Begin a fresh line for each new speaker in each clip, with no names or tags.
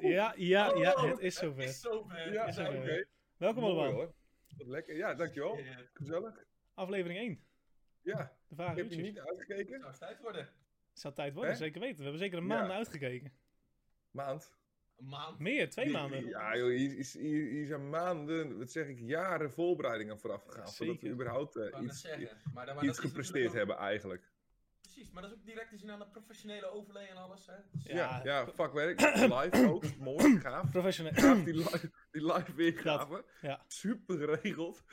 Ja, ja, ja, het is
Het is
zover.
zover.
Ja, nou,
We zijn
oké.
oké. Welkom
Oh. Mooi,
allemaal.
hoor. Wat lekker. Ja, dankjewel.
eh, Het
Gezellig.
Aflevering 1,
Ja,
de
ik
vage
heb je
uurtjes.
niet uitgekeken.
zou tijd worden.
Het zou tijd worden,
Hè?
zeker weten. We hebben zeker een
Ja.
maand naar uitgekeken.
Maand.
Een maand.
Meer, twee
Die-
maanden.
Ja, joh, hier, is- hier, hier zijn maanden, wat zeg ik, jaren voorbereiding aan vooraf gegaan. Voordat we
Zeker.
überhaupt eh,
Ik wou net
iets,
zeggen. Maar, dan- maar
iets
dat is
gepresteerd
natuurlijk
hebben eigenlijk.
ook- Precies, maar dat is ook direct te zien aan de professionele overlay en alles. Hè? Dus-
Ja,
Ja.
ja, vakwerk. Live ook. Mooi, gaaf.
Professioneel.
Gaaf die live, die live weergave.
ja.
Super geregeld.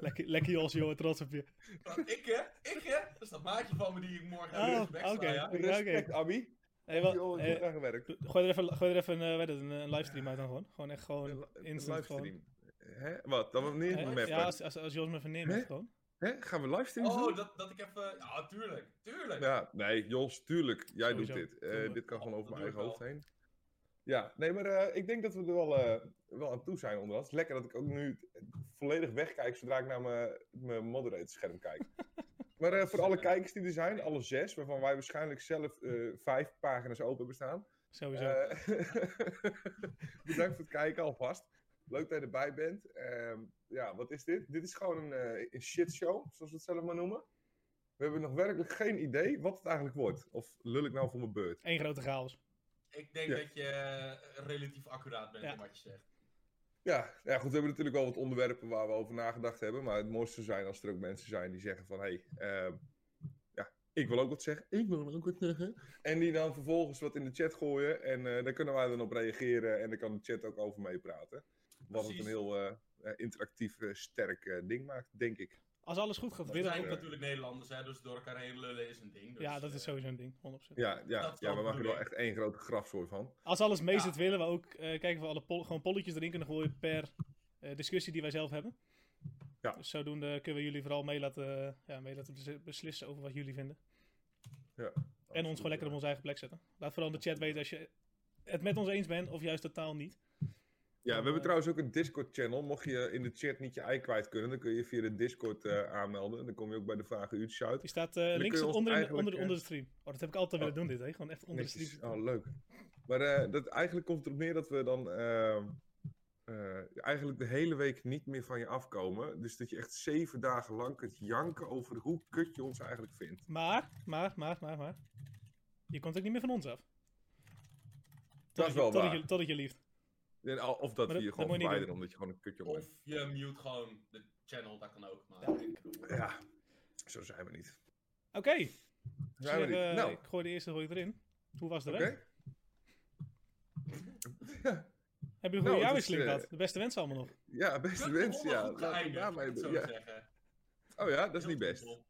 Lekker, lekker Jos, jongen, trots op je.
Nou, ik hè? Ik hè? Dat is dat maatje van me die ik morgen aan
Oh,
de respect
oké.
sta, ja.
Oké.
Respect, Abby.
Hey,
Hey,
wel, eh,
aan gewerkt.
gooi er even, gooi er even een, eh, weet het, een, een livestream uit dan gewoon. Gewoon echt gewoon
Een
instant gewoon.
livestream. Hè? Wat? Dan wanneer
Hè?
we mappen?
Ja, als, als, als Jos me even neerlegt
Hè?
gewoon.
Hè? Gaan we livestreams doen?
Oh, dat, dat ik even. Ja, tuurlijk. Tuurlijk.
Ja, nee, Jos, tuurlijk. Jij
Sowieso.
doet dit. Eh,
Tuurlijk.
dit kan gewoon
Dat
over mijn
doe
eigen
ik
hoofd
wel.
heen. Ja, nee, maar eh, ik denk dat we er wel, eh, wel aan toe zijn onderhand. Het is lekker dat ik ook nu volledig wegkijk zodra ik naar mijn- mijn moderatorscherm kijk. maar eh, voor alle kijkers die er zijn, alle zes, waarvan wij waarschijnlijk zelf eh, vijf pagina's open hebben staan.
Sowieso.
eh, bedankt voor het kijken alvast. Leuk dat je erbij bent. Ehm, ja, wat is dit? Dit is gewoon een, eh, een shitshow, zoals we het zelf maar noemen. We hebben nog werkelijk geen idee wat het eigenlijk wordt. Of lul ik nou voor mijn beurt?
Eén grote chaos.
Ik denk
Ja.
dat je eh, relatief accuraat bent
Ja.
in wat je zegt.
Ja, ja, goed, we hebben natuurlijk wel wat onderwerpen waar we over nagedacht hebben. Maar het mooiste zou zijn als er ook mensen zijn die zeggen van... Hé, hey, ehm, ja, ik wil ook wat zeggen. Ik wil ook wat zeggen. En die dan vervolgens wat in de chat gooien. En eh, daar kunnen wij dan op reageren. En daar kan de chat ook over meepraten. Wat het
Precies.
een heel eh, eh, interactief, eh, sterk eh, ding maakt, denk ik.
Als alles goed gaat,
We
winnen
zijn
we ook dat...
natuurlijk Nederlanders, hè, dus door elkaar heen lullen is een ding. Dus,
Ja, dat is
eh,
sowieso een ding, 100%.
Ja,
Dat
ja,
is
ja
wel
we maken er
de
wel
bedoeling.
echt één grote grafzooi van.
Als alles mee
Ja.
zit, willen we ook eh, kijken of we alle pol- gewoon polletjes erin kunnen gooien per eh, discussie die wij zelf hebben.
Ja.
Dus zodoende kunnen we jullie vooral mee laten, eh, ja, mee laten bes- beslissen over wat jullie vinden.
Ja,
En ons gewoon lekker op onze eigen plek zetten. Laat vooral in de chat weten als je het met ons eens bent of juist totaal niet.
Ja, we
Eh,
hebben trouwens ook een Discord-channel. Mocht je in de chat niet je ei kwijt kunnen, dan kun je je via de Discord eh, aanmelden. Dan kom je ook bij de vragen uurtjes uit.
Die staat eh,
kun
links
je ons
onder, in de-
eigenlijk,
onder,
eh,
onder de stream. Oh, dat heb ik altijd
Oh.
willen doen dit, hè? Gewoon echt onder de
Netjes.
stream.
Oh, leuk. Maar eh, dat, eigenlijk komt het erop neer dat we dan eh, eh, eigenlijk de hele week niet meer van je afkomen. Dus dat je echt zeven dagen lang kunt janken over hoe kut je ons eigenlijk vindt.
Maar, maar, maar, maar, maar. Je komt ook niet meer van ons af.
Dat is wel
totdat
waar.
je, totdat je lief.
En al- Of dat
Maar
we
dat-
je
dat
gewoon
moet je niet
verwijderen omdat je gewoon een kutje bent.
Of je mute gewoon de channel, dat kan ook. Maar
Ja.
ik bedoel,
Ja, zo zijn we niet.
Oké,
Zo zijn we
Zeg, eh,
niet. Nou,
ik gooi de eerste gooi ik erin. Hoe was de
oké.
week? Hebben jullie
Nou, het
een goede
is,
jaarwisseling
eh,
gehad? De beste wensen allemaal nog.
Ja, beste mensen. Ja, Laten
Goed
we
geëindigd,
daarmee
laat ik het
be-
zo
ja.
zeggen.
Oh ja, dat is niet
Heel
best.
simpel.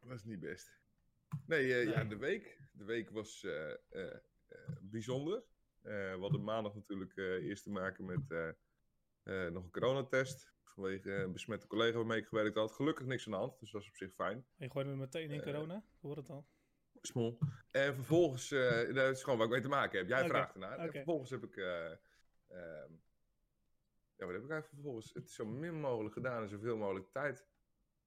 Dat is niet best. Nee, eh, ja, de week. De week was eh, eh, eh, bijzonder. Eh, we hadden maandag natuurlijk eh, eerst te maken met eh, eh, nog een coronatest. Vanwege eh, een besmette collega waarmee ik gewerkt had. Gelukkig niks aan de hand, dus dat is op zich fijn.
Je gooide hem meteen in
Eh,
corona. Ik hoor het al.
Smol. En vervolgens, eh dat is gewoon waar ik mee te maken heb. Jij
Oké,
vraagt ernaar. En
oké.
vervolgens heb ik. eh, ehm, ja, wat heb ik eigenlijk vervolgens? Het zo min mogelijk gedaan en zoveel mogelijk tijd.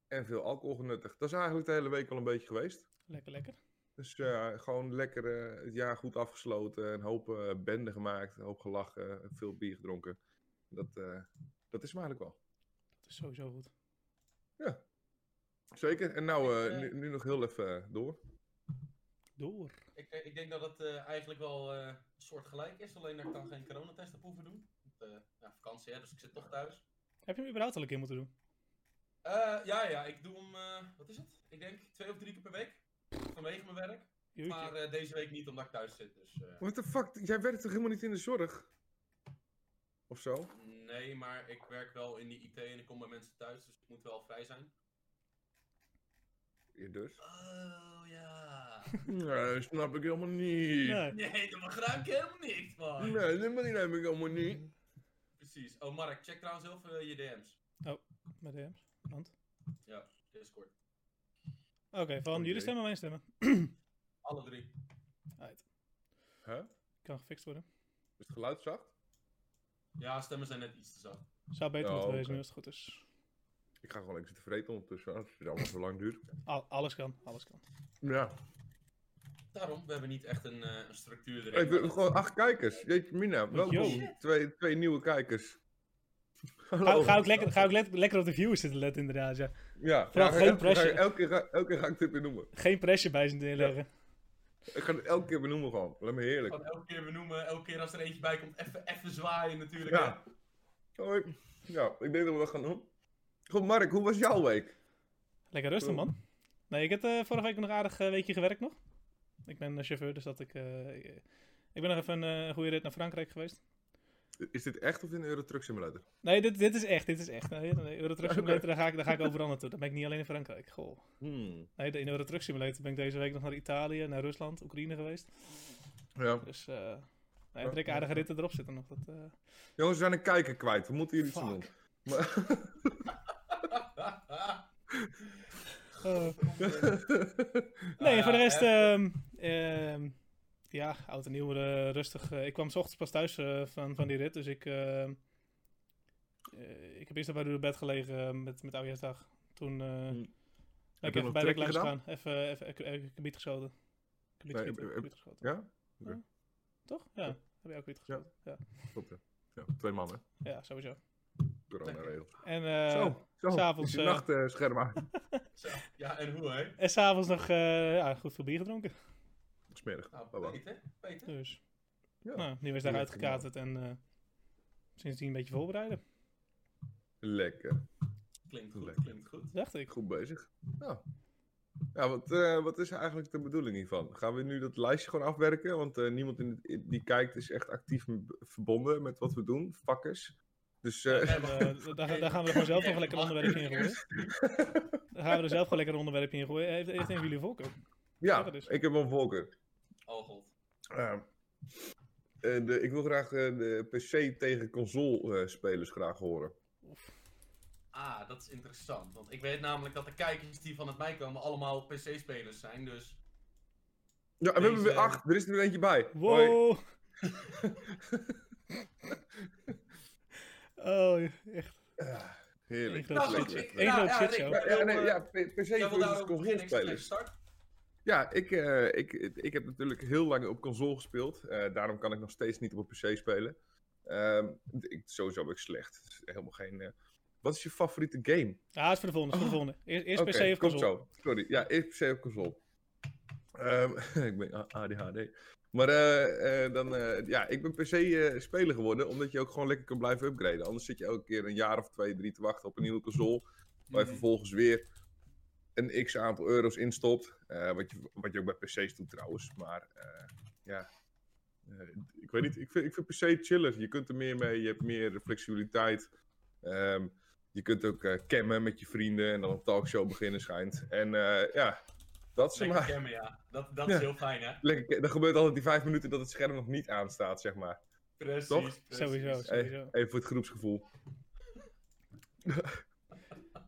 En veel alcohol genuttigd. Dat is eigenlijk de hele week al een beetje geweest.
Lekker, lekker.
Dus ja, gewoon lekker eh, het jaar goed afgesloten. Een hoop eh bende gemaakt, een hoop gelachen, veel bier gedronken. Dat, eh, dat is hem eigenlijk wel.
Dat is sowieso goed.
Zeker. En nou, eh,
Ik, eh,
nu, nu nog heel even eh, door.
Door.
Ik, ik denk dat het eh, eigenlijk wel eh soortgelijk is, alleen dat ik dan geen coronatest heb hoeven doen. Want, eh, ja, vakantie, hè, dus ik zit toch thuis.
Heb je hem überhaupt al een keer moeten doen?
Eh, ja, ja, ik doe hem, eh, wat is het? Ik denk twee of drie keer per week, vanwege mijn werk.
Jeetje.
Maar eh, deze week niet, omdat ik thuis zit, dus... eh,
What the fuck? Jij werkt toch helemaal niet in de zorg? Of zo?
Nee, maar ik werk wel in de IT en ik kom bij mensen thuis, dus ik moet wel vrij zijn.
Ja, dus.
Oh ja.
Nee, snap ik helemaal niet.
Nee.
Nee, daar begrijp ik helemaal niks van.
Nee, dat begrijp ik helemaal niet.
Precies. Oh, Mark, check trouwens heel veel eh, je DM's.
Met de DM's. Want?
Ja, Discord.
Oké, van
Oké.
jullie stemmen, mijn stemmen.
Alle drie.
Uit.
Huh?
Kan gefixt worden.
Is het geluid zacht?
Ja, stemmen zijn net iets te zacht.
Zou beter
Oh,
moeten wezen
oké.
nu als het goed is.
Ik ga gewoon even zitten vreten ondertussen. Als het allemaal zo lang duurt.
Al- alles kan, alles kan.
Ja.
Daarom, we hebben niet echt een, eh, een structuur erin.
Hey, we- gewoon acht kijkers. Jeetje, Mina,
Yo.
welkom. Twee, twee nieuwe kijkers.
Ga,
Hallo.
ga ook lekker, ga ook le- lekker op de viewers zitten letten, inderdaad. Ja.
Ja,
Vooral
ja,
geen
elke-
pressure.
ga- Elke, keer ga- elke keer ga ik dit weer noemen.
Geen pressure bij ze neerleggen.
Ik ga het elke keer benoemen gewoon. Laat me heerlijk.
Gewoon elke keer benoemen, elke keer als er eentje bij komt, even, even zwaaien natuurlijk. hè.
Ja. Hoi. Ja, ik denk dat we dat gaan doen. Goed, Mark, hoe was jouw week?
Lekker rustig,
Cool.
man. Nee, ik heb eh, vorige week nog een aardig eh, weekje gewerkt nog. Ik ben eh, chauffeur, dus dat ik... eh, ik- ik ben nog even een eh, goede rit naar Frankrijk geweest.
Is dit echt of in Euro Truck Simulator?
Nee, dit, dit is echt, dit is echt. Nee, nee, Eurotruck Simulator, daar ga, ik, daar ga ik overal naartoe. Dan ben ik niet alleen in Frankrijk. Goh.
Hmm.
Nee, in Eurotruck Simulator ben ik deze week nog naar Italië, naar Rusland, Oekraïne geweest.
Ja.
Dus eh nee, drie aardige ritten erop zitten nog. Dat, eh,
Jongens, we zijn een kijker kwijt. We moeten hier iets aan doen.
fuck. Eh, nee,
Ah,
ja,
voor de rest...
hè.
ehm, ehm, ja, oud en nieuw, eh, rustig. Eh, ik kwam s ochtends pas thuis eh, van, van die rit, dus ik... ehm, eh, ik heb eerst bij uur op bed gelegen eh, met, met Oudjaarsdag. Toen eh, ben
Mm. je nog
ik even bij de
trekking
langs
gedaan?
gegaan. Even, even, even, even kubiet geschoten. Kubiet
Nee,
schieten,
heb-
kubiet geschoten.
Ja?
Toch? Ja, heb je ook kubiet geschoten. Ja,
Klopt, ja. Ja, twee mannen.
ja sowieso.
Corona-regel.
En eh,
zo, zo.
s'avonds,
is je
eh,
nachtscherm aan.
Zo. Ja, en hoe hè?
En s'avonds nog eh, ja, goed veel bier gedronken.
Smerig.
Nou,
Oh, wacht.
Peter, Peter.
Dus.
Ja.
Nou, nu is daar
Heerlijk
uitgekaterd en eh, sindsdien een beetje voorbereiden.
Lekker.
Klinkt goed,
Lekker.
klinkt goed.
Dacht ik.
Goed bezig. Ja. Ja, wat, eh, wat is eigenlijk de bedoeling hiervan? Gaan we nu dat lijstje gewoon afwerken? Want eh, niemand in het- die kijkt is echt actief m- verbonden met wat we doen. Fuckers. Dus eh,
En, eh, daar, daar gaan we er gewoon zelf nog lekker een onderwerp in gooien. Daar gaan we er zelf gewoon lekker een onderwerp in gooien. Heeft, heeft een van jullie voorkeur?
ja,
lekker dus.
ik heb wel volken.
Oh god.
Eh, eh, de, ik wil graag eh, de PC tegen console eh, spelers graag horen.
Ah, dat is interessant. Want ik weet namelijk dat de kijkers die van het mij komen allemaal PC-spelers zijn. Dus
Ja, en we hebben
Deze-
weer acht. Er is er weer eentje bij. Hoi.
Wow! oh, echt.
Ah, Heerlijk.
Eén grote
Lekker.
shit.
ik-
Eén
Nou, ja,
grote
ja,
shitshow.
Rick,
show.
maar-
Ja, ja, nee, ja, P- PC
jij wil
versus
daarover beginnen.
console
Ik zeg gelijk
spelers.
start.
Ja, ik, eh, ik, ik heb natuurlijk heel lang op console gespeeld. Eh, daarom kan ik nog steeds niet op een PC spelen. Ehm, ik, sowieso ben ik slecht. Het is Helemaal geen. eh, Wat is je favoriete game?
Ja, het is voor de volgende. het is voor de volgende. Eerst, eerst
Ah, Oké,
PC of
komt
console.
zo. Sorry. Ja, eerst PC op console. Ehm, ik ben A- ADHD. Maar eh, eh, dan, eh, ja, ik ben PC-speler geworden, omdat je ook gewoon lekker kan blijven upgraden. Anders zit je elke keer een jaar of twee, drie te wachten op een nieuwe console. Waar je
Mhm.
vervolgens weer een x aantal euro's instopt. eh, wat, je, wat je ook bij PC's doet trouwens. Maar eh, ja, eh, ik weet niet. Ik vind, ik vind PC chiller. Je kunt er meer mee. Je hebt meer flexibiliteit. Ehm, je kunt ook eh cammen met je vrienden en dan een talkshow beginnen schijnt. En eh, ja, dat is
Lekker
maar.
cammen, ja. Dat, dat
Ja.
is heel fijn, hè?
Lekker, ke- dan gebeurt altijd die vijf minuten dat het scherm nog niet aanstaat, zeg maar.
Precies.
Toch?
precies.
Sowieso,
Hey.
sowieso.
Even voor het groepsgevoel.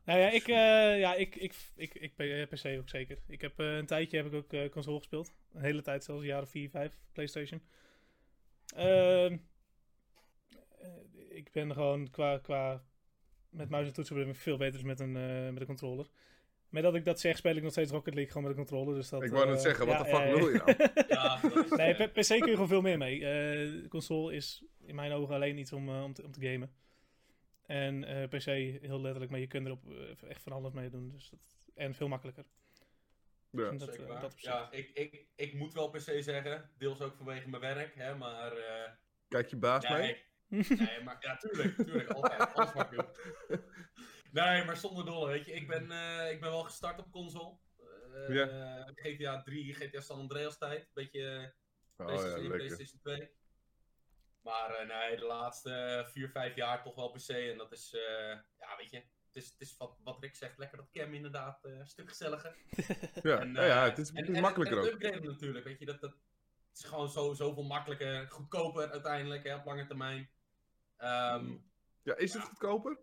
Nou ja, ik, eh, ja, ik, ik, ik, ik, ik PC ook zeker. Ik heb eh, een tijdje heb ik ook eh, console gespeeld. Een hele tijd zelfs, een jaar of 4, 5, PlayStation. Ehm, eh, ik ben gewoon qua, qua met muis en toetsen ben ik veel beter dan met een, eh, met een controller. Met dat ik dat zeg, speel ik nog steeds Rocket League gewoon met een controller. Dus dat,
Ik wou net
eh,
zeggen, wat
ja,
de fuck
eh,
wil je nou?
Ja, dat is,
Nee,
eh,
P- PC kun je gewoon veel meer mee. Eh, console is in mijn ogen alleen iets om, eh, om, te, om te gamen. En eh, PC heel letterlijk, maar je kunt erop eh, echt van alles mee doen. Dus dat, en veel makkelijker.
nou? Ja.
En dat,
zeker
eh,
waar.
dat op zich.
ja, ik, ik, ik moet wel per se zeggen, deels ook vanwege mijn werk, hè, maar... eh,
Kijk je baas mee?
nee, nee, maar ja, tuurlijk, tuurlijk, altijd, alles mag doen. Nee, maar zonder dolle, weet je, ik ben, eh, ik ben wel gestart op console. Eh, GTA 3, GTA San Andreas tijd, beetje eh,
Oh ja,
PlayStation 1,
lekker.
PlayStation 2. Maar eh, nee, de laatste 4, 5 jaar toch wel PC. En dat is, eh, ja, weet je, het is, het is wat, wat Rick zegt, lekker dat cam inderdaad, eh, een stuk gezelliger.
Ja,
En,
nou ja,
eh,
het is,
en-
het
en-
is
en
makkelijker
het
ook.
upgraden natuurlijk, weet je, dat, dat het is gewoon zo, zoveel makkelijker, goedkoper uiteindelijk, hè, op lange termijn. Ehm,
Hmm. Ja, is het goedkoper?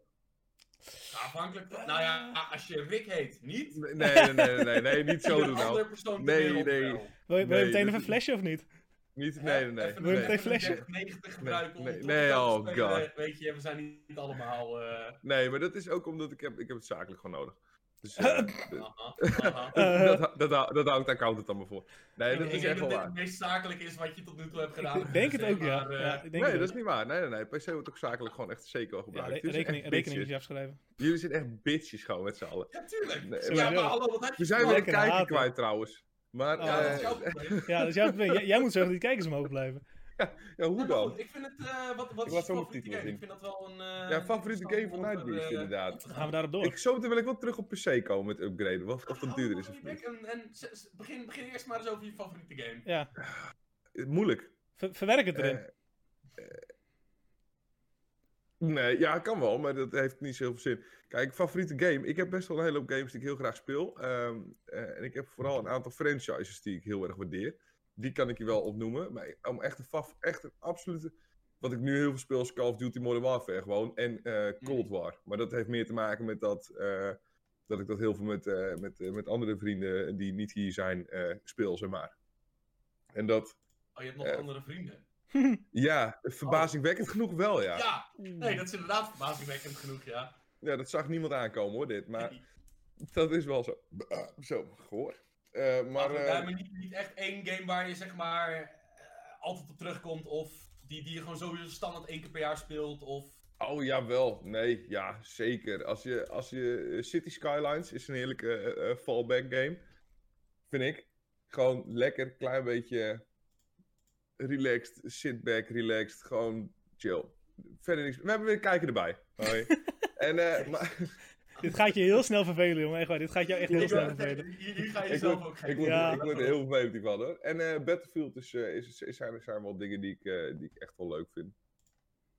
afhankelijk van, nou ja, als je Rick heet, niet.
Nee, nee, nee, nee, nee, nee, niet zo
Ieder
doen nou.
andere persoon ter
Nee,
wereld
nee.
wel.
Wil je, wil je
Nee,
meteen
dat
even
is-
flashen of niet?
Niet,
Hè?
nee, nee, nee.
Even
Wil je
een-
Nee,
meteen
even een
flashen?
3090 gebruiken om
nee,
tot
nee,
elkaar te
oh
spelen.
god.
Weet je, we zijn niet allemaal... eh,
nee, maar dat is ook omdat ik heb, ik heb het zakelijk gewoon nodig. Dus, eh,
Aha, aha.
Eh.
dat, dat, dat, dat houdt de accountant dan maar voor. Nee, dat
ik
is
denk
echt wel
dat dit
waar.
het meest zakelijk is wat je tot nu toe hebt gedaan.
Ik denk het
Zeg
ook, ja.
maar, eh,
Ja, ik denk
Nee,
het
dat is
ook.
niet waar. Nee, nee, nee. PC wordt ook zakelijk gewoon echt zeker wel
Ja,
gebruikt.
re-
Jullie zijn
rekening,
echt
rekening is
bitches.
je afschrijven.
Jullie zijn echt bitches gewoon met z'n allen.
Ja, tuurlijk.
Nee,
ja,
sowieso.
maar hallo, wat heb je
We zijn weer
gedaan?
een
Lekker
kijker
haten.
kwijt trouwens. Maar
Oh,
Ja, dat
eh,
is jouw probleem.
Ja, dus jij, jij, jij moet zorgen dat die kijkers omhoog blijven.
ja,
Ja,
hoe
maar goed,
dan?
Ik vind het, eh, wat,
Ik
wat is
laat
je
zo mijn
favoriete
titel
game?
zien.
Ik vind dat wel een... eh,
Ja, favoriete game van
interessante om
Nightbeast,
er, eh,
inderdaad.
op te
Dan
gaan.
gaan we daarop door.
Ik, zo meteen wil ik wel terug op PC komen met upgraden. Of, of dat
Hou
duurder
maar
is
van
of
je bek
niet.
En, en z- z- begin, begin eerst maar eens over je favoriete game.
Ja,
Eh, Moeilijk.
ver- verwerk het erin.
Eh, eh, nee, ja, kan wel, maar dat heeft niet zoveel zin. Kijk, favoriete game. Ik heb best wel een hele hoop games die ik heel graag speel. Ehm, eh, en ik heb vooral een aantal franchises die ik heel erg waardeer. Die kan ik je wel opnoemen. Maar om echt een, faf, echt een absolute... Wat ik nu heel veel speel is Call of Duty Modern Warfare gewoon. En eh,
Mm.
Cold War. Maar dat heeft meer te maken met dat... eh, dat ik dat heel veel met, eh, met, eh, met andere vrienden die niet hier zijn eh, speel, zeg maar. En dat...
Oh, je hebt nog
Eh.
andere vrienden.
Ja, verbazingwekkend genoeg wel, ja. ja.
Ja, nee, dat is inderdaad verbazingwekkend genoeg, ja.
dat zag niemand aankomen hoor, dit. Maar dat is wel zo. Zo, gehoor. Eh, maar
Maar,
eh,
maar niet, niet echt één game waar je zeg maar eh, altijd op terugkomt of die, die je gewoon sowieso standaard één keer per jaar speelt of...
Oh ja, wel. Nee, ja, zeker. Als je, als je eh, City Skylines is een heerlijke eh, eh, fallback game. Vind ik. Gewoon lekker, klein beetje relaxed, sit back, relaxed, gewoon chill. Verder niks. We hebben weer een kijker erbij. Hoi. en, eh, maar,
Dit gaat je heel snel vervelen, jongen. Echt waar, dit gaat jou echt heel
Ik
snel
wil-
vervelen.
Hier, hier ga je
ik
zelf
word,
ook geen...
ik word,
Ja.
ik word er heel vervelend hiervan hoor. En eh, Battlefield is, eh, is, is- zijn, zijn wel dingen die ik, eh, die ik echt wel leuk vind.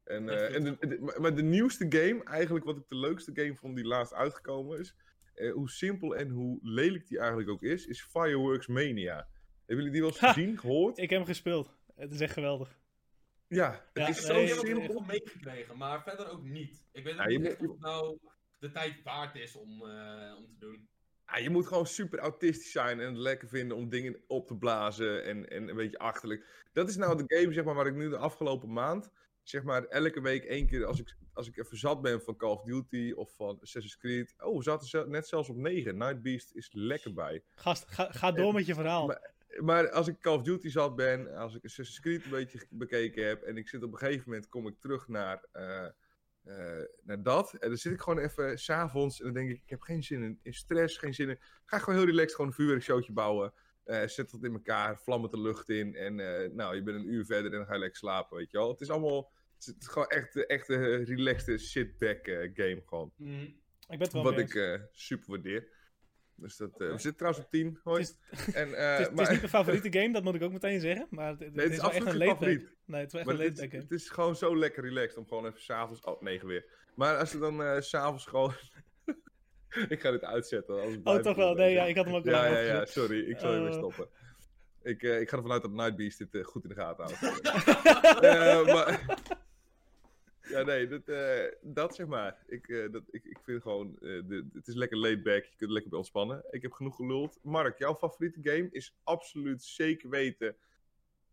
En, eh, en de- de- maar- maar de nieuwste game, eigenlijk wat ik de leukste game vond die laatst uitgekomen is, eh, hoe simpel en hoe lelijk die eigenlijk ook is, is Fireworks Mania. Hebben jullie die wel eens
Ha!
gezien, gehoord?
Ik heb hem gespeeld. Het is echt geweldig.
Ja, het
Ja,
is
Zo
zo
nee,
heb ik er
simpel.
wel meegekregen, maar verder ook niet. Ik weet
Ja,
ook
je
niet
moet-
echt of het nou de tijd waard is om, eh, om te doen.
Ja, je moet gewoon super autistisch zijn en het lekker vinden om dingen op te blazen en, en een beetje achterlijk. Dat is nou de game zeg maar, waar ik nu de afgelopen maand, zeg maar elke week één keer, als ik, als ik even zat ben van Call of Duty of van Assassin's Creed. Oh, we zaten ze- net zelfs op 9. Night Beast is lekker bij.
Gast, ga, ga door met je verhaal.
Maar als ik Call of Duty zat ben, als ik Assassin's Creed een beetje ge- bekeken heb en ik zit op een gegeven moment, kom ik terug naar, eh, eh, naar dat. En dan zit ik gewoon even s'avonds en dan denk ik, ik heb geen zin in, in stress, geen zin in. Ga gewoon heel relaxed gewoon een vuurwerkshowtje bouwen. Eh, zet dat in elkaar, vlammen de lucht in en eh, nou, je bent een uur verder en dan ga je lekker slapen, weet je wel. Het is allemaal, het is, het is gewoon echt, eh, echt een relaxed sit-back eh, game gewoon.
Ik ben het wel
Wat
mee
ik eh, super waardeer. Dus dat, eh,
Oké.
we zitten trouwens op 10, hoi.
Het is-
en, eh,
Het is, het is
maar-
niet mijn favoriete game, dat moet ik ook meteen zeggen. Maar het, het
Nee, het
is
is
wel echt
absoluut
een
geen
leeftijd.
favoriet.
Nee, het is wel echt
Maar
een
het,
leeftijd
is,
game.
het is gewoon zo lekker relaxed om gewoon even s'avonds... Oh, negen weer. Maar als je dan eh, s s'avonds gewoon... ik ga dit uitzetten. anders
Oh,
blijft
toch
het
wel.
een
Nee, ja,
beetje.
ik had hem ook al
Ja,
lang
ja, ja,
opgezet.
sorry. Ik zal je weer
Eh.
stoppen. Ik, eh, ik ga ervan uit dat Nightbeast dit eh, goed in de gaten houdt. Eh, maar... Ja, nee, dat, eh, dat zeg maar. Ik, eh, dat, ik, ik vind gewoon, eh, de, het is lekker laid back, je kunt lekker bij ontspannen. Ik heb genoeg geluld. Mark, jouw favoriete game is absoluut zeker weten...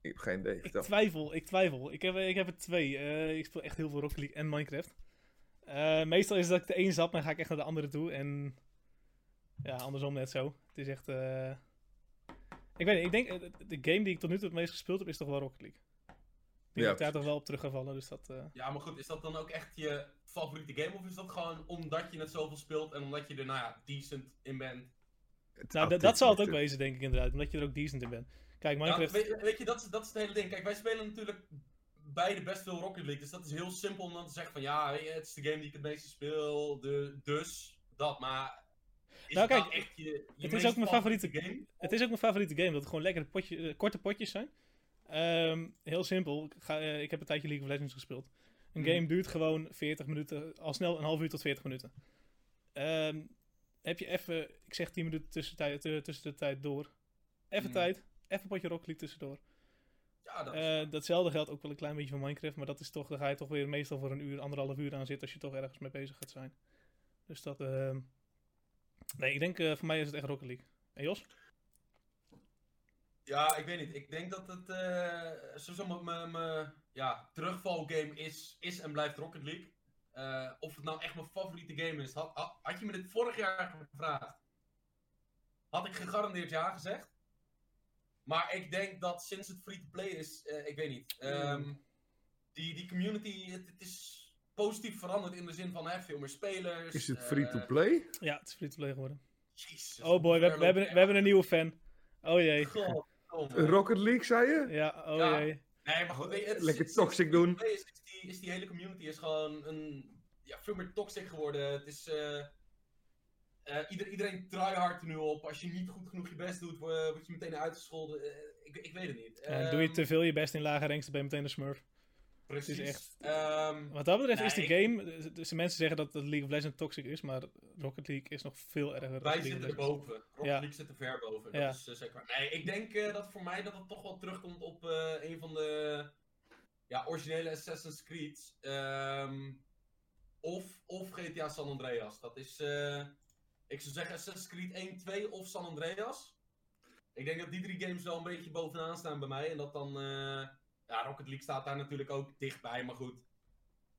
Ik heb geen idee,
Ik
vertel.
twijfel, ik twijfel. Ik heb, ik heb er twee. Eh, ik speel echt heel veel Rocket League en Minecraft. Eh, meestal is het dat ik de een zap, dan ga ik echt naar de andere toe. En ja, andersom net zo. Het is echt... eh, Ik weet niet, ik denk eh, de game die ik tot nu toe het meest gespeeld heb, is toch wel Rocket League. Die
Ja,
ik daar
precies.
toch wel op terug ga vallen, dus dat... eh,
Ja, maar goed, is dat dan ook echt je favoriete game? Of is dat gewoon omdat je het zoveel speelt en omdat je er, nou ja, decent in bent?
Nou, dat-
Autistisch
dat zal het ook
natuurlijk.
wezen, denk ik inderdaad. Omdat je er ook decent in bent. Kijk,
Ja,
Minecraft...
weet, weet je, dat is, dat is het hele ding. Kijk, wij spelen natuurlijk beide best veel Rocket League. Dus dat is heel simpel om dan te zeggen van, ja, weet je, het is de game die ik het meeste speel. De, dus dat, maar... Is
Nou,
nou,
kijk,
kijk, echt je, je
is
meest
ook mijn favoriete
game.
Het is ook mijn favoriete game, dat het gewoon lekkere potje, eh, korte potjes zijn. Ehm, heel simpel, ik, ga, eh, ik heb een tijdje League of Legends gespeeld. Een
Mhm.
game duurt gewoon 40 minuten, al snel een half uur tot 40 minuten. Ehm, heb je even, ik zeg 10 minuten tussen, tijd, eh, tussen de tijd door. Even
Mhm.
tijd, even een potje Rocket League tussendoor.
Ja, dat is-
Eh, datzelfde geldt ook wel een klein beetje voor Minecraft, maar dat is toch, daar ga je toch weer meestal voor een uur, anderhalf uur aan zitten als je toch ergens mee bezig gaat zijn. Dus dat, ehm, nee, ik denk eh, voor mij is het echt Rocket League. En Jos?
Ja, ik weet niet. Ik denk dat het eh sowieso mijn- mijn mijn, ja, terugvalgame is, is en blijft Rocket League. eh, of het nou echt mijn favoriete game is. Had, had, had je me dit vorig jaar gevraagd, had ik gegarandeerd ja gezegd. Maar ik denk dat sinds het free-to-play is, eh, ik weet niet. ehm,
Hmm.
die, die community, het, het is positief veranderd in de zin van hè, veel meer spelers.
Is het
eh,
free-to-play?
Ja, het is free-to-play geworden.
Jezus,
Oh boy, we, we, hebben, we hebben een nieuwe fan. Oh jee.
Godverdomme.
Rocket League, zei je?
Ja, oh
Ja.
jee.
Nee, maar goed, weet je, het is-
Oh, Lekker
het is-
toxic doen.
Nee, Is, is die, is die hele community is gewoon een, ja, veel meer toxic geworden. Het is, eh, eh, ieder, iedereen tryhardt er nu op. Als je niet goed genoeg je best doet, wo- word je meteen uitgescholden. Eh, ik, ik weet het niet.
Ja, doe je
Ehm,
te veel je best in lage ranks, dan ben je meteen een smurf.
Precies.
het is echt-
Ehm,
Wat dat betreft is de
Nee,
game... eh, Dus de mensen zeggen dat, dat League of Legends toxic is, maar Rocket League is nog veel erger. dan League
wij
of
zitten er
Legends.
boven. Rocket
Ja.
League zit er ver boven. Dat
Ja.
is, eh, zeker. waar. Nee, ik denk eh, dat voor mij dat het toch wel terugkomt op eh, een van de ja, originele Assassin's Creed. Ehm, of, of GTA San Andreas. Dat is, eh, ik zou zeggen Assassin's Creed 1, 2 of San Andreas. Ik denk dat die drie games wel een beetje bovenaan staan bij mij. En dat dan, eh, ja, Rocket League staat daar natuurlijk ook dichtbij, maar goed.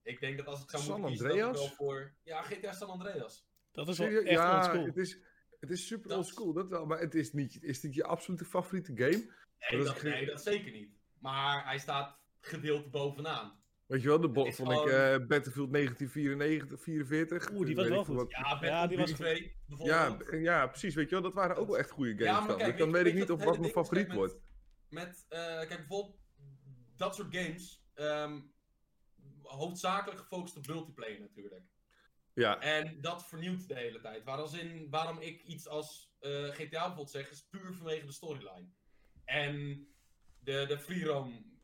Ik denk dat als ik zou
San
moeten kiezen, dat ik
Andreas?
wel voor... Ja, GTA San Andreas.
Dat is wel echt
Serieus?
ja,
ja,
oldschool.
het is, het is super
Dat-
oldschool, dat wel. Maar het is niet, is dit je absolute favoriete game?
Nee,
Maar dat
dat,
is ge-
nee, dat zeker niet. Maar hij staat gedeeld bovenaan.
Weet je wel, de bot
is
vond ik
gewoon-
eh, Battlefield 1994, 44.
Oeh, die was
eh, weet
wel
ik veel
goed.
wat.
Ja, Battlefield
Ja, die was
2
Ja,
bijvoorbeeld.
b- ja, precies, weet je wel, dat waren ook wel echt goede games dan. Dus
weet
dan
je-
weet ik
je
niet
dat
of
het
wat
hele
mijn
ding is, kijk,
favoriet wordt.
Met, met, eh, kijk, bijvoorbeeld dat soort games. ehm, hoofdzakelijk gefocust op multiplayer natuurlijk.
Ja,
En dat vernieuwt de hele tijd. Waar als in, waarom ik iets als eh, GTA bijvoorbeeld zeg, is puur vanwege de storyline. En de, de free roam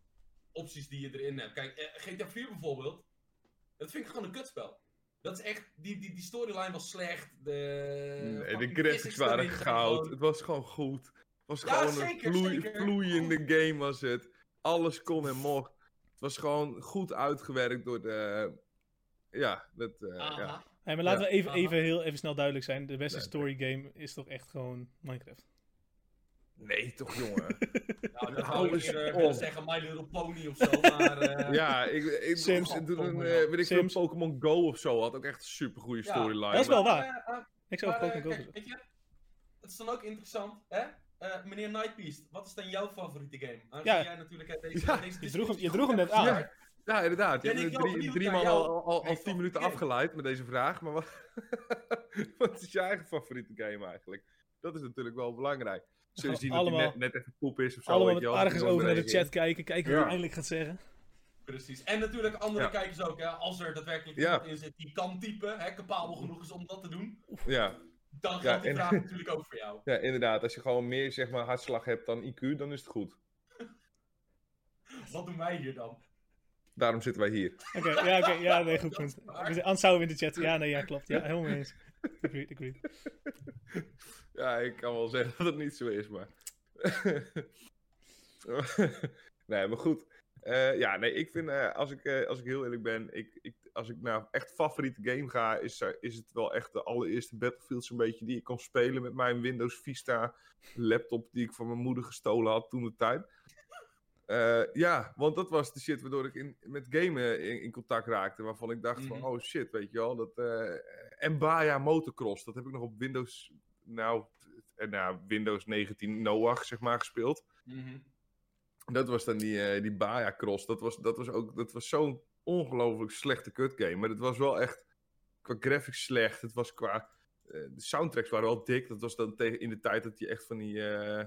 opties die je erin hebt. Kijk, eh, GTA 4 bijvoorbeeld, dat vind ik gewoon een kutspel. Dat is echt, die, die, die storyline was slecht. De,
nee, de
eh, fucking
graphics
physics
waren
erin zijn
goud.
gewoon-
Het was gewoon goed. Het was
Ja,
gewoon
zeker,
een vloei-
zeker.
vloeiende game was het. Alles kon en mocht. Het was gewoon goed uitgewerkt door de... Ja, dat... eh, ja.
Aha.
Hey, maar laten
Ja.
we even,
Aha.
even, heel, even snel duidelijk zijn. De beste
Nee,
story game is toch echt gewoon Minecraft.
Nee, toch jongen.
Nou, dat
Hou
zou ik
eens
eerder
op.
willen zeggen My Little Pony of zo, maar... eh,
ja, ik, ik
Sims.
ik doe een,
Godverdomme,
eh,
ja.
weet ik veel,
Sims.
Pokémon Go of zo had ook echt een supergoede
Ja,
storyline.
dat is wel waar.
eh, eh,
Niks over
Maar, eh,
Pokémon Go.
kijk,
gezegd.
weet je, het is dan ook interessant, hè? Eh, meneer Nightbeast, wat is dan jouw favoriete game? Aangezien
Ja.
jij natuurlijk hè, deze,
Ja,
deze
Je droeg hem, je
discussie
droeg hem
goed
net
hebt
aan.
Ja. Ja, inderdaad. Je
Ben
hebt me
ik wel
drie,
benieuwd
drie
naar
maal al,
jouw-
al, al
meest
tien minuten
favoriete
afgeleid met deze vraag. Maar wat, wat is je eigen favoriete game eigenlijk? Dat is natuurlijk wel belangevangrijk. Zullen
gaan
we zien
allemaal-
dat hij net, net even poep is of zo.
Allemaal
weet
met
je wel, dat
ergens
iemand
over naar de
reageert.
chat kijken. Kijken wie
Ja.
eindelijk gaat zeggen.
Precies. En natuurlijk andere
Ja.
kijkers ook, hè? Als er daadwerkelijk
Ja.
iemand in zit die kan typen, hè, capabel genoeg is om dat te doen,
Ja,
dan geldt
Ja,
die
en-
vraag natuurlijk ook voor jou.
ja, inderdaad. Als je gewoon meer zeg maar, hartslag hebt dan IQ, dan is het goed.
Wat doen wij hier dan?
Daarom zitten wij hier.
Oké, ja, oké, ja, nee, goed punt.
waar.
We zijn- Anders zouden we in de chat. Ja, nee, ja, klopt. Ja, helemaal mee eens. Agreed, agreed.
Ja, ik kan wel zeggen dat het niet zo is, maar. nee, maar goed. Eh, ja, nee, ik vind, eh, als, ik, eh, als ik heel eerlijk ben, ik, ik, als ik naar echt favoriete game ga, is, eh, is het wel echt de allereerste Battlefield zo'n beetje die ik kon spelen met mijn Windows Vista laptop die ik van mijn moeder gestolen had toen de tijd. Eh, ja, want dat was de shit waardoor ik in, met gamen in, in contact raakte. Waarvan ik dacht
Mhm.
van, oh shit, weet je wel. Dat, eh, en Baja Motocross, dat heb ik nog op Windows, nou, eh, nou Windows 19 Noach, zeg maar, gespeeld.
Mhm.
Dat was dan die, eh, die Baja Cross. Dat was, dat was, ook- dat was zo'n ongelooflijk slechte kutgame. Maar het was wel echt qua graphics slecht. Het was qua... eh, de soundtracks waren wel dik. Dat was dan tegen, in de tijd dat je echt van die... eh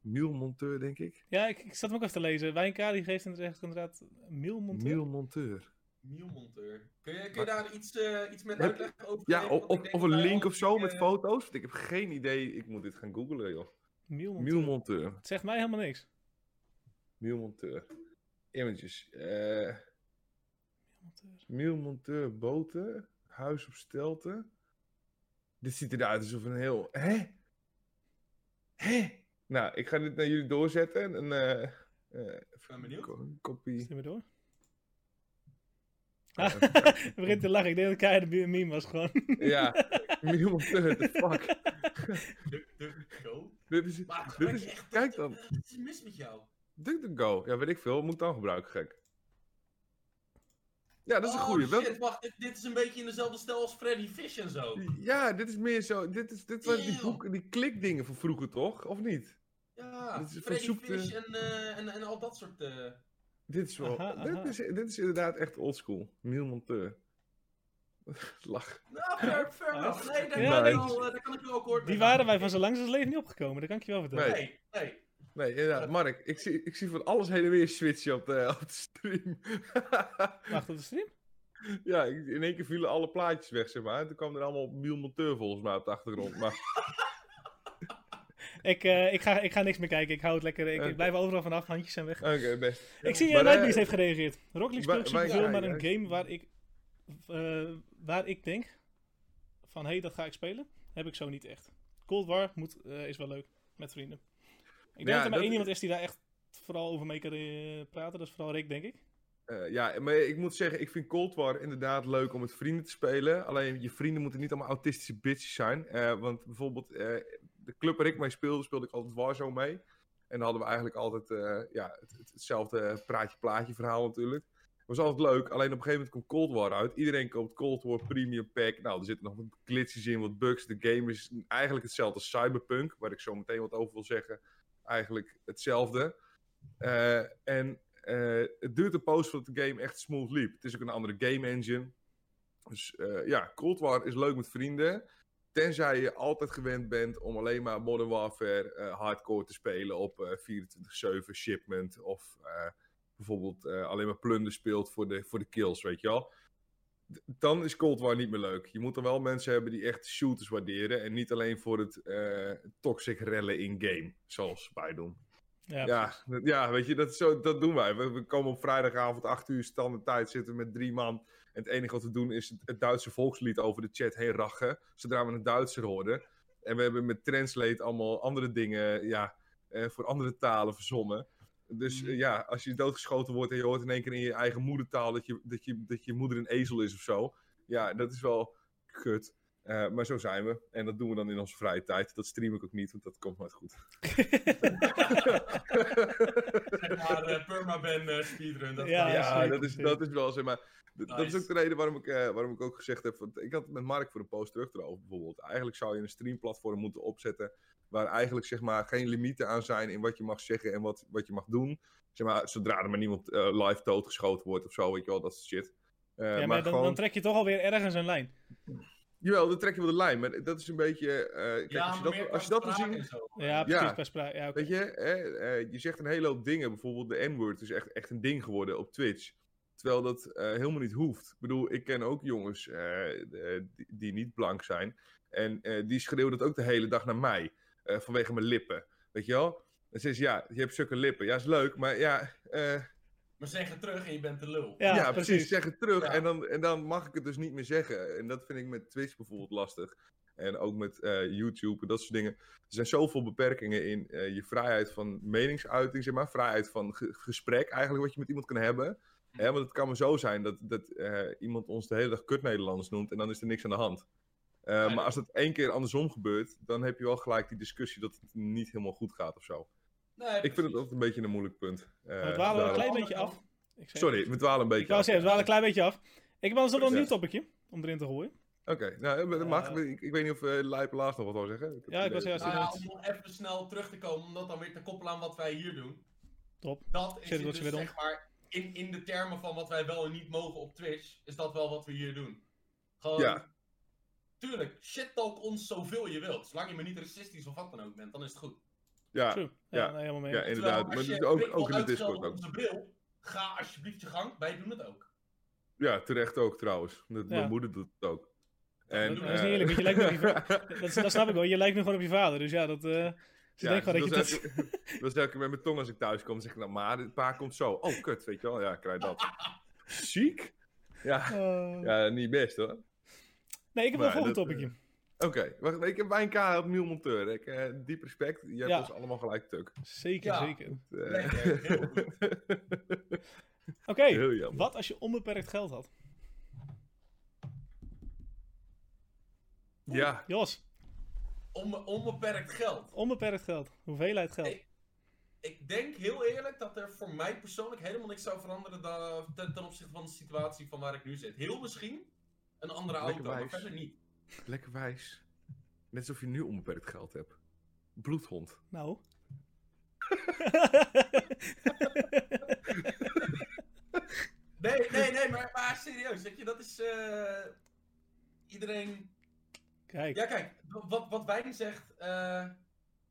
Mielmonteur, denk ik.
Ja, ik, ik zat hem ook even te lezen. Wijnka die geeft inderdaad, inderdaad Milmonteur.
Mielmonteur.
Mielmonteur. Kun je, kun je
Maar-
daar iets, eh, iets met
Heb-
uitleggen over?
Ja,
geven?
o-
Want ik
of,
denk
of
dat
een
wij
link
al
of zo
die,
met
eh,
foto's. Want ik heb geen idee. Ik moet dit gaan googlen, joh.
Mielmonteur.
Mielmonteur.
Het zegt mij helemaal niks.
Mielmonteur. Images. eh
Mielmonteur.
Mielmonteur boten, huis op stelten. Dit ziet eruit alsof een heel. Hè? Hè? Nou, ik ga dit naar jullie doorzetten. En, een eh eh,
ben benieuwd.
ko- een kopie.
Stem maar door.
Ja.
Ah, ik begin te lachen. Ik denk dat Kai de meme was gewoon.
Ja, Mielmonteur, the fuck.
de- de- go?
dit is,
Maar
dit
gebruik je
is,
echt...
Dus kijk dan,
Wat is mis met jou?
DuckDuckGo. Ja, weet ik veel. Moet ik dan gebruiken, gek. Ja, dat is een
Oh,
goeie. Welke-
Shit, wacht, dit, dit is een beetje in dezelfde stijl als Freddy Fish en zo.
Ja, dit is meer zo. Dit, is, dit waren die,
Eeuw.
boeken, die klikdingen van vroeger, toch? Of niet?
Ja,
Dit is
Freddy
verzoekte-
Fish en, eh, en, en al dat soort. eh,
Dit is wel.
Aha, aha.
Dit, is, dit is inderdaad echt oldschool. Miel Monteur. Lach.
Nou, fair, fair enough. Nee, daar,
Ja,
kan,
nee.
ik wel, eh, daar kan ik wel akkoord mee
Die
gaan.
waren wij van zo lang als het leven niet opgekomen, dat kan ik je wel vertellen.
Nee.
Nee, nee.
Nee, inderdaad. Mark, ik zie, ik zie van alles heen en weer switchen op de, op de stream.
Wacht op de stream?
ja, ik- in één keer vielen alle plaatjes weg, zeg maar. En toen kwam er allemaal Miel Monteur volgens mij op de achtergrond. Maar
Ik, eh, ik, ga, ik ga niks meer kijken, ik hou het lekker. Ik,
Oké.
ik blijf overal vanaf, handjes zijn weg.
oké, best.
Ik zie,
Eh, Maar, eh,
uh, Nightbeast heeft gereageerd. Rock League
waar-
speelt
waar-
superveel,
ja,
maar een
ja.
game waar ik, eh, waar ik denk van, hé, hey, dat ga ik spelen, heb ik zo niet echt. Cold War moet, eh, is wel leuk, met vrienden. Ik denk
Ja,
dat er maar
dat-
één iemand is die daar echt vooral over mee kan eh, praten, dat is vooral Rick, denk ik.
Eh, ja, maar ik moet zeggen, ik vind Cold War inderdaad leuk om met vrienden te spelen. Alleen je vrienden moeten niet allemaal autistische bitches zijn. Eh, want bijvoorbeeld, eh, de club waar ik mee speelde, speelde ik altijd Warzone mee. En dan hadden we eigenlijk altijd eh, ja, het, het- hetzelfde praatje-plaatje verhaal natuurlijk. Het was altijd leuk, alleen op een gegeven moment komt Cold War uit. Iedereen koopt Cold War Premium Pack. Nou, er zitten nog wat glitches in, wat bugs. De game is eigenlijk hetzelfde als Cyberpunk, waar ik zo meteen wat over wil zeggen. Eigenlijk hetzelfde. Eh, en eh, het duurt een poos voordat de game echt smooth liep. Het is ook een andere game engine. Dus eh, ja, Cold War is leuk met vrienden. Tenzij je altijd gewend bent om alleen maar Modern Warfare eh, hardcore te spelen op eh 24-7 shipment. Of eh, bijvoorbeeld eh, alleen maar plunder speelt voor de, voor de kills, weet je wel. D- Dan is Cold War niet meer leuk. Je moet dan wel mensen hebben die echt shooters waarderen. En niet alleen voor het eh, toxic rellen in-game, zoals wij doen.
Ja,
Ja, dat- ja weet je, dat, is zo, dat doen wij. We, we komen op vrijdagavond 8 uur standaard tijd zitten we met drie man. En het enige wat we doen is het, het Duitse volkslied over de chat heen rachen. Zodra we een Duitser horen. En we hebben met Translate allemaal andere dingen ja, eh, voor andere talen verzonnen. Dus eh, ja, als je doodgeschoten wordt en je hoort in één keer in je eigen moedertaal dat je, dat je, dat je moeder een ezel is of zo. Ja, dat is wel kut. Eh, maar zo zijn we. En dat doen we dan in onze vrije tijd. Dat stream ik ook niet, want dat komt nooit goed.
Zeg maar eh, Permaban eh, speedrun. Dat
Ja,
kan.
ja,
zeker,
dat is,
zeker.
dat is wel zeg maar. d- Dat is
Nice.
ook de reden waarom ik, eh, waarom ik ook gezegd heb. Want ik had het met Mark voor een post terug erover bijvoorbeeld. Eigenlijk zou je een streamplatform moeten opzetten. Waar eigenlijk zeg maar geen limieten aan zijn in wat je mag zeggen en wat, wat je mag doen. Zeg maar, zodra er maar niemand eh, live doodgeschoten wordt of zo, weet je wel, dat soort shit. Eh,
Ja, maar,
maar
dan,
gewoon,
dan trek je toch alweer ergens een lijn.
jawel, dan trek je wel de lijn. Maar dat is een beetje. eh, kijk,
Ja,
als je
maar
dat,
meer
als je dat wil
qua spraak
zien.
en zo.
Ja, precies,
Ja.
per sprake. Ja, oké.
Weet je, hè, eh, je zegt een hele hoop dingen. Bijvoorbeeld de N-word is echt, echt een ding geworden op Twitch. Terwijl dat eh, helemaal niet hoeft. Ik bedoel, ik ken ook jongens eh, eh, die, die niet blank zijn. En eh, die schreeuwden dat ook de hele dag naar mij. eh, vanwege mijn lippen. Weet je wel? En ze is ja, je hebt zulke lippen. Ja, is leuk, maar ja... eh,
Maar zeg het terug en je bent de lul.
Ja,
ja, precies.
precies.
Zeg het terug.
Ja.
En, dan, en dan mag ik het dus niet meer zeggen. En dat vind ik met Twitch bijvoorbeeld lastig. En ook met eh, YouTube en dat soort dingen. Er zijn zoveel beperkingen in eh, je vrijheid van meningsuiting, zeg maar. Vrijheid van ge- gesprek eigenlijk, wat je met iemand kan hebben.
Hm.
Hè, want het kan maar zo zijn dat, dat eh, iemand ons de hele dag kut Nederlands noemt en dan is er niks aan de hand. Eh,
dat-
maar als dat één keer andersom gebeurt, dan heb je wel gelijk die discussie dat het niet helemaal goed gaat of zo.
Nee,
Ik vind het altijd een beetje een moeilijk punt. Eh,
we dwalen wel een
daarom-
klein
daarom-
beetje af. Ik zei-
Sorry, we dwalen een beetje.
Ik wou
af,
zeggen, we
ja.
dwalen een klein beetje af. Ik heb anders nog wel een
Ja.
nieuw topicje om erin te gooien.
Oké, nou, dat mag.
Eh,
maar ik, ik weet niet of uh, laatst nog wat wil zeggen. heb het
Ja, ik wou
idee dat-
zeggen,
Nou ja,
inderdaad.
om nog even snel terug te komen, om dat dan weer te koppelen aan wat wij hier doen.
Top.
Dat is
Zit het
het
wat je
dus
wil
zeg maar in, in de termen van wat wij wel en niet mogen op Twitch, is dat wel wat we hier doen. Gewoon,
Ja.
tuurlijk, shit talk ons zoveel je wilt. Zolang je maar niet racistisch of wat dan ook bent, dan is het goed.
ja,
True. Ja,
ja.
nee, helemaal mee.
ja, inderdaad. Maar
Terwijl als
dat is
je
ook,
Rick wil
ook in de
uitschelden
Discord. Ook.
op onze bril, ga alsjeblieft je gang, wij doen het ook.
Ja, terecht ook trouwens. Dat,
Ja.
Mijn moeder doet het ook. En,
dat is niet
eh,
eerlijk, want je lijkt me dat, is- dat snap ik wel. Je lijkt nu gewoon op je vader. Dus ja, dat. eh, ze
Ja,
denkt gewoon
dus
dat je.
dat
Dat...
is elke- dat is elke keer met mijn tong als ik thuis kom. zeg ik, nou maar, het pa komt zo. Oh, kut, weet je wel. Ja, krijg dat. Ziek? Ja,
Eh,
ja, niet best hoor.
Nee, ik heb
Maar
wel een volgend
dat, eh,
topicje.
Oké, wacht, ik heb mijn K op Miel Monteur. Ik, eh, diep respect. Je hebt
Ja.
ons allemaal gelijk tuk.
Zeker,
Ja.
zeker.
Eh,
Lekker, heel goed.
Oké,
heel jammer.
wat als je onbeperkt geld had?
Ja,
Jos,
Onbe- onbeperkt geld.
onbeperkt geld. Hoeveelheid geld?
Nee. ik denk heel eerlijk dat er voor mij persoonlijk helemaal niks zou veranderen dan, eh, ten, ten opzichte van de situatie van waar ik nu zit. Heel misschien een andere
Lekker
auto, maar
wijs.
verder niet.
Lekker wijs. Net alsof je nu onbeperkt geld hebt. Bloedhond.
Nou.
Nee, nee, nee, maar, maar serieus, weet je, dat is... eh, iedereen
Kijk.
Ja, kijk, w- wat, wat Wijn zegt. eh,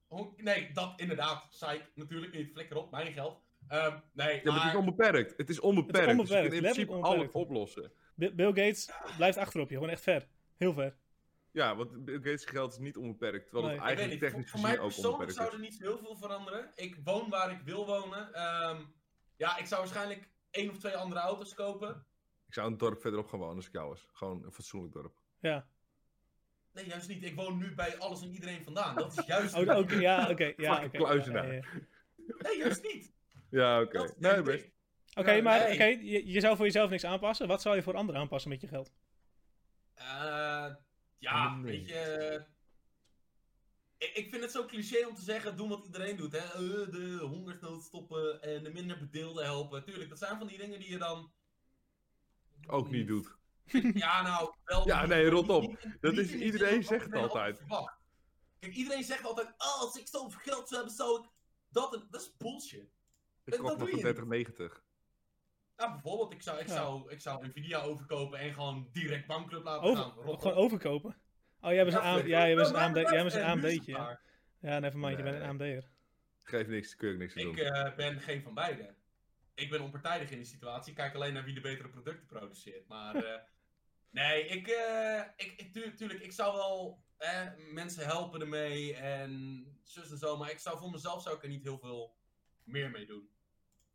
hon- nee, dat inderdaad. Psych, natuurlijk niet. Flikker op, mijn geld. Ehm, nee,
Ja, maar het
maar,
is onbeperkt. Het is onbeperkt.
Het
Dus
is
je kunt
onbeperkt,
in
letterlijk
principe alles
onbeperkt.
oplossen.
Bi- Bill Gates blijft achter op je. Gewoon echt ver. Heel ver.
Ja, want Bill Gates geld is niet onbeperkt. Terwijl
Nee.
het
ik weet
eigenlijk
niet.
technisch
Voor, voor mij
gezien ook
persoonlijk
onbeperkt
zou er
is.
niet heel veel veranderen. Ik woon waar ik wil wonen. Ehm, ja, ik zou waarschijnlijk één of twee andere auto's kopen.
Ik zou een dorp verderop gaan wonen als ik jou was. Gewoon een fatsoenlijk dorp.
Ja.
Nee, juist niet. Ik woon nu bij alles en iedereen vandaan. Dat is juist.
Oh, oké, ja, oké. Ja,
Fucking
oké.
kluizenaar.
Ja, ja, ja.
Nee, juist niet.
Ja, oké.
Dat
Nee,
denk
best.
ik.
Oké,
Nou,
maar
nee.
oké, je, je zou voor jezelf niks aanpassen. Wat zou je voor anderen aanpassen met je geld?
Eh, ja,
Nee.
weet je. eh, Ik, ik vind het zo cliché om te zeggen: doen wat iedereen doet. Hè? Eh, de hongersnood stoppen en de minder bedeelden helpen. Tuurlijk, dat zijn van die dingen die je dan.
Ook niet doet.
Ja, nou, wel.
Ja, nee, rot op.
Niet in-
Dat
niet
is-
in de
iedereen
zin van
zegt
wat
het
men
altijd.
verwacht. Kijk, iedereen zegt altijd: oh, als ik zoveel geld zou hebben, zou ik. Dat, en- dat is bullshit.
Ik
dat
kocht nog
doe
een
je niet.
3090.
Nou, bijvoorbeeld, ik zou, ik,
Ja.
zou, ik zou Nvidia overkopen en gewoon direct bankclub laten
Over,
gaan. Rot
gewoon
op.
overkopen? Oh, jij bent een, AMD, ja, jij bent een, AMD, jij bent een
En nu is het
AMD'tje.
maar.
Ja, ja never mind, je
Nee.
bent een AMD'er.
Geef niks, kun je ook niks aan doen.
Ik eh, ben geen van beide. Ik ben onpartijdig in die situatie. Ik kijk alleen naar wie de betere producten produceert. Maar eh, nee, ik, eh, ik, ik tu- tuurlijk, ik zou wel eh, mensen helpen ermee en zus en zo. Maar ik zou voor mezelf zou ik er niet heel veel meer mee doen.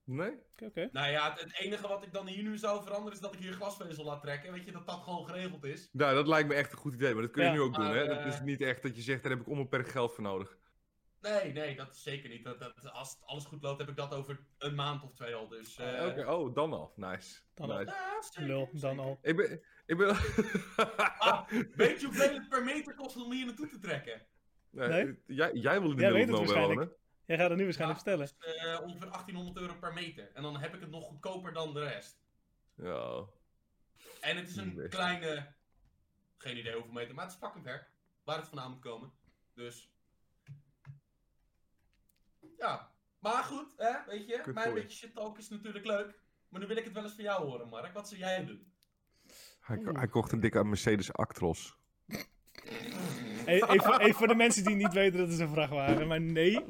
Nee?
Oké, oké.
Nou ja, het, het enige wat ik dan hier nu zou veranderen is dat ik hier glasvezel laat trekken. Weet je, dat dat gewoon geregeld is.
Nou, dat lijkt me echt een goed idee. Maar dat kun je
Ja,
nu ook doen,
maar,
hè?
eh,
Dat is niet echt dat je zegt, daar heb ik onbeperkt geld voor nodig.
Nee, nee, dat is zeker niet. Dat, dat, als het alles goed loopt, heb ik dat over een maand of twee al. Dus, eh,
Oké, oh, dan al. Nice.
Dan al.
Nice.
ja, zeker,
Lul, dan
zeker.
al.
Ik ben... Ik ben...
Ah, weet je hoeveel het per meter kost om hier naartoe te trekken?
Nee,
Nee?
Jij, jij wil in de
Jij weet
Millennium
het
wel
waarschijnlijk.
wonen.
Jij gaat het nu waarschijnlijk
Ja,
vertellen.
dat is, eh, ongeveer 1800 euro per meter. En dan heb ik het nog goedkoper dan de rest.
Ja.
En het is een
Best.
kleine... Geen idee hoeveel meter, maar het is fucking ver. Waar het vandaan moet komen. Dus... Ja. Maar goed, hè, weet je.
Good
mijn
boy.
beetje shit talk is natuurlijk leuk. Maar nu wil ik het wel eens van jou horen, Mark. Wat zou jij doen?
Hij,
Oeh.
hij kocht een dikke Mercedes
Oh,
Actros.
E- Even, voor- even voor de mensen die niet weten dat het een vrachtwagen Maar nee,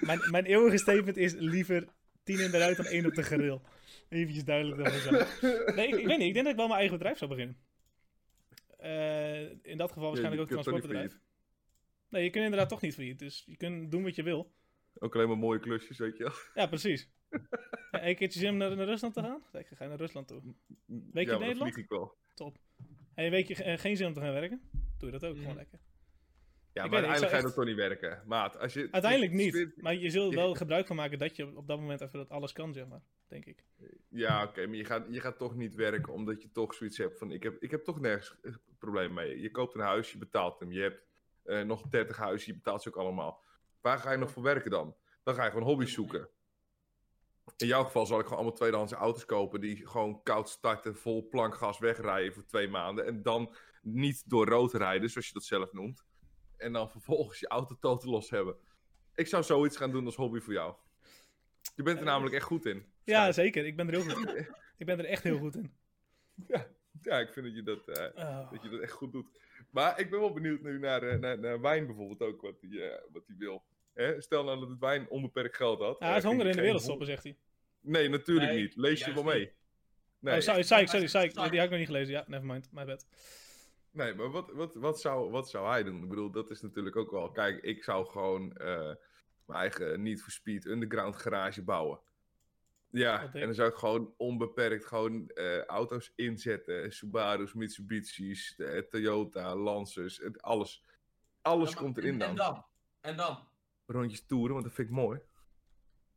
mijn, mijn eeuwige statement is liever 10 in de ruit dan 1 op de grill. Even duidelijk daarvan zijn. Nee, ik, ik weet niet. Ik denk dat ik wel mijn eigen bedrijf zou beginnen. Eh, in dat geval waarschijnlijk ook
je
een
kunt toch niet
transportbedrijf. Nee, je kunt inderdaad toch niet failliet. Dus je kunt doen wat je wil.
Ook alleen maar mooie klusjes, weet je wel.
Ja, precies. Ja, Eén keertje zin om naar, naar Rusland te gaan? Kijk, dan ga je naar Rusland toe.
ja, maar
Nederland?
Dan vlieg ik wel.
En een weekje eh, geen zin om te gaan werken? Doe je dat ook gewoon
Mhm.
lekker.
Ja,
Ik
maar
weet niet, ik zou
uiteindelijk ga je
echt-
dat toch niet werken. Maat, als je...
Uiteindelijk
je-
niet. Maar je zult
je-
wel gebruik van maken dat je op dat moment even dat alles kan, zeg maar. Denk ik.
Ja, oké, maar je gaat, je gaat toch niet werken omdat je toch zoiets hebt van... Ik heb, ik heb toch nergens eh, probleem mee. Je koopt een huis, je betaalt hem. Je hebt eh, nog 30 huizen, je betaalt ze ook allemaal. Waar ga je nog voor werken dan? Dan ga je gewoon hobby's zoeken. In jouw geval zal ik gewoon allemaal tweedehands auto's kopen... die gewoon koud starten, vol plankgas wegrijden voor twee maanden... en dan niet door rood rijden, zoals je dat zelf noemt. En dan vervolgens je auto totaal los hebben. Ik zou zoiets gaan doen als hobby voor jou. Je bent er
Eh,
namelijk echt goed in.
Ja, zeker. Ik ben er heel goed in. Ik ben er echt heel goed in.
Ja, ik vind dat je dat, eh,
Oh.
dat je dat echt goed doet. Maar ik ben wel benieuwd nu naar, eh, naar, naar wijn bijvoorbeeld ook, wat hij eh, wat die wil. Hè? Stel nou dat het wijn onbeperkt geld had.
Ja, hij is
eh, ging
honger in
geen
de wereld
hond-
stoppen, zegt hij.
Nee, natuurlijk
Nee,
niet. Lees je
juist
wel mee.
niet.
Nee,
oh, sorry, sorry,
Ja,
sorry, sorry.
sorry.
Die had ik nog niet gelezen. Ja, nevermind. My bad.
nee maar wat, wat, wat, zou, wat zou hij doen? Ik bedoel, dat is natuurlijk ook wel... Kijk, ik zou gewoon eh, mijn eigen Need for Speed Underground garage bouwen. Ja,
Wat dik.
en dan zou ik gewoon onbeperkt gewoon eh, auto's inzetten. Subaru's, Mitsubishi's, eh, Toyota, Lancers, het- alles. Alles
Ja, maar-
komt erin
en-
dan.
En dan? En dan?
Rondjes toeren, want dat vind ik mooi.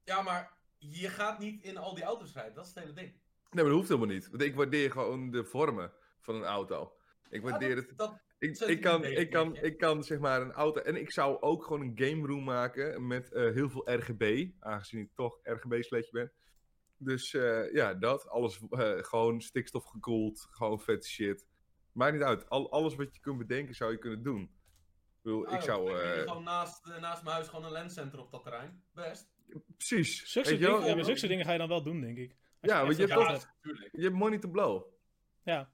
Ja, maar je gaat niet in al die auto's rijden. Dat is het hele ding.
Nee, maar dat hoeft helemaal niet. Want ik waardeer gewoon de vormen van een auto. Ik
Ja,
waardeer het
Ah, dat, dat,
Ik, ik, kan, ik, kan, ik kan zeg maar een auto. En ik zou ook gewoon een game room maken met eh, heel veel RGB. Aangezien ik toch RGB-sleetje ben. Dus eh, ja, dat. Alles eh, gewoon stikstof gekoeld. Gewoon vet shit. Maakt niet uit. Al, alles wat je kunt bedenken zou je kunnen doen. Ik, bedoel, ik zou.
Oh, Ik
eh,
heb gewoon naast, eh, naast mijn huis gewoon een lenscenter op dat terrein. Best.
precies. Weet
Zulke soort
je, wel?
dingen, ja, maar zulke soort dingen ga je dan wel doen, denk ik. Als
Ja,
echt
want je
dat
hebt
geld
toch-
hebt.
natuurlijk.
je hebt money to blow.
Ja,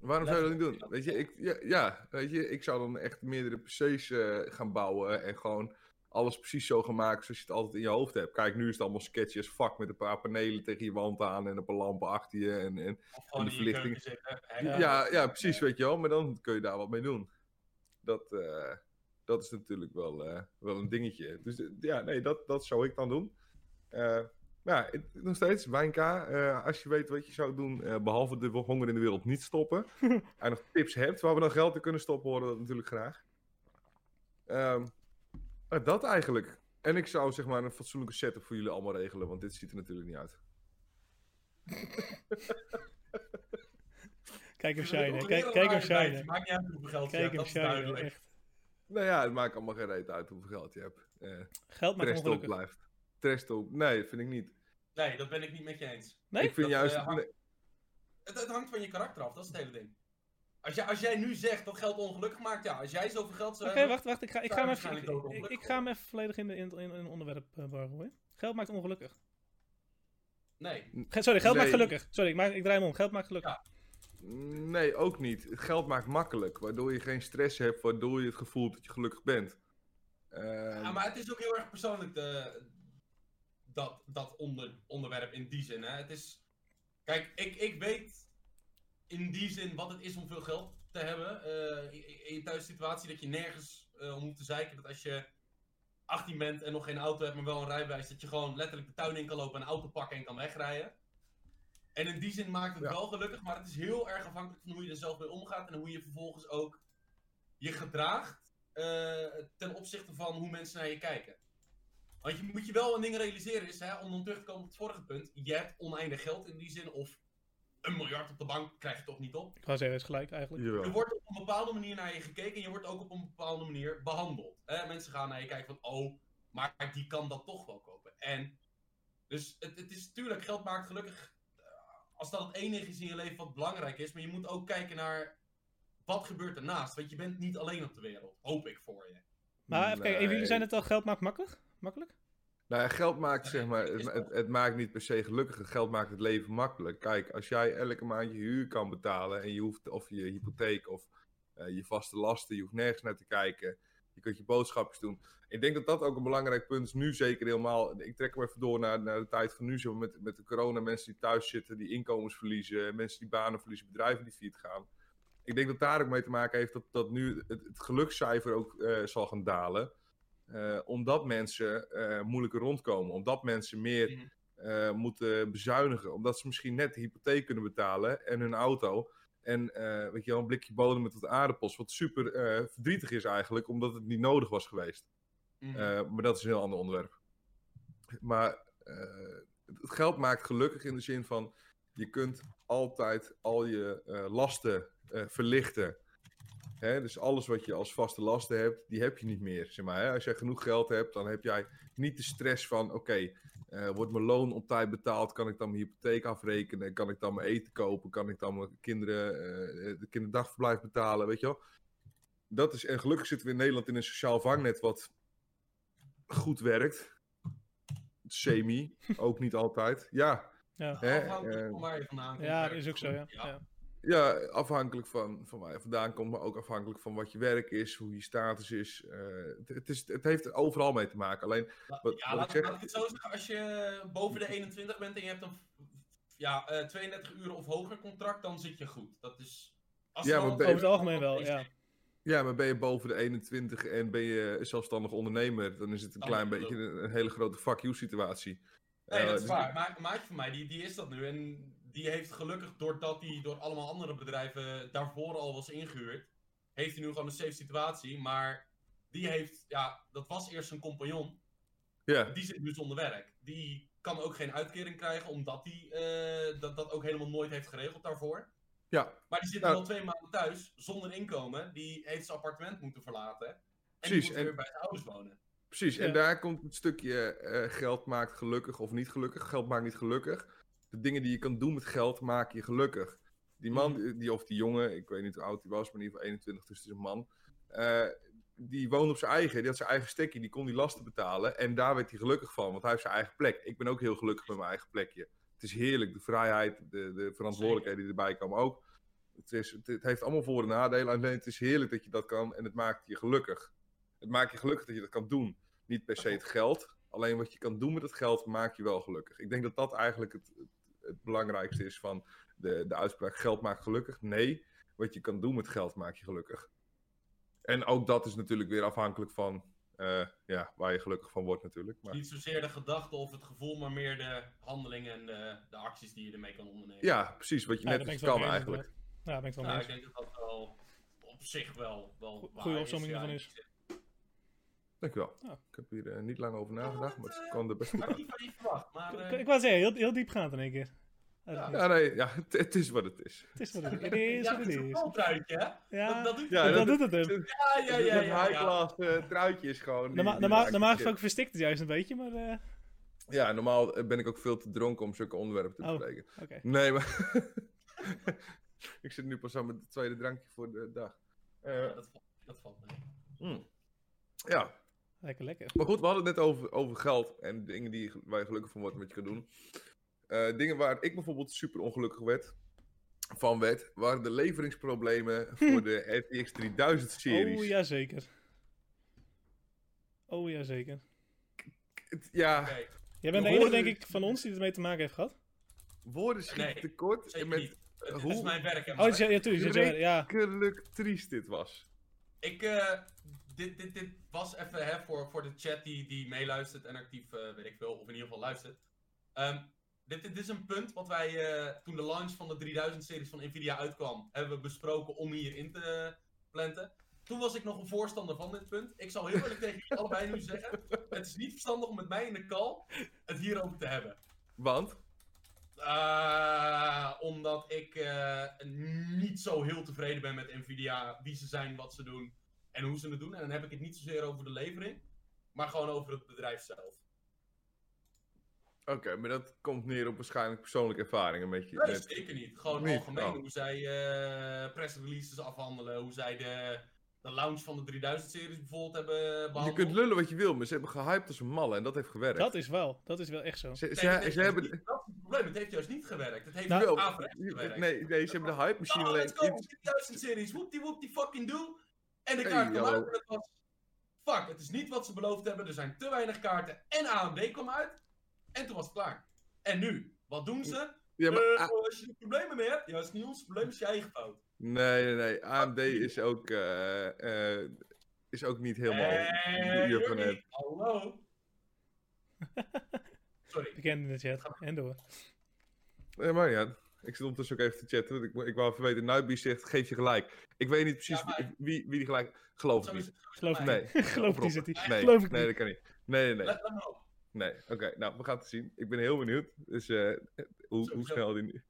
Waarom zou je dat niet
Letterlijk,
doen? Weet je, ik, ja, ja, weet je, ik zou dan echt meerdere PC's eh, gaan bouwen en gewoon alles precies zo gaan maken zoals je het altijd in je hoofd hebt. Kijk, nu is het allemaal sketchy as fuck met een paar panelen tegen je wand aan en een paar lampen achter je. En, en,
Of gewoon
de
in je
verlichting.
keuken zitten.
ja.
Ja.
Ja, precies, weet je wel. Maar dan kun je daar wat mee doen. Dat, eh, dat is natuurlijk wel, eh, wel een dingetje. Dus eh, ja, nee, dat, dat zou ik dan doen. Eh, ja, het- nog steeds, Wijnka, eh, als je weet wat je zou doen, eh, behalve de honger in de wereld niet stoppen. en nog tips hebt waar we dan geld in kunnen stoppen, horen we dat natuurlijk graag. Ehm, maar dat eigenlijk. En ik zou zeg maar een fatsoenlijke setup voor jullie allemaal regelen, want dit ziet er natuurlijk niet uit.
kijk hem
Ik vind het
shinen.
ook
Kijk,
een
kijk hem
hele rare tijd.
shinen.
Maakt niet uit hoeveel geld je
Kijk
hebt,
hem
dat is
shinen.
duidelijk.
Echt.
Nou ja, het maakt allemaal geen reet uit hoeveel geld je hebt. Eh,
Geld maakt
Trash talk
ongelukkig.
blijft. Trash talk. Nee, vind ik niet.
Nee, dat ben ik niet met je eens.
Nee?
ik vind
Dat,
juist.
eh, hangt-
nee,
Het, het hangt van je karakter af, dat is het hele ding. Als, jij- als jij nu zegt dat geld ongelukkig maakt, ja, als jij zoveel geld
Oké,
zou hebben...
wacht, wacht. Ik ga, ik
Ja,
ga, hem, even,
waarschijnlijk ook
ik, ik-
ongelukkig
ik ga hem even volledig in de in, in, in het onderwerp eh, bar gooien. Geld maakt ongelukkig.
Nee,
Ge- sorry, geld maakt
Nee.
gelukkig. Sorry, ik, maak, ik draai hem om. Geld maakt gelukkig.
nee, ook niet. Het geld maakt makkelijk. Waardoor je geen stress hebt. Waardoor je het gevoel hebt dat je gelukkig bent. Ehm,
ja, maar het is ook heel erg persoonlijk, de, dat, dat onder, onderwerp in die zin. Hè. Het is... Kijk, ik, ik weet in die zin wat het is om veel geld te hebben. eh, in- in je thuissituatie dat je nergens eh, om hoeft te zeiken. Dat als je 18 bent en nog geen auto hebt, maar wel een rijbewijs, dat je gewoon letterlijk de tuin in kan lopen, een auto pakken en kan wegrijden. En in die zin maakt het
Ja.
wel gelukkig, maar het is heel erg afhankelijk van hoe je er zelf mee omgaat en hoe je vervolgens ook je gedraagt eh, ten opzichte van hoe mensen naar je kijken. Want je moet je wel een ding realiseren is, hè, om dan terug te komen op het vorige punt, je hebt oneindig geld in die zin, of een miljard op de bank krijg je toch niet op.
Ik was even gelijk eigenlijk.
Er
jawel.
wordt op een bepaalde manier naar je gekeken en je wordt ook op een bepaalde manier behandeld. Hè? Mensen gaan naar je kijken van, oh, maar die kan dat toch wel kopen. En, dus het, het is natuurlijk, geld maakt gelukkig, eh, als dat het enige is in je leven wat belangrijk is, maar je moet ook kijken naar wat gebeurt ernaast. Want je bent niet alleen op de wereld, hoop ik voor je.
Maar even kijken, even, jullie
Nee.
zijn het al, geld maakt makkelijk? Makkelijk?
Nou, ja, geld maakt
Nee,
zeg maar,
het
het,
is
het, het maakt niet per se gelukkig. Het geld maakt het leven makkelijk. Kijk, als jij elke maand je huur kan betalen en je hoeft of je hypotheek of eh, je vaste lasten, je hoeft nergens naar te kijken. Je kunt je boodschapjes doen. Ik denk dat dat ook een belangrijk punt is nu zeker helemaal. Ik trek hem even door naar, naar de tijd van nu, zeg maar, met, met de corona. Mensen die thuis zitten, die inkomens verliezen, mensen die banen verliezen, bedrijven die failliet gaan. Ik denk dat daar ook mee te maken heeft dat, dat nu het, het gelukscijfer ook eh, zal gaan dalen. Eh, omdat mensen eh, moeilijker rondkomen. Omdat mensen meer
Mhm.
eh, moeten bezuinigen. Omdat ze misschien net de hypotheek kunnen betalen en hun auto. En eh, weet je wel, een blikje bodem met wat aardappels. Wat super eh, verdrietig is eigenlijk, omdat het niet nodig was geweest.
Mhm.
Eh, maar dat is een heel ander onderwerp. Maar eh, het het geld maakt gelukkig in de zin van je kunt altijd al je eh, lasten eh, verlichten. Hè, dus alles wat je als vaste lasten hebt, die heb je niet meer. Zeg maar, hè. Als jij genoeg geld hebt, dan heb jij niet de stress van: oké, eh, wordt mijn loon op tijd betaald? Kan ik dan mijn hypotheek afrekenen? Kan ik dan mijn eten kopen? Kan ik dan mijn kinderen eh, de kinderdagverblijf betalen? Weet je wel? Dat is, en gelukkig zitten we in Nederland in een sociaal vangnet wat goed werkt. Semi, ook niet altijd. Ja,
Ja,
hè,
Afhankelijk
eh,
van waar je vandaan komt.
ja
werkt
dat is
het
ook zo,
goed.
ja. ja.
ja afhankelijk van, van waar je vandaan komt, maar ook afhankelijk van wat je werk is, hoe je status is. Eh, het, het is het heeft er overal mee te maken. Alleen,
La-
Wat-
ja,
wat
laat,
ik zeg-
laat ik het zo zeggen. Als je boven de 21 bent en je hebt een ja, eh, 32 uur of hoger contract, dan zit je goed. Dat is. Als
Ja,
er
maar
al-
ben-
Over het algemeen wel, ja.
ja, maar ben je boven de 21 en ben je zelfstandig ondernemer, dan is het een
Dan
klein
moet je
beetje een, een hele grote fuck you situatie.
Nee,
Eh,
dat is
dus-
waar. Maar, maatje van mij, die, die is dat nu. En die heeft gelukkig, doordat hij door allemaal andere bedrijven daarvoor al was ingehuurd, heeft hij nu gewoon een safe situatie. Maar die heeft, ja, dat was eerst zijn compagnon.
Ja,
Die zit nu zonder werk. Die kan ook geen uitkering krijgen, omdat hij eh, dat, dat ook helemaal nooit heeft geregeld daarvoor.
Ja,
Maar die zit nu
Nou.
al twee maanden thuis, zonder inkomen. Die heeft zijn appartement moeten verlaten. En die
Precies,
moet
en-
weer bij zijn ouders wonen.
precies.
Ja.
En daar komt het stukje eh, geld maakt gelukkig of niet gelukkig. Geld maakt niet gelukkig. De dingen die je kan doen met geld maken je gelukkig. Die man, die, of die jongen, ik weet niet hoe oud hij was, maar in ieder geval 21, dus het is een man. eh, die woonde op zijn eigen, die had zijn eigen stekje, die kon die lasten betalen. En daar werd hij gelukkig van, want hij heeft zijn eigen plek. Ik ben ook heel gelukkig met mijn eigen plekje. Het is heerlijk, de vrijheid, de, de verantwoordelijkheden die erbij komen ook. Het, is, het, het heeft allemaal voor- en nadelen. Alleen het is heerlijk dat je dat kan en het maakt je gelukkig. Het maakt je gelukkig dat je dat kan doen. Niet per se het geld. Alleen wat je kan doen met het geld maakt je wel gelukkig. Ik denk dat dat eigenlijk het, het, het belangrijkste is van de, de uitspraak: geld maakt gelukkig. Nee, wat je kan doen met geld maakt je gelukkig. En ook dat is natuurlijk weer afhankelijk van eh, ja, waar je gelukkig van wordt, natuurlijk. Maar,
Niet zozeer de gedachte of het gevoel, maar meer de handelingen en de, de acties die je ermee kan ondernemen.
ja, precies. Wat je
Ja, daar
net
ben ik
iets
het
kan
wel mee eens,
eigenlijk.
inderdaad. Ja, daar ben ik het wel
Nou,
mee
ik
eens.
denk dat dat wel op zich wel, wel
Goeie
waar
opzomming
ja.
ervan is.
Dankjewel.
Ja. Oh,
Ik heb hier eh, niet lang over nagedacht, maar het
eh,
kwam er best goed
Had ik
uit.
niet van je verwacht, maar...
Ik-
eh,
Ik, ik wou zeggen, heel, heel diepgaand in één keer.
Ja.
Ja, nee, ja, het, het is wat het is.
Het is wat het is. Het is
ja,
wat
dat
het
is
is.
een valtruitje, hè?
Ja,
Dat,
dat,
dat doet
Ja,
hij.
doet het hem.
ja, ja, ja,
dat
ja,
high
ja.
class eh, truitje is gewoon. die-
Norma-
die
norma-
maakt
Normaal
je shit.
gesproken verstikt het juist een beetje, maar... eh,
Ja, normaal eh, ben ik ook veel te dronken om zulke onderwerpen te
Oh.
bespreken.
Oké.
Nee, maar. ik zit nu pas aan mijn tweede drankje voor de dag. Eh,
Ja, dat valt- Dat valt mee.
mm. Ja,
Lekker, lekker.
Maar goed, we hadden het net over, over geld en dingen die, waar je gelukkig van wordt en wat je kan doen. Eh, dingen waar ik bijvoorbeeld super ongelukkig werd, van werd, waren de
Hm.
leveringsproblemen voor de RTX 3000 series.
Oh, jazeker. Oh, jazeker.
Het- ja,
Oké,
Jij bent de
We
enige,
horen-
denk ik, van ons die ermee te maken heeft gehad.
woorden schieten
Nee,
tekort. En
zeker
met
niet. Het
hoe-
is mijn werk. en
Oh,
mijn-
ja, ja, tuurlijk. ja, Ja,
werkelijk triest dit was.
Ik, eh, dit, dit, dit was even hè, voor, voor de chat die, die meeluistert en actief, eh, weet ik veel, of in ieder geval luistert. Ehm, dit, dit is een punt wat wij eh, toen de launch van de 3000-series van Nvidia uitkwam, hebben we besproken om hierin te eh, planten. Toen was ik nog een voorstander van dit punt. Ik zal heel eerlijk tegen jullie allebei nu zeggen: het is niet verstandig om met mij in de call het hierover te hebben.
Want,
Eh, omdat ik eh, niet zo heel tevreden ben met Nvidia, wie ze zijn, wat ze doen en hoe ze het doen. En dan heb ik het niet zozeer over de levering, maar gewoon over het bedrijf zelf.
oké, maar dat komt neer op waarschijnlijk persoonlijke ervaringen met je.
Nee,
met-
zeker niet. Gewoon
Niet,
algemeen
oh.
hoe zij eh press releases afhandelen, hoe zij de, de launch van de 3000-series bijvoorbeeld hebben
Je
behandeld.
kunt lullen wat je wil, maar ze hebben gehyped als een malle en dat heeft gewerkt.
dat is wel. Dat is wel echt zo.
Ze,
Nee,
ze,
dat
ze,
heeft juist
hebben...
niet- dat is het probleem, het heeft juist niet gewerkt. Het heeft
Nou,
wel
Wel,
averechts gewerkt.
nee, nee, ze hebben de hype machine
Oh,
alleen.
let's go, 3000 series, whoop die whoop die fucking doe. En de
Hey,
kaart kwam
hallo.
uit en het was... Fuck, het is niet wat ze beloofd hebben, er zijn te weinig kaarten. En AMD kwam uit. En toen was het klaar. En nu, wat doen ze?
Ja, maar, Ah,
Eh,
A-
als je er problemen mee hebt, ja, het is niet ons probleem, het is je eigen fout.
nee, nee, nee. AMD is ook, eh, eh, is ook niet helemaal.
Eh,
hier van
Jurgen,
het.
hallo. Sorry.
Bekend in de chat. En door.
Nee, maar ja. Ik zit ondertussen ook even te chatten. want Ik, ik wou even weten. Nuitby zegt: geef je gelijk. Ik weet niet precies
Ja, maar-
wie, wie, wie die gelijk. Geloof ik
Zo is
niet.
het.
Geloof ik
Nee.
niet. Geloof ik niet.
oprotten.
zit hij.
Nee,
Geloof ik
nee,
niet.
dat kan niet. Nee, nee, nee.
Let hem op.
nee. Oké, nou, we gaan het zien. Ik ben heel benieuwd. Dus eh, hoe, hoe
Sowieso.
snel die.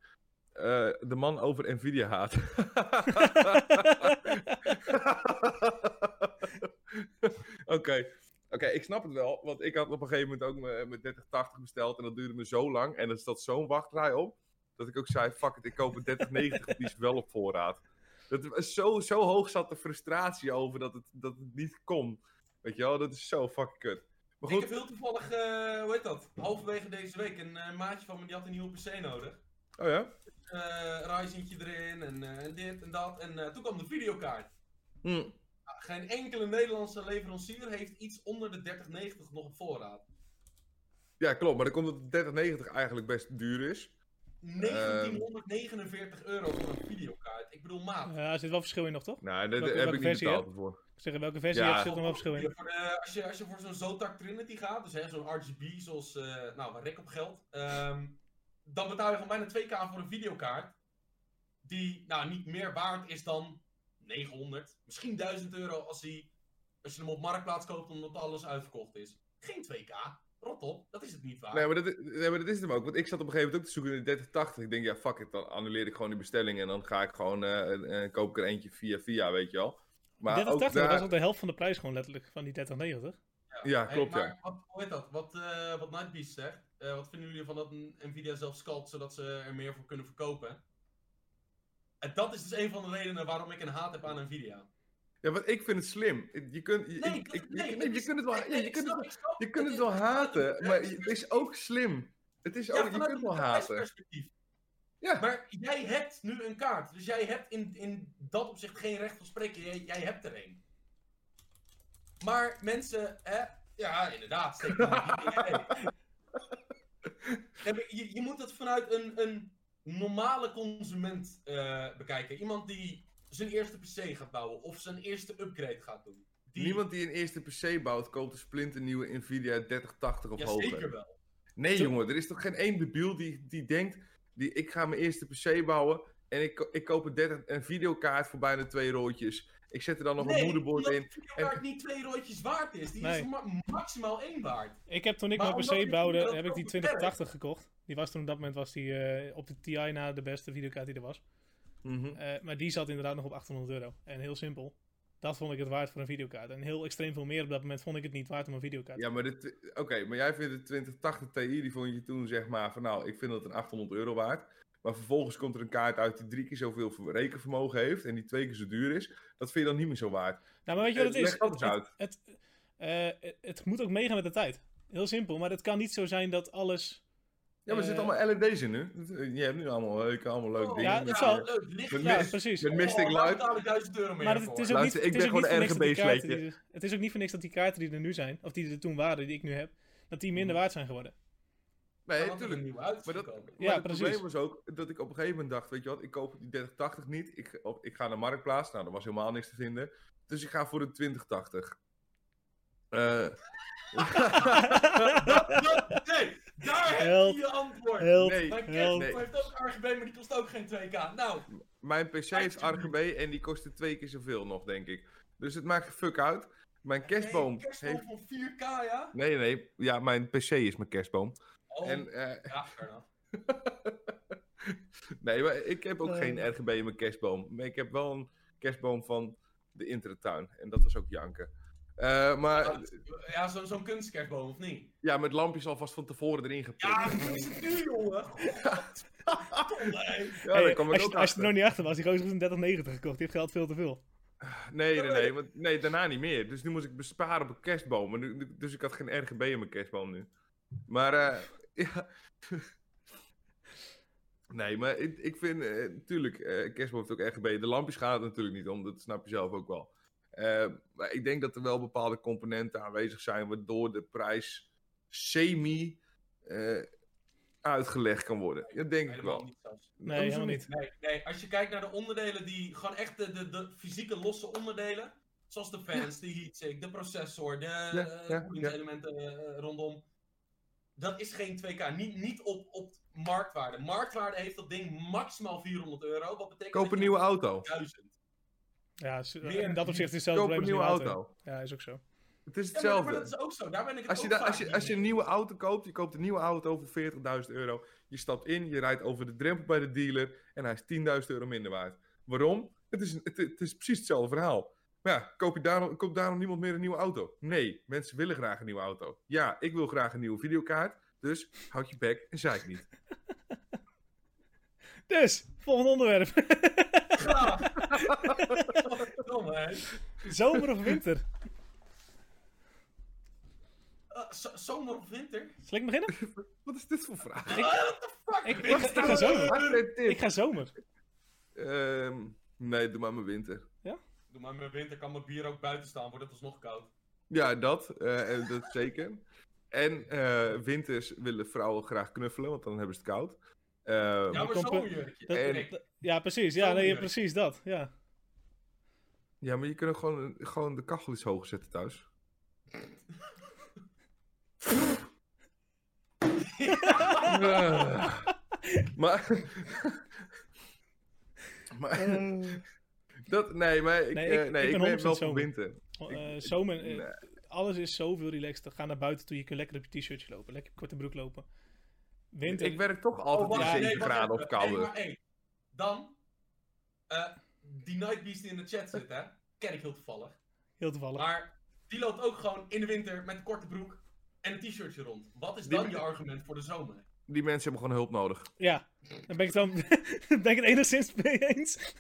Eh, de man over Nvidia haat. Oké. Oké, ik snap het wel. Want ik had op een gegeven moment ook mijn mijn 3080 besteld. En dat duurde me zo lang. En er zat zo'n wachtrij op. Dat ik ook zei: fuck it, ik koop een 3090. want die is wel op voorraad. Dat, was zo, zo hoog zat de frustratie over dat het, dat het niet kon. Weet je wel, dat is zo fucking kut. Maar
Ik
goed,
heb heel toevallig, eh, hoe heet dat? Halverwege deze week een eh, maatje van me die had een nieuwe PC nodig.
oh ja.
eh Ryzentje erin en, eh, en dit en dat. En eh, toen kwam de videokaart.
Hm.
Ah, Geen enkele Nederlandse leverancier heeft iets onder de 3090 nog op voorraad.
Ja, klopt. Maar dan komt dat de 3090 eigenlijk best duur is.
1949 euro voor een videokaart. Ik bedoel, maat.
Ja, er zit wel verschil in nog, toch?
Nou, daar
Welke-
heb
welke
ik niet
versie, hè?
betaald voor.
Ik zeg, in welke versie
Ja.
heb, zit er wel verschil in?
Voor de- als, je, als je voor zo'n Zotac Trinity gaat, dus hè, zo'n RGB zoals eh, nou, waar Rick op geldt, ehm, dan betaal je gewoon bijna 2k voor een videokaart. Die nou, niet meer waard is dan 900, misschien 1000 euro als, die, als je hem op marktplaats koopt omdat alles uitverkocht is. Geen 2k. Rot op, dat is het niet waar.
Nee maar, dat, is- nee, maar dat is het hem ook. Want ik zat op een gegeven moment ook te zoeken in de 3080. Ik denk, ja, fuck it. Dan annuleer ik gewoon die bestelling. En dan ga ik gewoon, eh, eh, eh, koop ik er eentje via via, weet je wel. Maar ook
3080
daar-
was al de helft van de prijs gewoon letterlijk van die 3090.
Ja,
Hey,
klopt,
maar
ja.
Wat, hoe heet dat? Wat, eh wat Nightbeast zegt. eh, wat vinden jullie van dat Nvidia zelf scalpt zodat ze er meer voor kunnen verkopen? En dat is dus een van de redenen waarom ik een haat heb aan Nvidia.
Ja, want ik vind het slim. Je kunt, je,
Nee,
ik-
dat-
ik-
nee,
je-
dat
je
is-
kunt het wel, ja, je kunt het, wel- je kunt het wel
haten,
haten, maar het is ook slim. Het is ook, je kunt het wel haten. Ja.
Maar jij hebt nu een kaart, dus jij hebt in, in dat opzicht geen recht van spreken. Jij, jij hebt er een. Maar mensen, hè? Ja, inderdaad. steek hem in die idee. Nee, maar je, je moet het vanuit een, een normale consument eh, bekijken. Iemand die zijn eerste PC gaat bouwen of zijn eerste upgrade gaat doen. Die,
Niemand die een eerste PC bouwt, koopt een splinternieuwe Nvidia 3080 of
ja,
hoger.
zeker wel.
Nee,
Zo-
jongen, er is toch geen één debiel die, die denkt: die, ik ga mijn eerste PC bouwen en ik, ko- ik koop een, 30, een videokaart voor bijna twee roodjes. Ik zet er dan nog een moederbord in.
Die kaart niet twee roodjes waard is. Die
Nee.
is ma- maximaal één waard.
Ik heb toen ik
Maar omdat
mijn
je
PC bouwde,
dat
heb ik die
ook
2080 gekocht. Die was toen op dat moment was die, eh, op de TI na de beste videokaart die er was.
Mhm.
Eh, maar die zat inderdaad nog op 800 euro. En heel simpel. Dat vond ik het waard voor een videokaart. En heel extreem veel meer op dat moment vond ik het niet waard om een videokaart.
Ja, maar, dit- oké, maar jij vindt de 2080 Ti, die vond je toen zeg maar van nou, ik vind dat een 800 euro waard. Maar vervolgens komt er een kaart uit die drie keer zoveel ver- rekenvermogen heeft en die twee keer zo duur is. Dat vind je dan niet meer zo waard.
Nou, maar weet je wat
Eh,
het is?
leg dat eens
Het-
uit.
Het, eh, het moet ook meegaan met de tijd. Heel simpel, maar het kan niet zo zijn dat alles...
Ja, maar er
Eh,
zitten allemaal LED's in nu. Je hebt nu allemaal leuke, allemaal leuke
Oh,
dingen.
Ja, dat
met,
zal-
eh,
leuk. Licht
met
Ja,
mist-
precies.
met Mystic
Oh, daar
Light.
betaal ik 1000 euro meer
Maar het,
voor.
het is ook niet,
Luister, ik
het
ben
is ook
gewoon
niet voor
een
niks dat die kaarten
RGB-sleetje.
die er- Het is ook niet voor niks dat die kaarten die er nu zijn, of die er toen waren, die ik nu heb, dat die
Mhm.
minder waard zijn geworden.
Nee,
Want er
natuurlijk.
een nieuwe uit is
Maar dat,
gekomen.
Ja,
maar het
precies.
probleem was ook dat ik op een gegeven moment dacht, weet je wat, ik koop die 3080 niet. Ik, op- ik ga naar Marktplaats. Nou, er was helemaal niks te vinden. Dus ik ga voor de 2080. Eh
Nee, daar heb
Help.
je je antwoord.
Help.
nee,
Mijn
Help.
kerstboom heeft ook RGB, maar die kost ook geen 2k. Nou,
mijn PC heeft RGB en die kostte twee keer zoveel nog, denk ik. Dus het maakt geen fuck uit. Mijn kerstboom
nee, kerstboom
heeft...
van 4k, ja?
Nee, nee, ja, mijn PC is mijn kerstboom.
Oh,
En, eh,
ja, fair enough.
nee, maar ik heb ook
Eh.
geen RGB in mijn kerstboom. Maar ik heb wel een kerstboom van de intratuin. En dat was ook janken. Eh,
Ah.
maar
Ja, zo- zo'n kunstkerstboom, of niet?
Ja, met lampjes alvast van tevoren erin geprikt.
Ja, hoe is het nu, jongen? Godverdomme.
Ja,
Hey,
daar kwam ik
als,
ook
je, als je
achter.
er nog niet achter was, die gozer heeft een 3090 gekocht, die heeft geld veel te veel.
Nee, nee, nee, want, nee, daarna niet meer. Dus nu moest ik besparen op een kerstboom. Maar nu- nu- dus ik had geen RGB in mijn kerstboom nu. Maar, eh, ja... Nee, maar ik, ik vind, eh, tuurlijk, eh, kerstboom heeft ook RGB. De lampjes gaan het natuurlijk niet om, dat snap je zelf ook wel. Eh, maar ik denk dat er wel bepaalde componenten aanwezig zijn... waardoor de prijs semi eh, uitgelegd kan worden. Dat denk ik
Helemaal
wel.
niet zelfs.
Nee,
Hoezo
helemaal niet.
Nee, nee, als je kijkt naar de onderdelen die gewoon echt de, de, de fysieke losse onderdelen, zoals de fans, de heatsink, de processor, de eh,
ja,
koelingselementen eh, rondom, dat is geen 2K. Niet, niet op, op marktwaarde. Marktwaarde heeft dat ding maximaal 400 euro. Wat betekent
Koop
dat
een
je
nieuwe auto.
1000.
Ja, s-
Meer-
in dat opzicht is het hetzelfde
Koop
probleem
een
als
nieuwe
die
auto.
Ja, is ook zo.
Het is
Ja, maar,
hetzelfde.
maar dat is ook zo. Daar ben ik het
als, je
ook
da-
vaak
als, je,
niet
als je
mee
een nieuwe auto koopt, je koopt een nieuwe auto voor 40.000 euro. Je stapt in, je rijdt over de drempel bij de dealer en hij is 10.000 euro minder waard. Waarom? Het is, het, het is precies hetzelfde verhaal. Maar ja, koop je daarom, koopt daarom niemand meer een nieuwe auto? Nee, mensen willen graag een nieuwe auto. Ja, ik wil graag een nieuwe videokaart, dus houd je bek en zei ik niet.
Dus, volgend onderwerp.
eens. Graag. Godverdomme, hè.
Zomer of winter?
Eh, zo- Zomer of winter?
Zal ik beginnen?
Wat is dit voor vraag?
Fuck,
Ik, ik,
winter.
ga- ik ga zomer.
Wat is dit?
Ik ga zomer.
Ehm, nee, doe maar mijn winter.
Doe maar met winter kan mijn bier ook buiten staan, wordt het alsnog koud.
Ja, dat, eh, eh, dat zeker. En eh, winters willen vrouwen graag knuffelen, want dan hebben ze het koud. Ehm,
Ja, maar
komt-
zo'n jurkje.
Dat-
En-
dat- ja, precies. Ja,
Zomer.
nee, ja, precies dat. Ja.
Ja, maar je kunt ook gewoon, gewoon de kachel iets hoger zetten thuis. Eh, maar. maar dat, nee, maar ik,
Nee,
nee,
ik-
nee,
ik ben
ik ben
100%
wel
zomer.
van winter.
Eh,
Ik-
zomer. eh,
nee.
alles is zoveel relaxter. Ga naar buiten toe, je kunt lekker op je t-shirtje lopen, lekker op korte broek lopen. Winter.
Ik werk toch altijd
Oh, wacht,
in
nee,
7
wacht
graden
even.
of kouder.
Nee, maar één. Dan, eh, die Nightbeast die in de chat zit, hè? Ken ik heel toevallig.
Heel toevallig.
Maar die loopt ook gewoon in de winter met een korte broek en een t-shirtje rond. Wat is
Die-
dan je argument voor de zomer?
Die mensen hebben gewoon hulp nodig.
Ja, dan ben ik het, dan, ben ik het enigszins mee eens.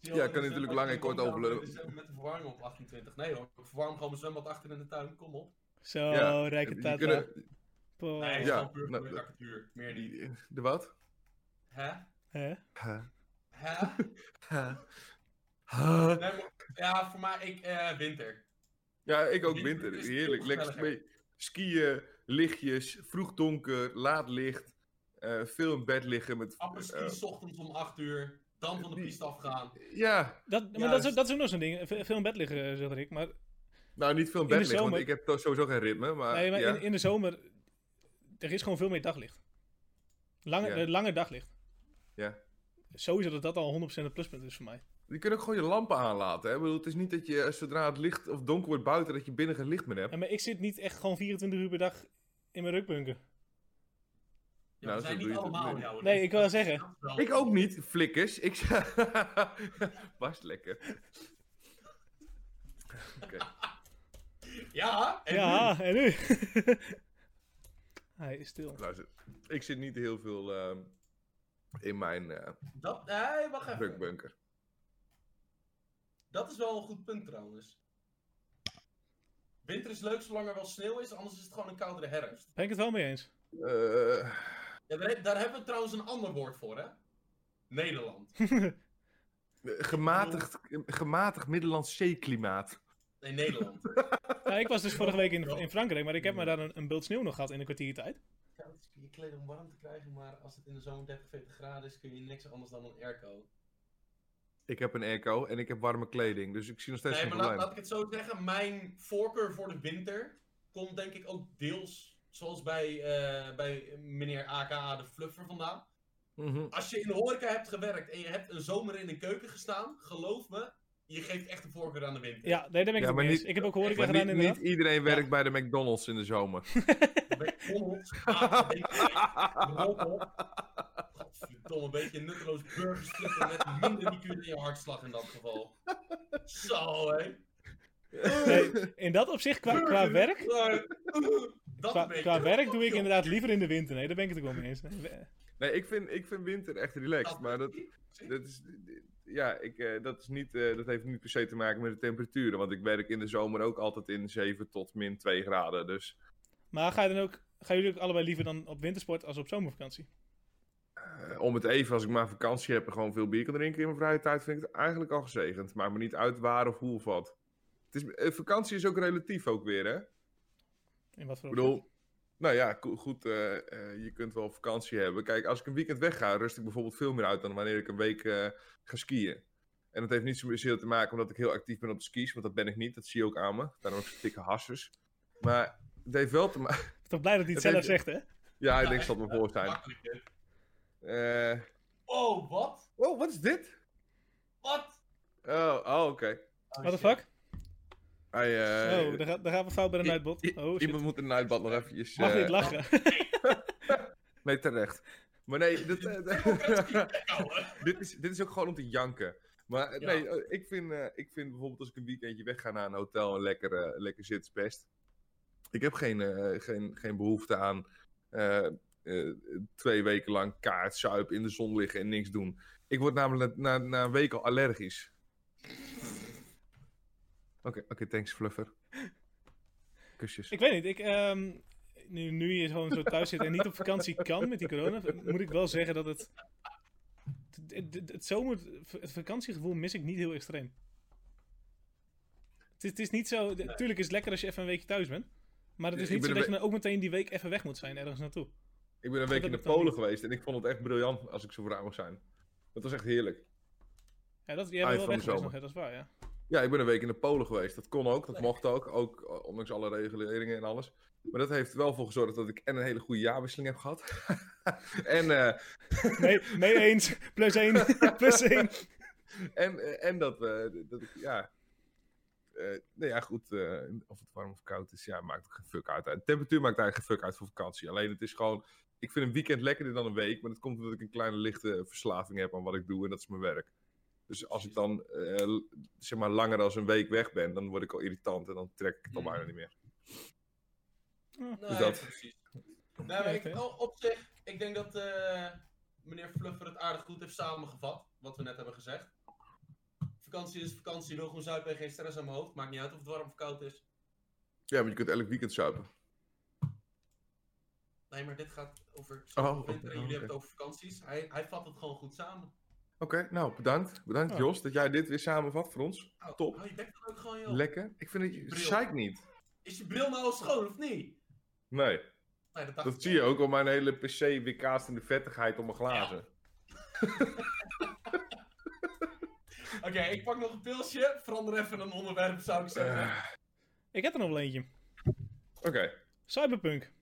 Ja,
kan je
eh,
natuurlijk lang en kort overlopen.
Met de verwarming op 28. Nee hoor, ik verwarm gewoon mijn zwembad achter in de tuin. Kom op.
Zo,
Ja,
rijke
Die
tata.
kunnen-
Po.
Nee, het is
Ja,
gewoon puur
nou,
voor de apparatuur. Meer niet.
De wat?
Hè?
Hè?
Hè?
Huh?
Nee, maar- ja, voor mij, ik, eh, winter.
Ja, ik ook
Die-
winter.
dit is
Heerlijk.
veel
Lekker
gezelliger.
spe- skiën, lichtjes, vroeg donker, laat licht. eh, veel in bed liggen met.
Appelski,
eh,
s ochtends om 8 uur. Dan van de
die-
piste afgaan.
ja, dus-
Dat, maar dat is, ook- dat is ook nog zo'n ding. Ve- Veel in bed liggen, zeg ik. Maar,
nou niet veel in
de
bed liggen,
zomer-
want ik heb to- sowieso geen ritme. Maar,
nee, maar
Ah, ja.
in, in de zomer, er is gewoon veel meer daglicht. Lange,
Ja.
eh, langer daglicht.
Ja.
Sowieso dat dat al 100% een pluspunt is voor mij.
Je kunt ook gewoon je lampen aanlaten. Hè? Ik bedoel, het is niet dat je eh, zodra het licht of donker wordt buiten, dat je binnen geen licht meer hebt.
Ja, maar ik zit niet echt gewoon 24 uur per dag in mijn rukbunker.
Ja,
Nou,
we
zo
zijn
doe
niet
je het ook
allemaal
niet.
jou.
Nee, ik wil zeggen,
Dat is wel-
Ik ook niet, flikkers. Ik Was lekker.
Ja, en nu?
ja, en nu? Hij is stil.
Luister, ik zit niet heel veel ehm, in mijn eh
Dat, nee, wacht even.
drukbunker.
Dat is wel een goed punt trouwens. Winter is leuk zolang er wel sneeuw is, anders is het gewoon een koudere herfst.
Ben ik het wel mee eens?
Eh,
Ja, daar, daar hebben we trouwens een ander woord voor, hè? Nederland.
gematigd, gematigd Middellands zeeklimaat.
Nee, Nederland.
Nou, ik was dus vorige week in, in Frankrijk, maar ik heb maar daar een, een beeld sneeuw nog gehad in een kwartier tijd.
Ja, het is je kleden om warm te krijgen, maar als het in de zomer 30, 40 graden is, kun je niks anders dan een airco.
Ik heb een airco en ik heb warme kleding, dus ik zie nog steeds
Nee,
geen
maar laat,
probleem.
laat ik het zo zeggen, mijn voorkeur voor de winter komt denk ik ook deels, zoals bij, eh, bij meneer AKA de Fluffer vandaan.
Mhm.
Als je in de horeca hebt gewerkt en je hebt een zomer in een keuken gestaan, geloof me, je geeft echt de voorkeur aan de winter.
Ja, nee, daar ben ik
Ja,
het
maar
mee eens.
niet-
Ik heb ook horeca
Maar
gedaan
niet,
inderdaad.
niet iedereen werkt bij de McDonald's in de zomer.
Dan ben je honderd, ah, dan ben je rommel. Godverdomme, een beetje nutteloos burgers flikken met minder liqueur in je hartslag in dat geval. Zo, hé.
Nee, in dat opzicht, qua, qua werk,
Dat
qua,
een beetje.
qua werk doe ik inderdaad liever in de winter. Nee, daar ben ik het ook wel mee eens. Nee, we-
Nee, ik vind, ik vind winter echt relaxed, maar dat, Dat is, ja, ik, eh, dat, is niet, eh, dat heeft niet per se te maken met de temperaturen. Want ik werk in de zomer ook altijd in 7 tot min 2 graden. Dus
Maar ga je dan ook, gaan jullie ook allebei liever dan op wintersport als op zomervakantie?
eh, om het even, als ik maar vakantie heb en gewoon veel bier kan drinken in mijn vrije tijd, vind ik het eigenlijk al gezegend. Maakt me niet uit waar of hoe of wat. Het is, eh, vakantie is ook relatief ook weer, hè?
In wat voor
Ik bedoel, nou ja, ko- goed, eh, eh, je kunt wel vakantie hebben. Kijk, als ik een weekend wegga, rust ik bijvoorbeeld veel meer uit dan wanneer ik een week eh, ga skiën. En dat heeft niet zozeer te maken omdat ik heel actief ben op de skis, want dat ben ik niet. Dat zie je ook aan me. Daarom ook zo'n dikke hassers. Maar het heeft wel te maken...
Ik ben toch blij dat hij het
dat
zelf
heeft-
zegt, hè?
Ja, ik denk dat het me voor zijn. Eh,
Oh, wat?
oh, wat is dit?
Wat?
Oh, oh oké.
What the fuck?
Hij, eh,
Oh, daar, gaat- daar gaat we fout bij de
i-
uitbod.
i-
Oh, shit.
iemand moet een nightbad nog eventjes...
Mag
eh,
niet lachen.
Nee, terecht. Maar nee, dat, eh, dit, is, dit is ook gewoon om te janken. Maar eh,
Ja.
nee, eh, ik vind, eh, ik vind bijvoorbeeld als ik een weekendje wegga naar een hotel en lekker, eh, lekker zit, is best. Ik heb geen, eh, geen, geen behoefte aan eh, eh, twee weken lang kaart, zuipen, in de zon liggen en niks doen. Ik word namelijk na, na een week al allergisch. Oké, oké, thanks Fluffer. Kusjes.
Ik weet niet, ik... ehm, nu, nu je gewoon zo thuis zit en niet op vakantie kan met die corona, moet ik wel zeggen dat het... Het, het- het zomer, het vakantiegevoel mis ik niet heel extreem. Het is, het is niet zo... Tuurlijk is het lekker als je even een weekje thuis bent. Maar het is
Ik
niet
ben
zo
een
dat je
we-
dan ook meteen die week even weg moet zijn ergens naartoe.
Ik ben een week in
heb
de
ik dan
Polen
niet.
geweest en ik vond het echt briljant als ik zo vrouw mag zijn. Dat was echt heerlijk.
Ja, dat, jij
Eind Ah,
bent wel
van
weg
de
geweest
zomer.
nog, hè, dat is waar, ja.
Ja, ik ben een week in de Polen geweest. Dat kon ook, dat mocht ook. Ook eh, ondanks alle reguleringen en alles. Maar dat heeft er wel voor gezorgd dat ik en een hele goede jaarwisseling heb gehad. en, eh,
Nee, mee eens. Plus één. Plus één.
en, eh, en dat, eh, dat ik, ja... eh nou ja, goed, eh, of het warm of koud is, ja, maakt ook geen fuck uit. De temperatuur maakt eigenlijk geen fuck uit voor vakantie. Alleen het is gewoon, ik vind een weekend lekkerder dan een week, maar dat komt omdat ik een kleine lichte verslaving heb aan wat ik doe en dat is mijn werk. Dus als ik dan eh, l- zeg maar langer dan een week weg ben, dan word ik al irritant en dan trek ik het al
Hmm.
bijna niet meer.
Nee,
dat.
precies. Nou, maar ik,
Oké.
o- op zich, ik denk dat eh, meneer Fluffer het aardig goed heeft samengevat, wat we net hebben gezegd. Vakantie is vakantie, wil gewoon zuipen en geen stress aan mijn hoofd. Maakt niet uit of het warm of koud is.
Ja, want je kunt elk weekend zuipen.
Nee, maar dit gaat over
Oh,
winter en
oké,
jullie
oké.
hebben het over vakanties. Hij, hij vat het gewoon goed samen.
Oké, nou bedankt. Bedankt
Ja.
Jos dat jij dit weer samenvat voor ons.
Nou,
Top.
hou je bek dan ook gewoon, joh.
Lekker. Ik vind het,
Bril.
zeik niet.
Is je bril nou al schoon of niet?
Nee,
Nee, dacht ik
dat zie
wel.
je ook al mijn hele PC weer kaast in de vettigheid om mijn glazen.
Oké, ik pak nog een pilsje. Verander even een onderwerp, zou ik zeggen.
Eh,
Ik heb er nog wel eentje.
Oké.
Cyberpunk.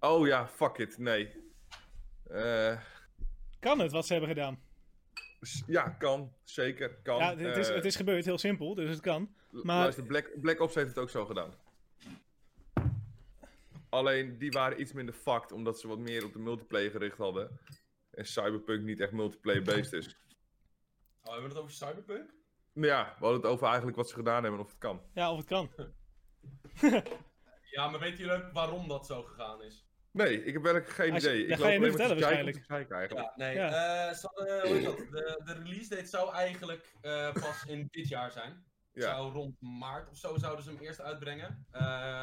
Oh ja, fuck it, nee. Eh,
Kan het wat ze hebben gedaan?
s- ja, kan. Zeker, kan.
Ja, het is,
Eh,
het is gebeurd, heel simpel, dus het kan.
lu-
maar-
Luister, Black, Black Ops heeft het ook zo gedaan. Alleen, die waren iets minder fucked, omdat ze wat meer op de multiplayer gericht hadden. En Cyberpunk niet echt multiplayer-based is.
Oh, hebben we het over Cyberpunk?
Maar ja, we hadden het over eigenlijk wat ze gedaan hebben en of het kan.
Ja, of het kan.
Ja, maar weten jullie ook waarom dat zo gegaan is?
Nee, ik heb eigenlijk geen
Als je-
idee.
dat
ik
ga je
alleen maar
nu
te
vertellen
zeiken om te zeiken eigenlijk.
Ja, nee.
Ja.
eh, ze hadden- hoe heet dat? De, de release date zou eigenlijk eh, pas in dit jaar zijn.
Ja.
Zou rond maart of zo zouden ze hem eerst uitbrengen. Eh,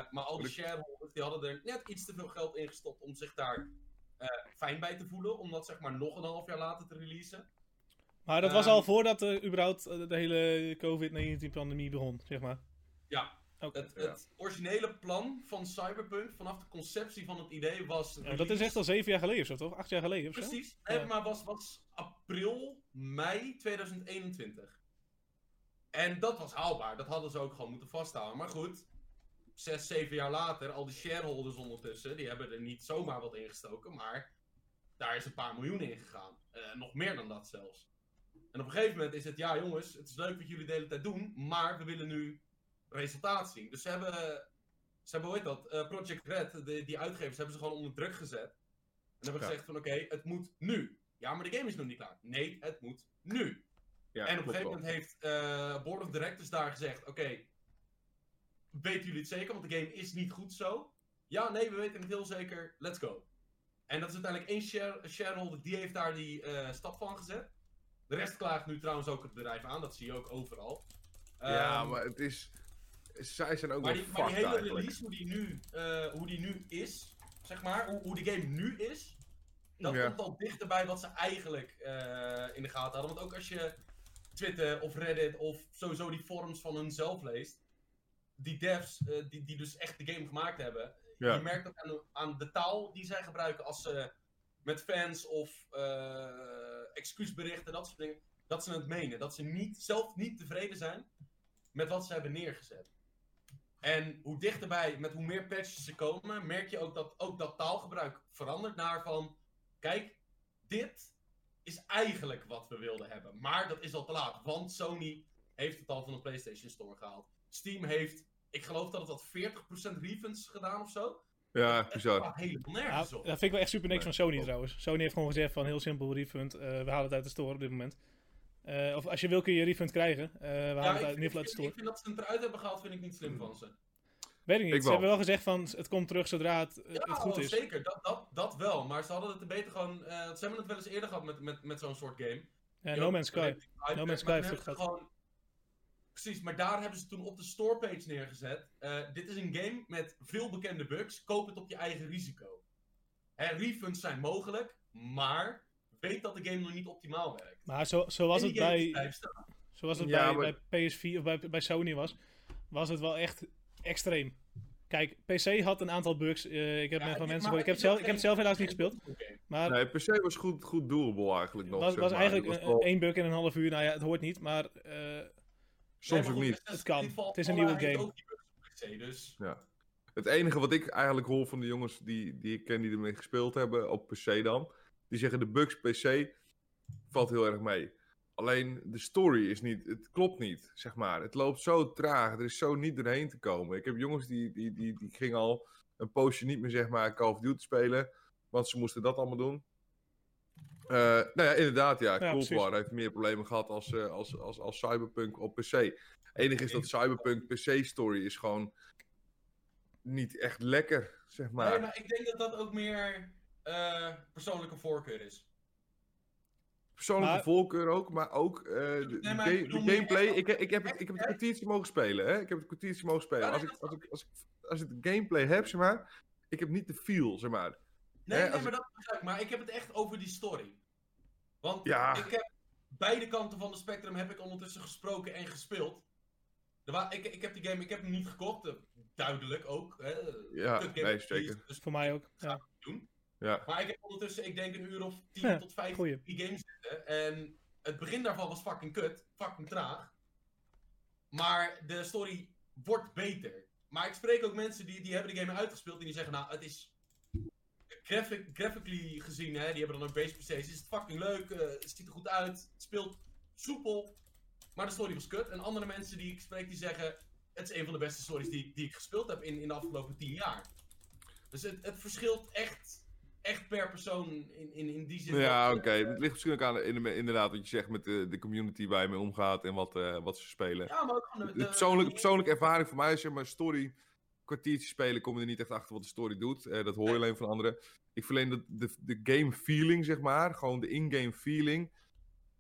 maar al die
Maar ik-
shareholders die hadden er net iets te veel geld in gestopt om zich daar eh, fijn bij te voelen. Om dat zeg maar nog een half jaar later te releasen.
Maar dat was
Ehm.
al voordat eh, überhaupt eh, de hele COVID-19-pandemie begon, zeg maar.
Ja. eh,
Oké.
Het, het originele plan van Cyberpunk vanaf de conceptie van het idee was.
Ja, Oh, dat is echt al zeven jaar geleden of zo, toch? Acht jaar geleden of zo?
Precies,
Ja.
Eh, maar was, was april, mei 2021. En dat was haalbaar, dat hadden ze ook gewoon moeten vasthouden. Maar goed, zes, zeven jaar later, al die shareholders ondertussen, die hebben er niet zomaar wat in gestoken, maar daar is een paar miljoen in gegaan. Eh, nog meer dan dat zelfs. En op een gegeven moment is het, ja jongens, het is leuk wat jullie de hele tijd doen, maar we willen nu resultaat zien. Dus ze hebben, ze hebben hoe heet dat, Eh, Project Red, de, die uitgevers, hebben ze gewoon onder druk gezet. En hebben
Ja.
gezegd van, oké, het moet nu. Ja, maar de game is nog niet klaar. Nee, het moet nu
Ja,
en op een
klopt
gegeven
wel.
moment heeft eh Board of Directors daar gezegd: Oké, weten jullie het zeker? Want de game is niet goed zo. Ja, nee, we weten het heel zeker. Let's go. En dat is uiteindelijk één share- shareholder die heeft daar die eh, stap van gezet. De rest klaagt nu trouwens ook het bedrijf aan, dat zie je ook overal.
Ja,
Ehm,
maar het is... Zij zijn ook
maar
wel
die, maar
fucked
die hele
eigenlijk.
release, hoe die, nu, eh, hoe die nu is, zeg maar, hoe, hoe de game nu is, dat
Ja.
komt al dichter bij wat ze eigenlijk eh, in de gaten hadden. Want ook als je Twitter of Reddit of sowieso die forums van hunzelf leest, die devs, eh, die, die dus echt de game gemaakt hebben,
Ja.
je merkt ook aan de, aan de taal die zij gebruiken als ze met fans of eh, excuusberichten, dat soort dingen, dat ze het menen. Dat ze niet, zelf niet tevreden zijn met wat ze hebben neergezet. En hoe dichterbij, met hoe meer patches ze komen, merk je ook dat ook dat taalgebruik verandert naar van, kijk, dit is eigenlijk wat we wilden hebben. Maar dat is al te laat, want Sony heeft het al van de PlayStation Store gehaald. Steam heeft, ik geloof dat het had 40% refunds gedaan of zo.
Ja,
Het
bizar.
slaat helemaal
Ja,
nergens
dat
op.
vind ik wel echt super niks
Nee,
van Sony
klopt.
trouwens. Sony heeft gewoon gezegd van heel simpel refund, eh, we halen het uit de store op dit moment. Eh, of als je wil kun je refund krijgen, Eh, we halen
Ja,
het uit, in
ik,
ieder geval
ik,
uit de
vind,
store.
ik vind dat ze het eruit hebben gehaald, vind ik niet
Hmm.
slim van ze.
Weet ik niet,
Ik
ze
wel.
hebben wel gezegd van het komt terug zodra het, eh,
Ja,
het goed is.
zeker, dat, dat, dat wel. Maar ze hadden het er beter gewoon. eh, ze hebben het wel eens eerder gehad met, met, met zo'n soort game.
Ja,
Die
no
ook
Man's Sky.
redelijk hype
No
werd,
Man's Sky
maar
heeft
toen
het
hebben ze gewoon- Precies, maar daar hebben ze toen op de storepage neergezet. eh, dit is een game met veel bekende bugs. Koop het op je eigen risico. Hè, refunds zijn mogelijk, maar weet dat de game nog niet optimaal werkt.
Maar zo, zo was
En
het
die game is
bij,
blijven staan.
Zoals het
Ja,
bij,
maar-
bij PS4 of bij, bij Sony was, was het wel echt extreem. Kijk, PC had een aantal bugs. eh, ik heb
Ja,
met
dit-
van mensen
maar
gehoord. Ik heb, het
is
zelf,
nog
ik heb het
geen-
zelf helaas niet gespeeld.
Oké.
Maar
Nee, per se was goed, goed doable eigenlijk nog.
was,
zeg
was
maar.
eigenlijk
Het
een-
was wel-
één bug in een half uur. Nou ja, het hoort niet, maar eh,
soms
Nee,
ook
maar goed,
niet.
Assassin's
Het kan.
Creed
Het is een
Valhalla
nieuwe
heeft
game.
ook die bugs op PC, dus
Het enige wat ik eigenlijk hoor van de jongens die, die ik ken die ermee gespeeld hebben, op PC dan, die zeggen de bugs PC valt heel erg mee. Alleen de story is niet, het klopt niet, zeg maar. Het loopt zo traag, er is zo niet doorheen te komen. Ik heb jongens die, die, die, die gingen al een poosje niet meer, zeg maar, Call of Duty spelen. Want ze moesten dat allemaal doen. Eh, nou ja, inderdaad, ja. Cold
precies.
War heeft meer problemen gehad als, eh, als, als, als Cyberpunk op PC. Enig is dat Cyberpunk PC-story is gewoon niet echt lekker, zeg maar.
Nee, maar ik denk dat dat ook meer eh, persoonlijke voorkeur is.
Persoonlijke
Maar-
voorkeur ook, maar ook eh, de,
Nee, maar
de
ik
ga- de
bedoel meer
gameplay.
echt-
Ik, ik, heb, het- ik heb het
echt-
kwartiertje mogen spelen, hè? Ik heb het kwartiertje mogen spelen.
Ja, nee,
Als ik,
dat
als ik, als ik, als ik de gameplay heb, zeg maar, ik heb niet de feel, zeg maar.
Nee,
Hè,
nee
als
maar dat begrijp ik. Maar ik heb het echt over die story. Want
Ja.
ik heb beide kanten van het spectrum heb ik ondertussen gesproken en gespeeld. Er wa- ik, ik heb die game, ik heb hem niet gekocht, eh, duidelijk ook. Hè.
Ja,
Kut game
nee,
is-
zeker.
dus-
Voor mij ook. Ja,
Ja.
maar ik heb ondertussen, ik denk een uur of 10
Ja,
tot 15
goeie.
die game zitten. En het begin daarvan was fucking kut, fucking traag. Maar de story wordt beter. Maar ik spreek ook mensen die, die hebben de game uitgespeeld en die zeggen, nou, het is graphic, graphically gezien, hè, die hebben dan ook base PC's, is het fucking leuk, eh, het ziet er goed uit, het speelt soepel, maar de story was kut. En andere mensen die ik spreek, die zeggen, het is een van de beste stories die, ik- die ik gespeeld heb in, in de afgelopen 10 jaar. Dus het, het verschilt echt, echt per persoon in, in, in die zin.
Ja, oké. Het ligt misschien ook aan, in- inderdaad, wat je zegt met de, de community waar je mee omgaat en wat, eh, wat ze spelen.
Ja, maar ook gewoon de,
De persoonlijke, persoonlijke ervaring voor mij is, zeg maar, story. Kwartiertje spelen kom je er niet echt achter wat de story doet. Eh, dat hoor je alleen van anderen. Ik verleen dat de, de game feeling, zeg maar. Gewoon de in-game feeling.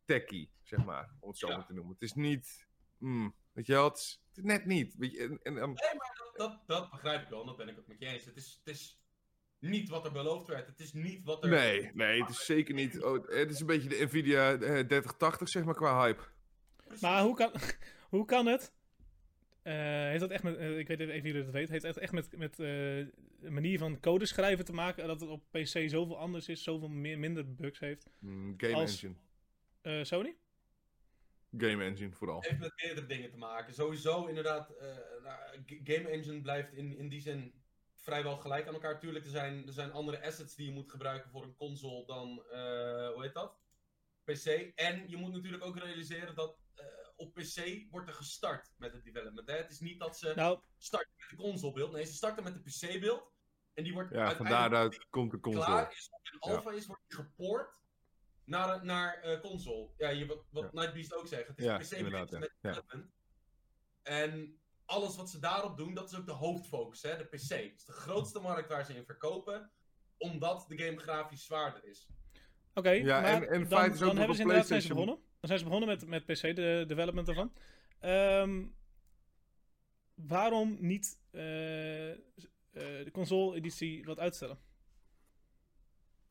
Tacky, zeg maar. Om het zo
Ja.
maar te noemen. Het is niet. mm, weet je wel, het is, het is net niet. Weet je, en, en, en-
dat, dat begrijp ik wel, en dat ben ik ook met je eens. Het is, het is niet wat er beloofd werd, het is niet wat er...
nee, nee, het is zeker niet. oh, het is een beetje de Nvidia eh, 3080, zeg maar, qua hype.
Precies.
Maar hoe kan, hoe kan het? eh, heeft dat echt met, eh, ik weet even of jullie dat weten, heeft het echt met, met eh, de manier van code schrijven te maken? Dat het op PC zoveel anders is, zoveel meer, minder bugs heeft?
Mm, game
Als-
engine.
Eh, Sony?
Game engine vooral.
heeft met meerdere dingen te maken. Sowieso inderdaad, eh, nou, g- Game Engine blijft in, in die zin vrijwel gelijk aan elkaar. Tuurlijk, er zijn, er zijn andere assets die je moet gebruiken voor een console dan, eh, hoe heet dat? PC. En je moet natuurlijk ook realiseren dat eh, op PC wordt er gestart met het development. Hè? Het is niet dat ze
Nou,
starten met de console beeld. Nee, ze starten met de PC beeld. En die wordt
Ja, van
uiteindelijk
daaruit komt de console.
klaar is, of in
Ja.
alpha is, wordt die gepoord naar, naar eh, console. Ja, je, wat, wat
Ja.
Nightbeast ook zegt. Het is
Ja,
PC
inderdaad.
met
Ja. Ja.
development. En alles wat ze daarop doen, dat is ook de hoofdfocus, hè? de PC. Het is de grootste markt waar ze in verkopen, omdat de game grafisch zwaarder is.
Oké,
Ja,
maar
en- en
dan,
feit is ook
dan
dat
hebben
op
ze inderdaad zijn ze
PlayStation-
begonnen. Dan zijn ze begonnen met, met PC, de development daarvan. Ehm, waarom niet eh, eh, de console-editie wat uitstellen?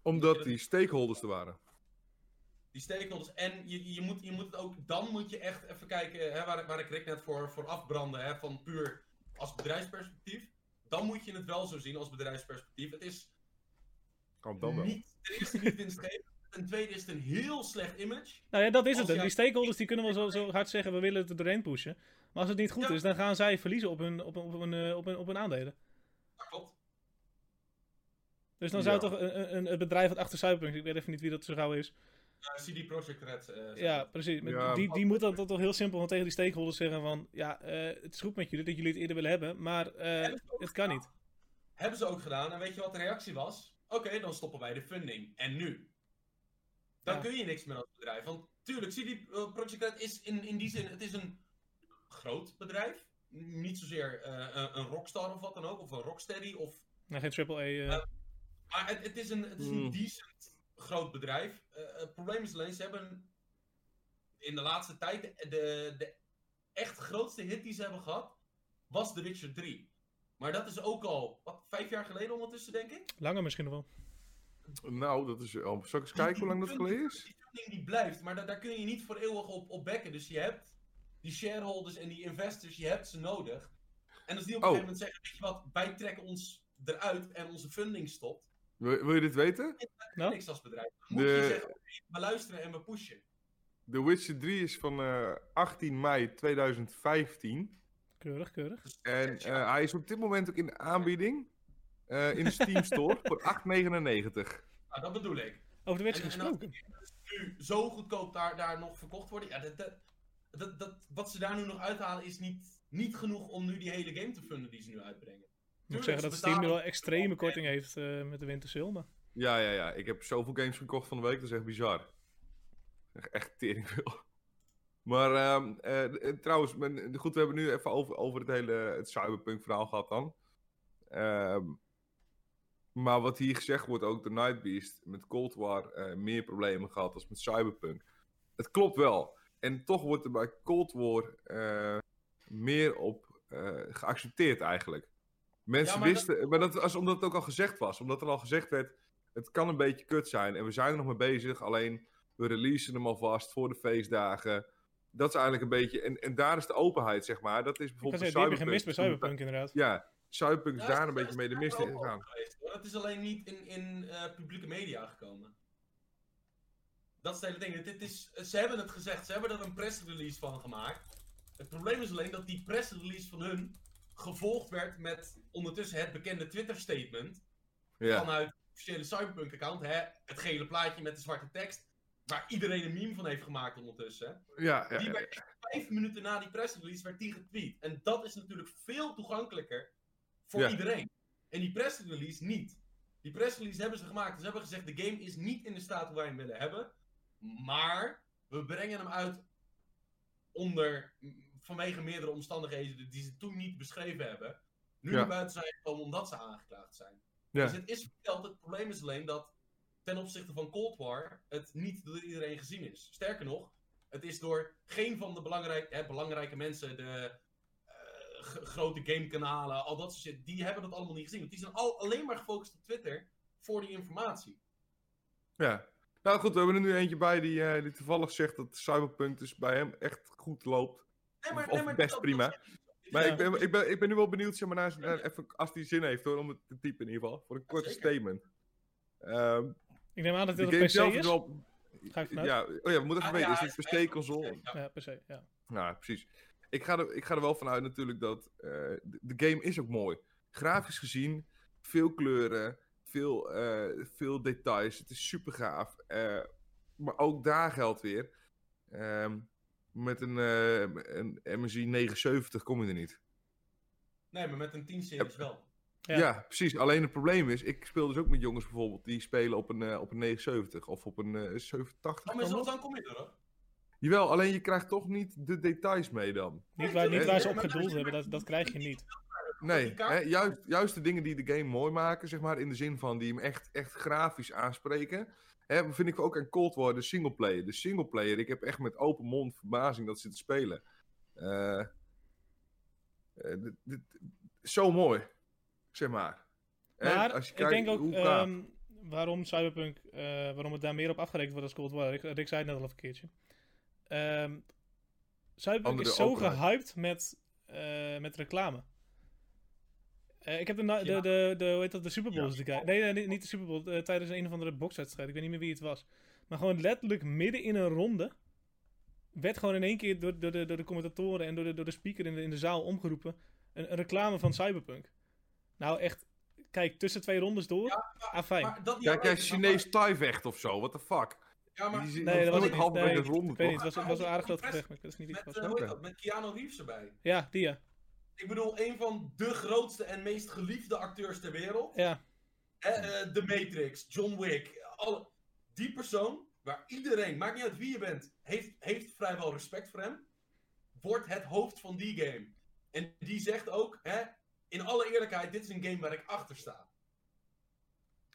Omdat die stakeholders er waren.
Die stakeholders. En je, je, moet, je moet het ook, dan moet je echt even kijken, hè, waar, waar ik Rick net voor, voor afbrandde, hè, van puur als bedrijfsperspectief. Dan moet je het wel zo zien als bedrijfsperspectief. Het is
Kan dan wel.
Niet, ten eerste niet winstgevend. Ten tweede is het een heel slecht image.
Nou ja, dat is
Als
het. hè.
jij-
Die stakeholders die kunnen wel zo, zo hard zeggen, we willen het er doorheen pushen. Maar als het niet goed
Ja.
is, dan gaan zij verliezen op hun, op hun, op hun, eh, op hun, op hun aandelen.
Dat klopt.
Dus dan zou
Ja.
toch een, een, een bedrijf wat achter Cyberpunk, ik weet even niet wie dat zo gauw is.
Eh, CD Projekt Red. eh, zeg
Ja,
maar.
precies. Maar
Ja,
die,
maar-
die moet dan toch heel simpel van tegen die stakeholders zeggen van, ja, eh, het is goed met jullie dat jullie het eerder willen hebben, maar eh,
Hebben ze ook
het kan niet.
Hebben ze ook gedaan. En weet je wat de reactie was? Oké, dan stoppen wij de funding. En nu? Dan
Ja.
kun je niks meer als bedrijf. Want tuurlijk, CD Projekt eh, Red is in, in die zin... Het is een groot bedrijf. Niet zozeer eh, een, een rockstar of wat dan ook. Of een rocksteady. Of...
Nou, geen triple A. eh,
Maar het, het is een, het is een
Hmm.
decent groot bedrijf. Eh, het probleem is alleen, ze hebben in de laatste tijd de, de, de echt grootste hit die ze hebben gehad, was The Witcher 3. Maar dat is ook al, wat, vijf jaar geleden ondertussen, denk ik?
Langer misschien nog wel.
Nou, dat is. Oh, zal ik eens kijken hoe lang dat geleden is?
Die funding die blijft, maar da- daar kun je niet voor eeuwig op, op bekken. Dus je hebt die shareholders en die investors, je hebt ze nodig. En als die op een
Oh.
gegeven moment zeggen, weet je wat, wij trekken ons eruit en onze funding stopt,
Wil, wil je dit weten?
Ja.
niks als bedrijf. Dan moet je
De-
zeggen, we luisteren en we pushen.
The Witcher 3 is van eh, 18 mei 2015.
Keurig, keurig.
Dus
En eh, hij is op dit moment ook in de aanbieding. eh, in de Steam Store voor 8,99.
Nou, dat bedoel ik.
Over de
En-
wedstrijd
en als-
gesproken.
Nu nu zo goedkoop daar, daar nog verkocht worden. Ja, dat, dat, dat, dat- wat ze daar nu nog uithalen is niet, niet genoeg om nu die hele game te funden die ze nu uitbrengen.
Ik moet
Tuurlijk,
zeggen
ze
dat Steam nu
betalen-
wel extreme korting heeft eh, met de wintersale, maar...
Ja, ja, ja. Ik heb zoveel games gekocht van de week, dat is echt bizar. Echt, echt tering veel. Maar ehm, eh, eh, trouwens, men- goed, we hebben nu even over, over het hele het cyberpunk verhaal gehad dan. Ehm, maar wat hier gezegd wordt, ook de Night Beast met Cold War eh, meer problemen gehad als met cyberpunk. Het klopt wel. En toch wordt er bij Cold War eh, meer op eh, geaccepteerd eigenlijk. Mensen
Ja, maar dat-
wisten, maar dat was omdat het ook al gezegd was. Omdat er al gezegd werd, het kan een beetje kut zijn. En we zijn er nog mee bezig, alleen we releasen hem alvast voor de feestdagen. Dat is eigenlijk een beetje, en, en daar is de openheid zeg maar. Dat is
Ik kan
bijvoorbeeld
zeggen, die heb je gemist bij
Toen-
Cyberpunk inderdaad.
ja, Cyberpunk is
Ja,
daar
ze-
een beetje
ze
mee de
zijn er
mist
wel
in
over
gegaan.
geweest, hoor. Dat is alleen niet in, in eh, publieke media gekomen. Dat is het hele ding. Het- het is, ze hebben het gezegd, ze hebben er een press release van gemaakt. Het probleem is alleen dat die press release van hun gevolgd werd met ondertussen het bekende Twitter statement
Ja.
vanuit het officiële Cyberpunk account. Hè? Het gele plaatje met de zwarte tekst, waar iedereen een meme van heeft gemaakt ondertussen. hè.
Ja, ja,
Die
ja,
werd echt vijf minuten na die pressrelease werd die getweet. En dat is natuurlijk veel toegankelijker voor
Ja.
iedereen. En die pressrelease niet. Die pressrelease hebben ze gemaakt. Ze hebben gezegd, de game is niet in de staat hoe wij hem willen hebben. Maar we brengen hem uit onder, vanwege meerdere omstandigheden die ze toen niet beschreven hebben. Nu
Ja.
naar buiten zijn gekomen omdat ze aangeklaagd zijn.
Ja.
Dus het is verteld. Het probleem is alleen dat ten opzichte van Cold War het niet door iedereen gezien is. Sterker nog, het is door geen van de belangrijke, hè, belangrijke mensen, de eh, g- grote gamekanalen, al dat soort shit, die hebben dat allemaal niet gezien. Want die zijn al, alleen maar gefocust op Twitter voor die informatie.
ja. Nou goed, we hebben er nu eentje bij die, eh, die toevallig zegt dat Cyberpunk dus bij hem echt goed loopt.
Nee,
Of- of best prima. Maar
Ja.
ik, ben, ik, ben, ik ben nu wel benieuwd, zeg maar, naar, naar even, als die zin heeft hoor, om het te typen in ieder geval. Voor een korte
zeker.
statement. Ehm,
Ik neem aan dat
de
dit op
game
PC
zelf is
is.
wel...
Ga ik vanuit.
Ja, oh ja, we moeten even
Ah, ja,
weten,
hij
is
is
het per se console?
Ja, per se, ja.
Nou, precies. Ik ga, er, ik ga er wel vanuit natuurlijk dat eh, de, de game is ook mooi. Grafisch gezien, veel kleuren, veel, eh, veel details. Het is super gaaf. Eh, maar ook daar geldt weer. ehm, met een, eh een MSI 79 kom je er niet.
Nee, maar met een 10-series wel.
Ja.
Ja. precies. Alleen het probleem is, ik speel dus ook met jongens bijvoorbeeld die spelen op een, eh, op een 79 of op een eh, 87.
Dan,
kan
Oh, is,
dat?
dan kom je er hoor.
Jawel, alleen je krijgt toch niet de details mee dan.
Niet waar, niet waar ze op
Maar-
gedoeld hebben, dat, dat krijg je niet.
Nee,
die kaart-
hè, juist, juist de dingen die de game mooi maken, zeg maar, in de zin van die hem echt, echt grafisch aanspreken. Hè, vind ik ook aan Cold War, de singleplayer. De singleplayer, ik heb echt met open mond verbazing dat ze te spelen. Eh, eh, dit- dit- zo mooi, zeg maar. Hè,
Maar
als je
ik
kijkt
denk ook
hoe gaaf.
ehm, waarom Cyberpunk, eh, waarom het daar meer op afgerekend wordt als Cold War. Rick, Rick zei het net al een keertje. Ehm, Cyberpunk
Andere
is zo
openheid.
gehyped met, eh, met reclame. Eh, ik heb de, na- de,
Ja.
de, de, hoe heet dat, de Super Bowl
Ja.
eens gekeken. Nee, nee, niet- niet de Super Bowl. eh, tijdens een of andere bokswedstrijd. Ik weet niet meer wie het was. Maar gewoon letterlijk midden in een ronde. werd gewoon in één keer door, door, de, door de commentatoren en door de, door de speaker in de, in de zaal omgeroepen. Een, een reclame van Cyberpunk. Nou, echt. Kijk, tussen twee rondes door. ah, fijn.
Maar dat niet
Kijk jij
alleen, maar-
Chinees Thai vecht of zo, what the fuck?
Ja, maar-
Die zit
Nee, dat was
nooit
niet-
halverwege
nee,
de ronde,
Ik weet niet,
toch?
het was, het was wel aardig dat gezegd, maar dat is niet iets
Met,
wat...
eh, hoe heet
Oké.
dat? met Keanu Reeves erbij.
Ja, die ja.
Ik bedoel, een van de grootste en meest geliefde acteurs ter wereld.
Ja,
Oh
Eh, eh, The Matrix, John Wick. Alle... Die persoon, waar iedereen, maakt niet uit wie je bent, heeft, heeft vrijwel respect voor hem. Wordt het hoofd van die game. En die zegt ook, hè, in alle eerlijkheid, dit is een game waar ik achter sta.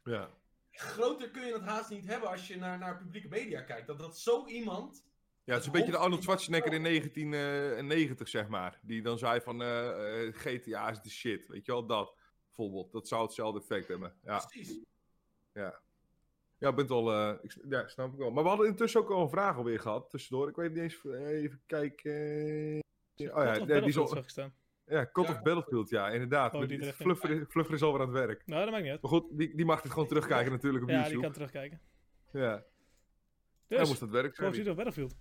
Ja.
Groter kun je het haast niet hebben als je naar, naar publieke media kijkt. Dat, dat zo iemand
Ja, het is een beetje de Arnold Schwarzenegger in 1990, zeg maar. Die dan zei van eh, eh, GTA is de shit, weet je wel, dat. Bijvoorbeeld, dat zou hetzelfde effect hebben. Ja,
precies.
ja, bent al, eh, ik, s- ja snap ik wel. Maar we hadden intussen ook al een vraag alweer gehad, tussendoor. Ik weet niet eens, eh, even kijken. eh, Oh ja,
Call of
ja, die is
Battlefield
al,
zag ik staan.
ja, Call
Ja.
of Battlefield, ja, inderdaad.
Oh,
Met
die
die-
erin.
Fluffer, is- Fluffer is alweer aan het werk.
Nou, dat maakt niet uit.
Maar goed, die, die mag dit gewoon terugkijken natuurlijk op
Ja, die
YouTube.
kan Dus, terugkijken.
Ja, hij
Dus,
moest Ah, aan het werk
Call
zijn.
of Duty of Battlefield.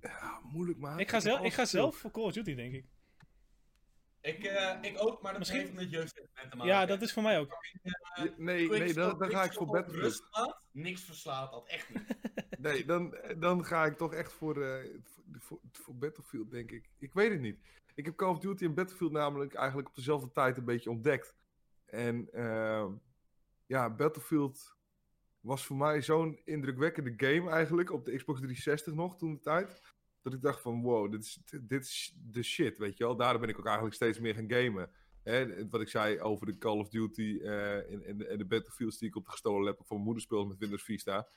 Ja, moeilijk, maar.
Ik ga, zelf, ik ga zelf voor Call of Duty, denk ik.
Ik, eh, ik ook, maar dat
Misschien-
heeft met jeugdsentiment te maken.
Ja, dat is voor mij ook.
Je- nee,
Quick
nee dan,
stop,
dan ga
quick
ik voor
stop,
Battlefield.
rust laat, Niks verslaat dat, echt niet.
Nee, dan, dan ga ik toch echt voor, eh, voor, voor, voor Battlefield, denk ik. Ik weet het niet. Ik heb Call of Duty en Battlefield namelijk eigenlijk op dezelfde tijd een beetje ontdekt. En ehm, ja, Battlefield was voor mij zo'n indrukwekkende game eigenlijk. Op de Xbox 360 nog toen de tijd. Dat ik dacht van wow, dit is, dit- dit is de shit, weet je wel. Daarom ben ik ook eigenlijk steeds meer gaan gamen. Hè, wat ik zei over de Call of Duty eh, en, en, en de Battlefields die ik op de gestolen heb van mijn moeder speelde met Windows Vista.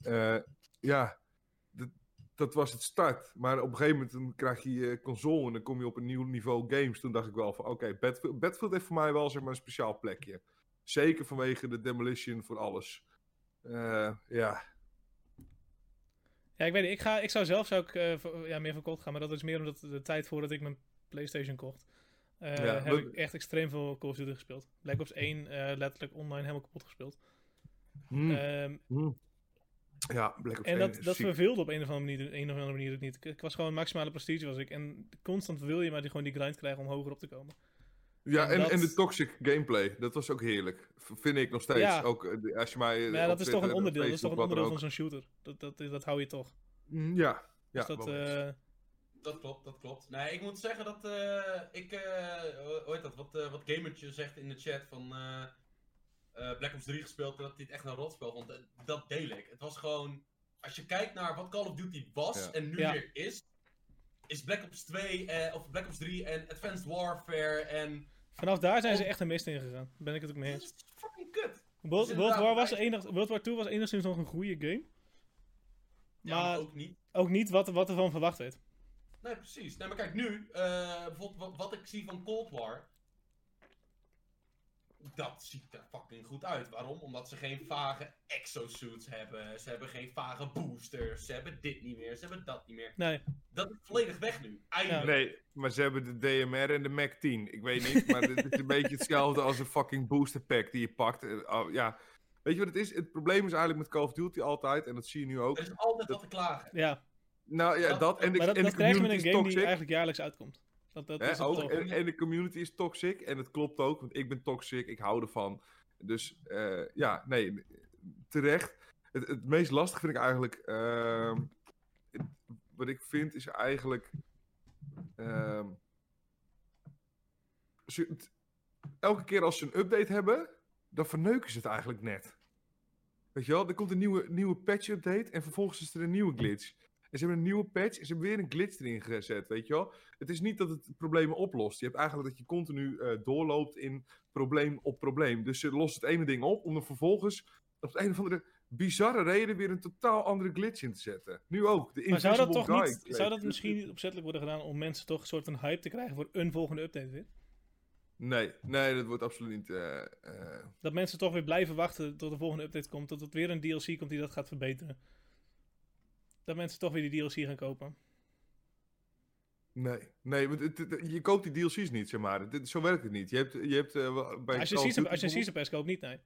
Eh, ja, dat, dat was het start. Maar op een gegeven moment dan krijg je je eh, console en dan kom je op een nieuw niveau games. Toen dacht ik wel van, oké, Battlefield, Battlefield heeft voor mij wel zeg maar, een speciaal plekje. Zeker vanwege de demolition voor alles. Eh, ja,
Ja, ik weet niet. Ik, ga, ik zou zelf zou ik, eh, voor- ja, meer voor Cold gaan, maar dat is meer omdat de tijd voordat ik mijn PlayStation kocht. eh,
Ja,
heb
leuk.
ik echt extreem veel Call of Duty gespeeld. Black Ops 1 eh, letterlijk online helemaal kapot gespeeld.
Hm,
Ehm,
hm. ja Black Ops
en
1
dat,
is
dat
ziek.
verveelde op een of andere manier, een of andere manier ook niet. Ik, ik was gewoon maximale prestige was ik. En constant wil je maar die, gewoon die grind krijgen om hoger op te komen.
Eh, Ja,
en
en,
dat-
en de toxic gameplay, dat was ook heerlijk. V- Vind ik nog steeds.
Ja.
Ook eh, de- als je mij. eh,
Maar ja,
op
dat is toch een
Twitter,
onderdeel. Dat is toch
Facebook,
een
wat dan
onderdeel
ook-
van zo'n shooter. Dat, dat, dat hou je toch.
Hm, Ja, ja.
Dus dat,
wel eens.
eh,
Dat klopt, dat klopt. Nee, ik moet zeggen dat eh, ik, eh, hoe- hoe heet dat, wat, eh, wat Gamertje zegt in de chat van eh, eh, Black Ops 3 gespeeld, dat dit echt een rotspel vond, dat, dat deel ik. Het was gewoon, als je kijkt naar wat Call of Duty was
Ja.
en nu
Ja.
weer is, is Black Ops 2, eh, of Black Ops 3 en Advanced Warfare en...
vanaf daar zijn ze echt een mist in gegaan. Daar ben ik het ook mee
Dat
eens.
is fucking kut.
World,
Dus
World War
inderdaad,
was enig, World War 2 was enigszins nog een goede game.
Ja, maar
Maar-
ook niet.
Ook niet wat, wat ervan verwacht werd.
Nee, precies. Nee, maar kijk, nu, eh, bijvoorbeeld wat, wat ik zie van Cold War. Dat ziet er fucking goed uit. Waarom? Omdat ze geen vage exosuits hebben. Ze hebben geen vage boosters. Ze hebben dit niet meer. Ze hebben dat niet meer.
Nee.
Dat is volledig weg nu. Eindelijk.
Nee, maar ze hebben de DMR en de Mac 10. Ik weet niet, maar dit is een beetje hetzelfde als een fucking booster pack die je pakt. Eh, oh, ja. Weet je wat het is? Het probleem is eigenlijk met Call of Duty altijd, en dat zie je nu ook.
Er is altijd
Dat-
wat te klagen.
Ja,
Nou ja,
Dat-
dat en de,
maar dat,
en de
dat krijg je met
community
een
is
game die
toxic.
eigenlijk jaarlijks uitkomt. Dat, dat
hè,
is het
ook,
toch.
en, en de community is toxic, en dat klopt ook, want ik ben toxic, ik hou ervan. Dus eh, ja, nee, terecht. Het, het meest lastig vind ik eigenlijk. ehm, het- wat ik vind is eigenlijk. ehm, ze- het- elke keer als ze een update hebben, dan verneuken ze het eigenlijk net. Weet je wel, er komt een nieuwe, nieuwe patch-update en vervolgens is er een nieuwe glitch. En ze hebben een nieuwe patch en ze hebben weer een glitch erin gezet, weet je wel. Het is niet dat het problemen oplost. Je hebt eigenlijk dat je continu eh, doorloopt in probleem op probleem. Dus ze lost het ene ding op om er vervolgens op de een of andere bizarre reden weer een totaal andere glitch in te zetten. Nu ook, de
maar zou dat
Invisible
toch
Guy
niet,
glitch.
zou dat misschien niet opzettelijk worden gedaan om mensen toch een soort van hype te krijgen voor een volgende update weer?
Nee, nee, dat wordt absoluut niet... eh, eh,
Dat mensen toch weer blijven wachten tot de volgende update komt, tot het weer een DLC komt die dat gaat verbeteren. Dat mensen toch weer die DLC gaan kopen.
Nee, nee want het- het- je koopt die DLC's niet, zeg maar. Dit- zo werkt het niet. Je hebt, je hebt, eh, wel- bij
Als je,
Call of Duty
season, als je een
bijvoorbeeld-
Season Pass koopt, niet, nee.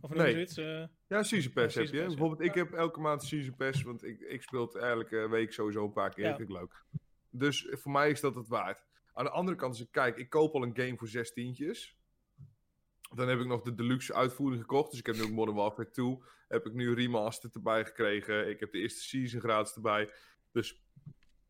Of
Nee.
nee. zoiets. eh,
Ja, Season Pass
Ja,
heb je.
Season Pass, ja.
Bijvoorbeeld, ik heb elke maand Season Pass, want ik, ik speel het elke week sowieso een paar keer.
Ja.
Vind ik leuk. Dus eh, voor mij is dat het waard. Aan de andere kant, als ik kijk, ik koop al een game voor zestientjes. Dan heb ik nog de deluxe uitvoering gekocht. Dus ik heb nu ook Modern Warfare 2. Heb ik nu Remastered erbij gekregen. Ik heb de eerste season gratis erbij. Dus,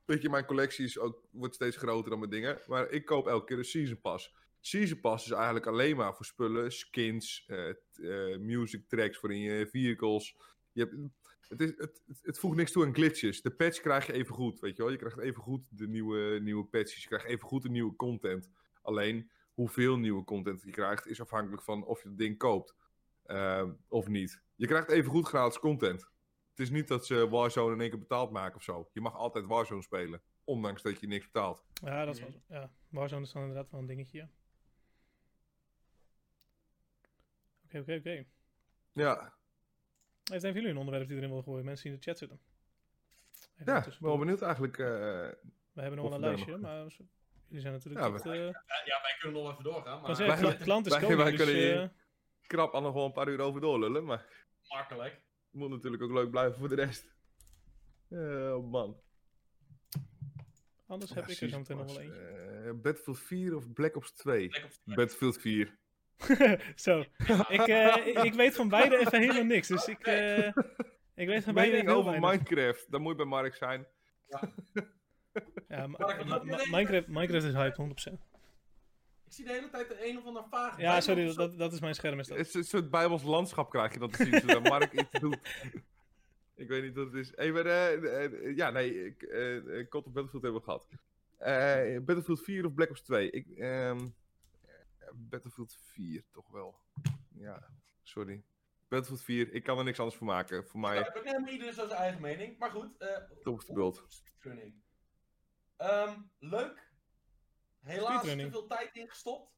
weet je, mijn collectie is ook, wordt steeds groter dan mijn dingen. Maar ik koop elke keer een Season Pass. Season Pass is eigenlijk alleen maar voor spullen, skins, eh, t- eh, music tracks voor in je vehicles. Je hebt, het, is, het, het, het voegt niks toe aan glitches. De patch krijg je even goed, weet je wel. Je krijgt even goed de nieuwe, nieuwe patches. Je krijgt even goed de nieuwe content. Alleen hoeveel nieuwe content je krijgt is afhankelijk van of je het ding koopt ehm, of niet. Je krijgt even goed gratis content. Het is niet dat ze Warzone in één keer betaald maken of zo. Je mag altijd Warzone spelen, ondanks dat je niks betaalt.
ja, dat is wel
Mhm.
zo. Ja, Warzone is dan inderdaad wel een dingetje, ja. Oké, oké, oké.
Ja,
Heeft een van jullie een onderwerp die erin wil gooien? Mensen die in de chat zitten. Even
ja
tussendoor.
wel benieuwd eigenlijk. eh,
we hebben nog wel
of
een
we daar
lijstje, maar ze- jullie zijn natuurlijk
Ja,
niet...
we-
eh, ik
Eh, ja, wij kunnen nog even doorgaan.
kan
Maar
zeggen,
wij-
kla- klant is
wij-
koning,
wij
dus,
kunnen hier-
eh,
krap al nog wel een paar uur over doorlullen, maar
makkelijk.
het moet natuurlijk ook leuk blijven voor de rest. Eh, man.
Anders heb ik er zo meteen nog wel eentje.
Eh, Battlefield 4 of Black Ops 2?
Black Ops 2.
Battlefield 4.
zo, ik, eh, ik, ik weet van beide even helemaal niks. Dus ik, eh, ik weet van beide
Mening
heel
over
weinig.
Minecraft. Dan moet je bij Mark zijn.
Ja, ma-
Mark, wat
ma-
heb je
ma-
deze?
Minecraft, Minecraft is hype, 100%.
Ik zie de hele tijd de een of ander vage.
Ja, sorry, dat- dat, dat is mijn scherm. Is dat.
Het is een soort Bijbels landschap krijg je dat te zien, zodat Mark iets doet. Ik weet niet wat het is. Hey, maar, eh, eh, ja, nee, ik, eh, eh, Call of Battlefield hebben we gehad. Eh, Battlefield 4 of Black Ops 2? Ik, ehm, eh, Battlefield 4, toch wel. Ja, sorry. Battlefield 4, ik kan er niks anders van maken. Voor
Ja,
mij,
we kennen iedereen zo zijn eigen mening. Maar goed. eh,
Top of the world.
Speedrunning. Ehm, leuk. Helaas te
Speedrunning.
veel tijd ingestopt.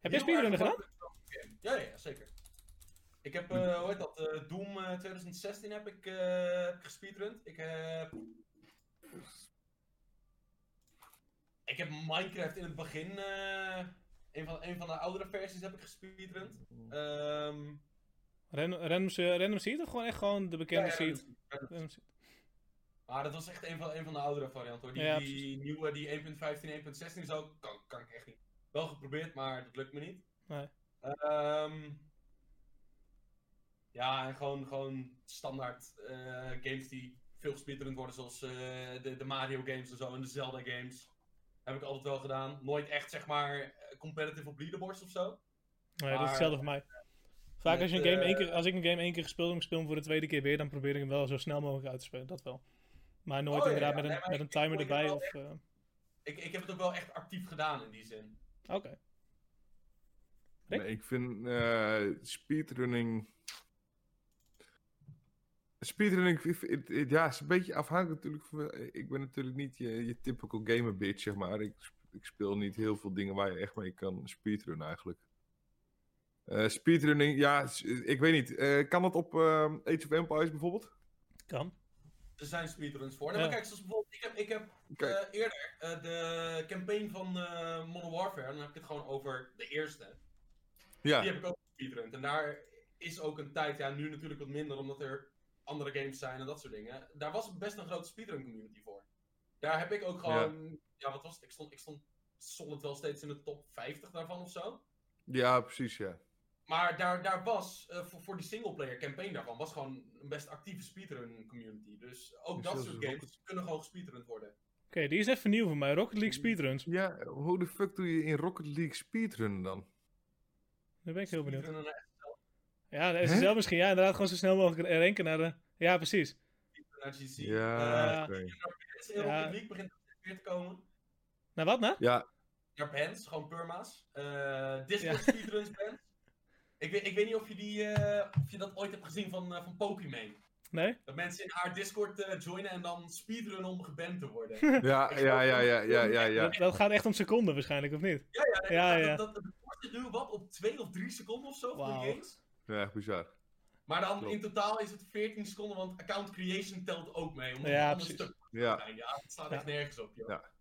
Heb jij speedrunnen gedaan?
Ja, ja, ja, zeker. Ik heb, eh, hoe heet dat, eh, Doom eh, 2016 heb ik, eh, heb ik gespeedrund. Ik eh, heb... Ik heb Minecraft in het begin, eh, een, van, een van de oudere versies heb ik gespeedrund. Ehm
Random, random, se- random seed of gewoon echt gewoon de bekende
ja, ja,
seed?
random-
Random seed.
Maar Ah, dat was echt een van, een van de oudere varianten hoor. Die,
Ja,
die nieuwe, die 1.15, 1.16 zo, kan, kan ik echt niet. Wel geprobeerd, maar dat lukt me niet.
Nee.
Ehm, ja, en gewoon, gewoon standaard eh, games die veel gespeedrund worden, zoals eh, de, de Mario games en zo en de Zelda games. Heb ik altijd wel gedaan. Nooit echt, zeg maar, eh, competitive op leaderboards of zo.
Nee, dat is
Maar,
hetzelfde voor mij. Vaak
met,
als, je een game
eh,
één keer, als ik een game één keer gespeeld heb, ik speel hem voor de tweede keer weer, dan probeer ik hem wel zo snel mogelijk uit te spelen, dat wel. Maar nooit
Oh, ja,
inderdaad
ja,
met, een,
nee, maar
met
ik-
een timer
ik- ik-
erbij
ik-
of... eh,
Ik, ik heb het ook wel echt actief gedaan in die zin.
Oké. Rick?
nee, ik vind eh, speedrunning... Speedrunning, ik- ik- ik- ja, is een beetje afhankelijk natuurlijk. Van, ik ben natuurlijk niet je, je typical gamer bitch, zeg maar. Ik, ik speel niet heel veel dingen waar je echt mee kan speedrunnen eigenlijk. Eh, speedrunning, ja, s- ik weet niet. Eh, kan dat op eh, Age of Empires bijvoorbeeld?
Kan.
Er zijn speedruns voor. Nee,
Ja.
maar kijk, zoals bijvoorbeeld, ik heb, ik heb
Oké.
eh, eerder eh, de campaign van eh, Modern Warfare, dan heb ik het gewoon over de eerste.
ja.
Die heb ik ook speedrund. En daar is ook een tijd, ja, nu natuurlijk wat minder, omdat er andere games zijn en dat soort dingen. Daar was best een grote speedrun community voor. Daar heb ik ook gewoon, ja, wat was het? Ik stond, ik stond solid wel steeds in de top 50 daarvan of zo.
ja, precies, ja.
Maar daar, daar was, eh, voor, voor die singleplayer campaign daarvan, was gewoon een best actieve speedrun community. Dus ook
Dus
dat
dat
soort
is
games kunnen gewoon gespeedrund worden.
Oké, die is even nieuw voor mij. Rocket League speedruns.
Ja, hoe de fuck doe je in Rocket League speedrunnen dan?
Daar ben ik heel benieuwd.
Speedrunnen naar-
Ja, dat is
Hè?
zelf misschien. Ja, inderdaad, gewoon zo snel mogelijk renken naar de... Ja, precies.
naar GC. Eh,
Ja,
Eh,
oké.
het is in
Ja.
Rocket League begint het weer te komen.
Nou, wat nou?
ja,
Naar bands, gewoon perma's. Eh Disco
Ja.
speedruns bands. Ik weet, ik weet niet of je, die, eh, of je dat ooit hebt gezien van, eh, van Pokimane.
Nee?
Dat mensen in haar Discord eh, joinen en dan speedrunnen om geband te worden.
ja, ja, ja, ja, ja, ja, ja.
Dat, dat gaat echt om seconden waarschijnlijk, of niet?
Ja,
Ja,
dat-
ja.
Dat, dat, dat duurt wat op 2 of 3 seconden of zo voor
Wauw.
die games.
Ja, echt bizar.
Maar dan
Klopt.
in totaal is het 14 seconden, want account creation telt ook mee. Omdat
Ja,
het anders
precies.
stuk
Ja.
zijn. Ja, het slaat
Ja.
echt nergens op, joh.
Ja.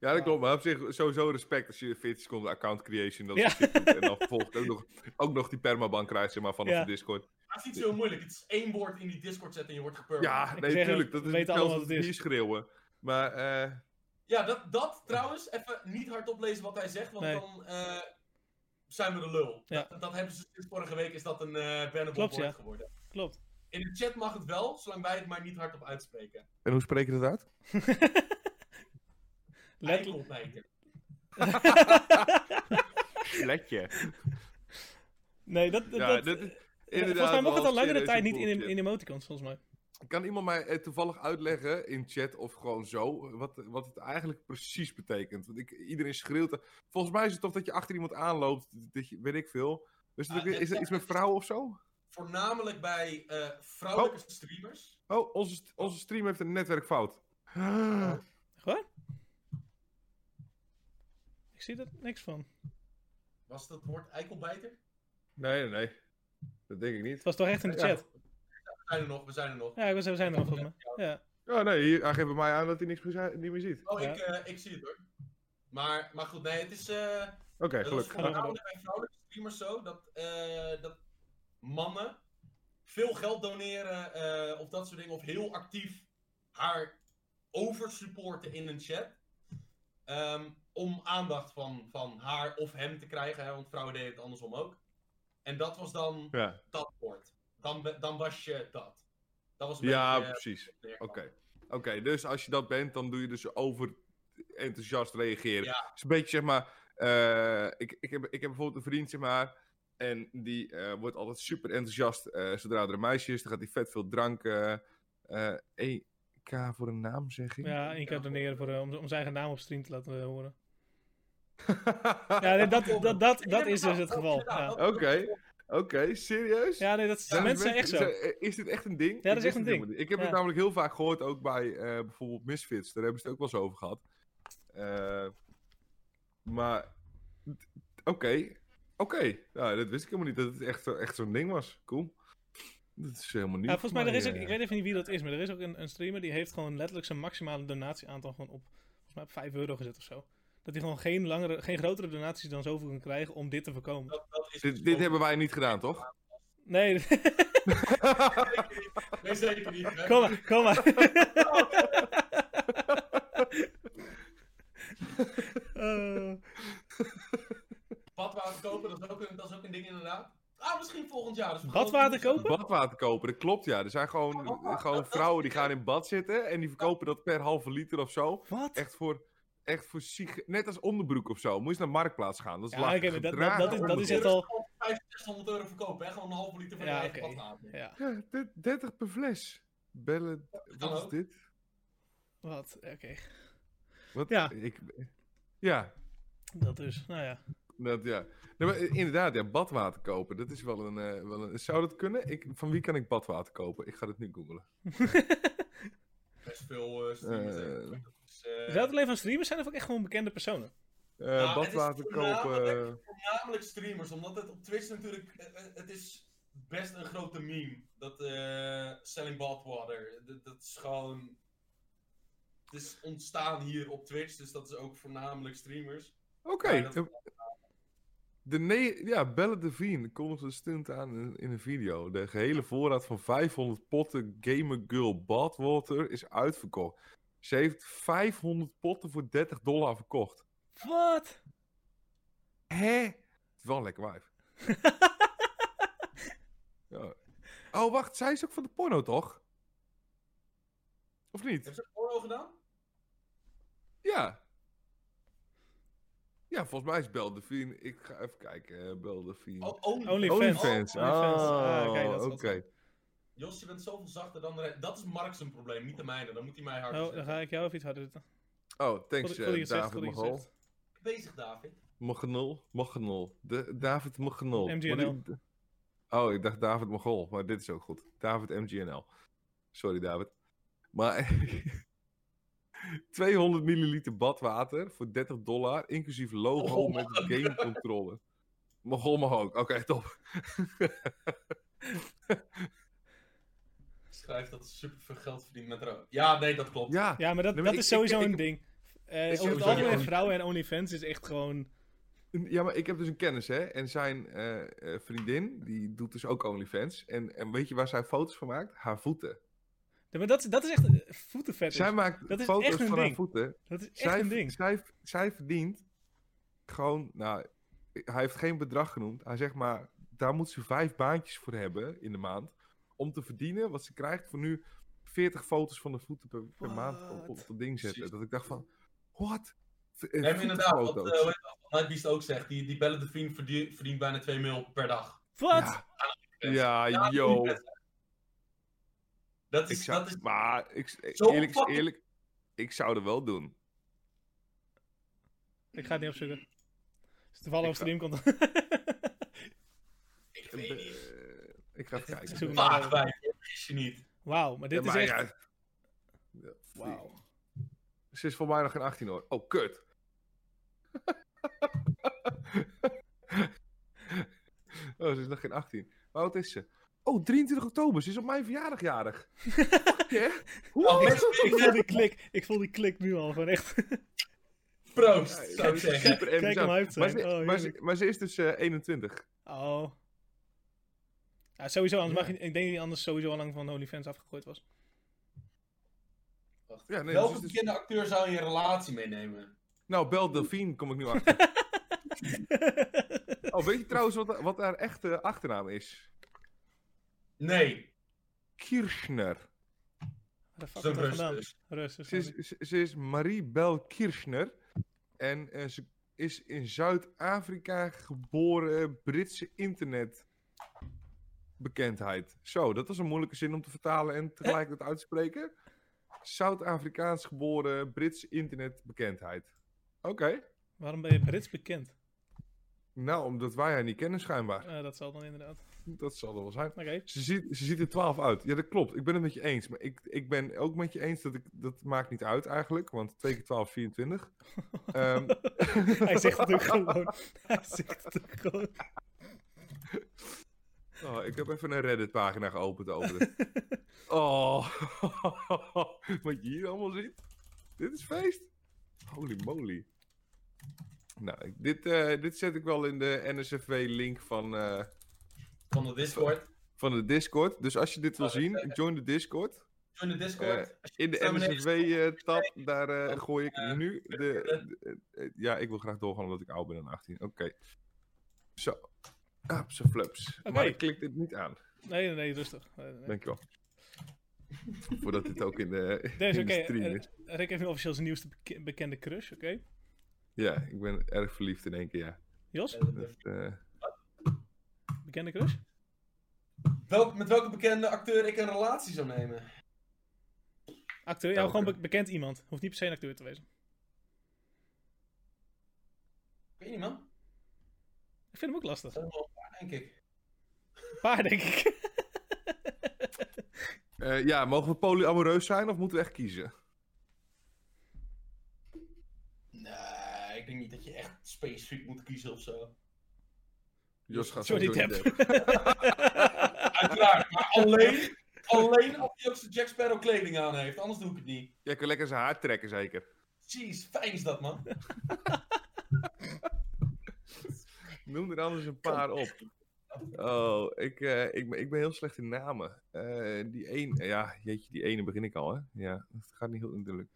Ja, dat
Ja.
klopt. Maar op zich sowieso respect als je 40 seconden account creation dat
Ja.
soort shit doet. En dan vervolgens ook nog, ook nog die permaban krijgt, zeg maar, vanaf
Ja.
de Discord.
Maar het is niet zo heel moeilijk. Het is één woord in die Discord zetten en je wordt gepurged.
Ja,
Ik
nee,
zeg,
tuurlijk.
we
Dat is
weten
hetzelfde
allemaal
als
wat het
hier
is.
schreeuwen. Maar, eh
Ja, dat, dat trouwens, even niet hardop lezen wat hij zegt, want
Nee.
dan eh, zijn we de lul.
Ja.
Dat, dat hebben ze sinds vorige week, is dat een eh bannable
Klopt,
woord
ja.
geworden.
Klopt.
In de chat mag het wel, zolang wij het maar niet hardop uitspreken.
en hoe spreek je dat uit?
Letterlijk.
Eikelpijker.
Letje.
Nee, dat... dat,
Ja,
dat-
dit is
Ja,
inderdaad
volgens mij mocht het
wel
al langere
serieus
tijd
een
niet in,
bullshit.
in emoticons, volgens mij.
Kan iemand mij eh, toevallig uitleggen in chat of gewoon zo wat, wat het eigenlijk precies betekent? Want ik, iedereen schreeuwt. Volgens mij is het toch dat je achter iemand aanloopt, dat je, weet ik veel. Dus dat
Ah,
ook weer-
dit-
is er iets met vrouwen of zo?
Voornamelijk bij eh, vrouwelijke streamers.
Oh, onze, onze stream heeft een netwerkfout.
Ah.
Gewoon? Ik zie er niks van.
Was dat woord eikelbijter?
Nee, nee, nee. Dat denk ik
Het
niet.
was toch echt in de
Ja.
chat?
We zijn er nog, we zijn er nog.
Ja, ik was, we zijn er nog van me. Ja.
Ja, Oh, nee, hier, hij geeft bij mij aan dat hij niks meer, zi- niet meer ziet.
Oh,
Ja.
ik, eh, ik zie het hoor. Maar, maar goed, nee, het is... eh,
Oké,
Dat is
gelukkig.
voornamelijk bij vrouwelijke streamers zo dat, eh, dat mannen veel geld doneren eh, of dat soort dingen, of heel actief haar oversupporten in een chat. Ehm, om aandacht van, van haar of hem te krijgen, hè, want vrouwen deden het andersom ook. En dat was dan
Ja,
dat woord. Dan, be- dan was je dat. Dat was een
ja
beetje, eh,
precies.
neer-
Oké. Oké, dus als je dat bent, dan doe je dus over enthousiast reageren.
Ja.
Het is een beetje zeg maar. eh, ik, ik, heb, ik heb bijvoorbeeld een vriend, zeg maar. En die eh, wordt altijd super enthousiast eh, zodra er een meisje is. Dan gaat hij vet veel drank. eh eh, 1K voor een naam, zeg ik.
Ja, één keer doneren voor, eh, om, om zijn eigen naam op stream te laten eh, horen. Ja, nee, dat, dat, dat, dat is dus het geval.
Inderdaad,
Ja,
dat-
Oké. Oké, serieus?
ja nee, dat
Zijn
mensen zijn echt zo.
zijn- Is dit echt een ding?
dat
Ik
is
wist
echt een
het
ding.
helemaal niet. Ik heb
Ja.
het namelijk heel vaak gehoord, ook bij eh, bijvoorbeeld Misfits. Daar hebben ze het ook wel eens over gehad. Eh, maar, d- oké. Oké, nou, dat wist ik helemaal niet, dat het echt, zo- echt zo'n ding was. Cool. Dat is helemaal nieuw.
Ja, volgens mij,
voor
er is ook,
eh.
ik weet even niet wie dat is, maar er is ook een, een streamer die heeft gewoon letterlijk zijn maximale donatieaantal gewoon op, volgens mij op 5 euro gezet of zo. Dat hij gewoon geen, langere, geen grotere donaties dan zoveel kan krijgen om dit te voorkomen.
dat- dat is dus
Dit, dit hebben wij niet gedaan, toch?
Nee,
Nee, zeker niet. hè.
kom maar, kom maar. Eh,
Badwater kopen, dat is, ook een, dat is ook een ding inderdaad. Ah, misschien volgend jaar. dus we
Badwater
gewoon-
kopen?
Badwater kopen, dat klopt ja. Er zijn gewoon, gewoon vrouwen die gaan in bad zitten en die verkopen dat per halve liter of zo.
Wat?
Echt voor, echt voor ziek. Net als onderbroek of zo. Moet je naar de marktplaats gaan. Dat is
Ja,
lachen.
oké, maar dat- dat-
Gedragen
dat is- dat is
onderbroek.
echt al-
500, 600 euro verkopen, hè? Gewoon een halve liter van
Ja,
je eigen
oké.
badwater.
Ja,
Ja, de- 30 per fles. Bellen.
kan
Wat is
ook.
dit?
wat? Oké,
Wat?
Ja.
Ik, ja,
dat dus. Nou ja.
dat ja. Nee, maar, eh, inderdaad, ja, badwater kopen. Dat is wel een, eh, wel een. Zou dat kunnen? Ik, van wie kan ik badwater kopen? Ik ga dat nu googlen.
Best veel eh, streamers.
Eh,
hè. Dat is, eh,
Zou het alleen van streamers zijn of ook echt gewoon bekende personen?
Eh,
het is
badwater kopen.
voornamelijk- voornamelijk streamers, omdat het op Twitch natuurlijk. eh, eh, Het is best een grote meme. Dat eh, selling badwater. Dat, dat is gewoon. Het is ontstaan hier op Twitch, dus dat is ook voornamelijk streamers.
Oké.
Ja, dat-
eh, De ne- ja, Belle Devine kondigde een stunt aan in, in een video. De gehele voorraad van 500 potten Gamer Girl Badwater is uitverkocht. Ze heeft 500 potten voor 30 dollar verkocht.
Wat?
Hè? Het is wel een lekker wijf. ja. Oh, wacht. Zij is ook van de porno, toch? Of niet?
Heb ze porno gedaan?
Ja. Ja, volgens mij is Belle Devine... Ik ga even kijken. eh, Belle Devine.
Oh, only-
Only-
OnlyFans.
OnlyFans. Ah,
Oh,
oké, dat is
oké.
wat
Jos, je bent zoveel zachter dan de rest. Dat is Mark zijn probleem, niet de mijne. Dan moet hij mij hard
Oh, dan ga ik jou even iets harder zetten.
Oh,
Goed-
thanks
goed
eh,
dat je het zegt,
David
goed dat je het
Magol.
zegt.
Bezig, David.
Magnol? Magnol. De, David Magnol. Wat
MGNL.
ik- Oh, ik dacht David Magol, maar dit is ook goed. David MGNL. Sorry, David. Maar 200 milliliter badwater voor 30 dollar, inclusief logo
Oh,
Mogol
met gamecontroller. Mogol mag ook. Oké, top.
Schrijft dat ze super veel geld verdient met rood. Ja, nee, dat klopt.
Ja,
Ja, maar dat,
Nee, maar
dat
ik-
is sowieso
ik- ik-
een ding. Eh,
ik-
over het
ik-
algemeen
ik-
vrouwen en OnlyFans is echt gewoon...
Ja, maar ik heb dus een kennis, hè. En zijn eh, eh, vriendin, die doet dus ook OnlyFans. En, en weet je waar zij foto's van maakt? Haar voeten.
Ja, Maar dat, is- dat is echt eh, voetenvet.
Zij maakt
dat is
foto's
echt
van
een
haar
ding.
voeten.
Dat is echt
Zij,
een ding.
zij, zij verdient gewoon, nou, hij heeft geen bedrag genoemd. Hij zegt maar, daar moet ze vijf baantjes voor hebben in de maand. Om te verdienen wat ze krijgt voor nu 40 foto's van de voeten per, per maand op, op
What?
dat ding zetten.
Precies.
Dat ik dacht van, what?
We hebben inderdaad, wat, eh, hoe heet dat, wat Nightbeast ook zegt, die, die Bellen de Vriend verdient, verdient bijna 2 mil per dag.
Wat?
Ja, ja, yo.
Dat
Ik
is,
zou,
dat is
maar ik,
Zo
eerlijk is
fucking-
eerlijk, ik zou er wel doen.
Ik ga het niet opzoeken. Als het toevallig op
Ik ga-
stream komt...
ik weet niet.
Eh, ik ga even
Het is
kijken.
Zoek
een
maar
vaag
uit.
bij, is je niet.
Wauw, maar dit
Ja,
is
maar
echt...
ja. Ja,
Wauw.
Ze is voor mij nog geen 18 hoor. Oh, kut. oh, ze is nog geen 18. Maar wat is ze? Oh, 23 oktober. Ze is op mijn verjaardag jarig. Fuck, hè? Hoe
Oh,
is
ik-
dat?
Ik voel die klik. Ik voel die klik nu al. Gewoon echt...
Proost,
Ja,
zou ik
ze is
zeggen.
super
Kijk
enthousiast.
hem hyped
maar,
zijn.
ze,
Oh,
maar, ze,
heerlijk.
maar ze is dus eh, 21.
Oh. Ja, sowieso. Anders
Ja.
mag je... Ik denk dat hij anders sowieso al lang van OnlyFans afgegooid was.
Ja, nee, ze
Welke
is dus-
bekende acteur zou je een relatie meenemen?
Nou, bel Delphine, kom ik nu achter. oh, weet je trouwens wat, wat haar echte achternaam is?
Nee,
Kirschner.
Waar de fuck
dat is
komt
een
dat
rust
vandaan?
dus.
Rust.
Ze
waarschijnlijk.
is, ze- ze is Marie-Bel Kirschner. En eh, ze is in Zuid-Afrika geboren Britse internetbekendheid. Zo, dat was een moeilijke zin om te vertalen en tegelijkertijd uit te spreken. Zuid-Afrikaans geboren Britse internetbekendheid. Oké.
Waarom ben je Brits bekend?
Nou, omdat wij haar niet kennen schijnbaar.
Eh, dat zal dan inderdaad.
Dat zal er wel zijn.
Oké.
Ze ziet, ze ziet er 12 uit. Ja, dat klopt. Ik ben het met je eens. Maar ik, ik ben ook met je eens dat ik. Dat maakt niet uit eigenlijk. Want 2 keer 12, 24. Ehm,
Hij zegt het ook gewoon. Hij zegt het ook gewoon.
oh, ik heb even een Reddit-pagina geopend over dit. Oh, wat je hier allemaal ziet. Dit is feest. Holy moly. Nou, ik- dit, eh, dit zet ik wel in de NSFW-link van, eh,
Van de Discord.
van de Discord. Dus als je dit wil
Oh, dat-
zien, join de Discord.
Join de Discord. Als je
In de
naar beneden
NSFW-tab, daar eh,
Dan,
gooi ik
eh,
nu de... de- eh, ja, ik wil graag doorgaan omdat ik oud ben dan 18. Oké. Zo. Apse flups.
Oké.
Maar ik klik dit niet aan.
Nee, nee, nee, rustig. Nee, nee, nee.
Dankjewel. Voordat dit ook in de,
Dennis,
in de
oké.
stream
eh,
is.
Rick heeft nu officieel zijn nieuwste beke- bekende crush, oké?
Ja, ik ben erg verliefd in één keer, ja.
Jos,
kijkt.
Dat, eh,
bekende crush?
Welk, met welke bekende acteur ik een relatie zou nemen?
Acteur, ja,
Elke.
gewoon be- bekend iemand. Hoeft niet per se een acteur te wezen.
Ik weet niet, man.
Ik vind hem ook lastig.
Dat is wel waar, denk ik.
Paar, denk ik.
eh, ja, mogen we polyamoreus zijn of moeten we echt kiezen?
Nee, ik denk niet dat je echt specifiek moet kiezen of zo.
Jos gaat
Johnny
sowieso
Depp.
niet eh, hebben.
Uiteraard, maar alleen, alleen als hij ook zijn Jack Sparrow kleding aan heeft. Anders doe ik het niet.
Jij kan lekker zijn haar trekken, zeker.
Jeez, fijn is dat, man.
Noem er anders een paar op. Oh, ik, eh, ik, ben- ik ben heel slecht in namen. Eh, die één, ja, jeetje, die ene begin ik al, hè? Ja, dat gaat niet heel indruk.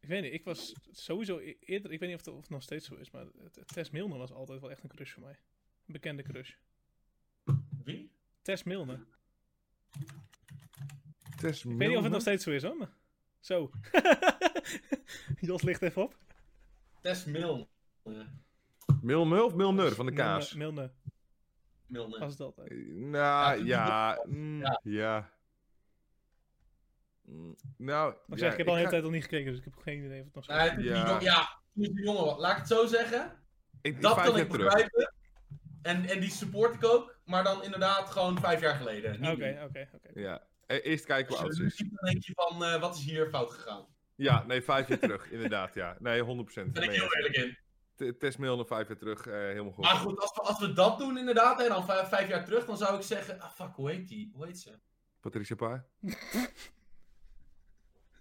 Ik weet niet, ik was sowieso e- eerder... Ik weet niet of het, of het nog steeds zo is, maar het- het- Tess Milner was altijd wel echt een crush voor mij. Een bekende crush.
Wie?
Tess Milner.
Tess
Ik weet niet of het nog steeds zo is, hoor. maar- Zo. Jos ligt even op.
Tess Milne. Eh,
Milmul of Milner van de kaas?
Milner, Milner
Milne.
was het altijd.
Eh, Nou,
Ja,
ja, mm,
Ja.
ja. Mm, Nou,
Maar
ja,
zeg, ik heb al een hele
ga-
tijd al niet gekeken, dus ik heb geen idee of het nog zo
Nee,
is.
toen die
Ja.
jong- ja, toen is die jongen wat. Laat ik het zo zeggen.
ik,
Dat
vijf
kan
jaar
ik
terug.
begrijpen. En, en die support ik ook. Maar dan inderdaad gewoon vijf jaar geleden. Niet nu.
Oké, oké, oké.
Ja. Eh, Eerst kijken
Als
hoe oud
je het
ze
nu
is.
ziet, dan denk je van, eh, wat is hier fout gegaan?
Ja, nee, vijf jaar terug, inderdaad, ja. Nee, 100%.
Daar ben ik
mee
heel
eens.
eerlijk in.
T- Tess Milner vijf jaar terug, eh, helemaal goed.
Maar goed, als we, als we dat doen inderdaad, en dan vijf, vijf jaar terug, dan zou ik zeggen, ah fuck, hoe heet die? Hoe heet ze?
Patricia Paar.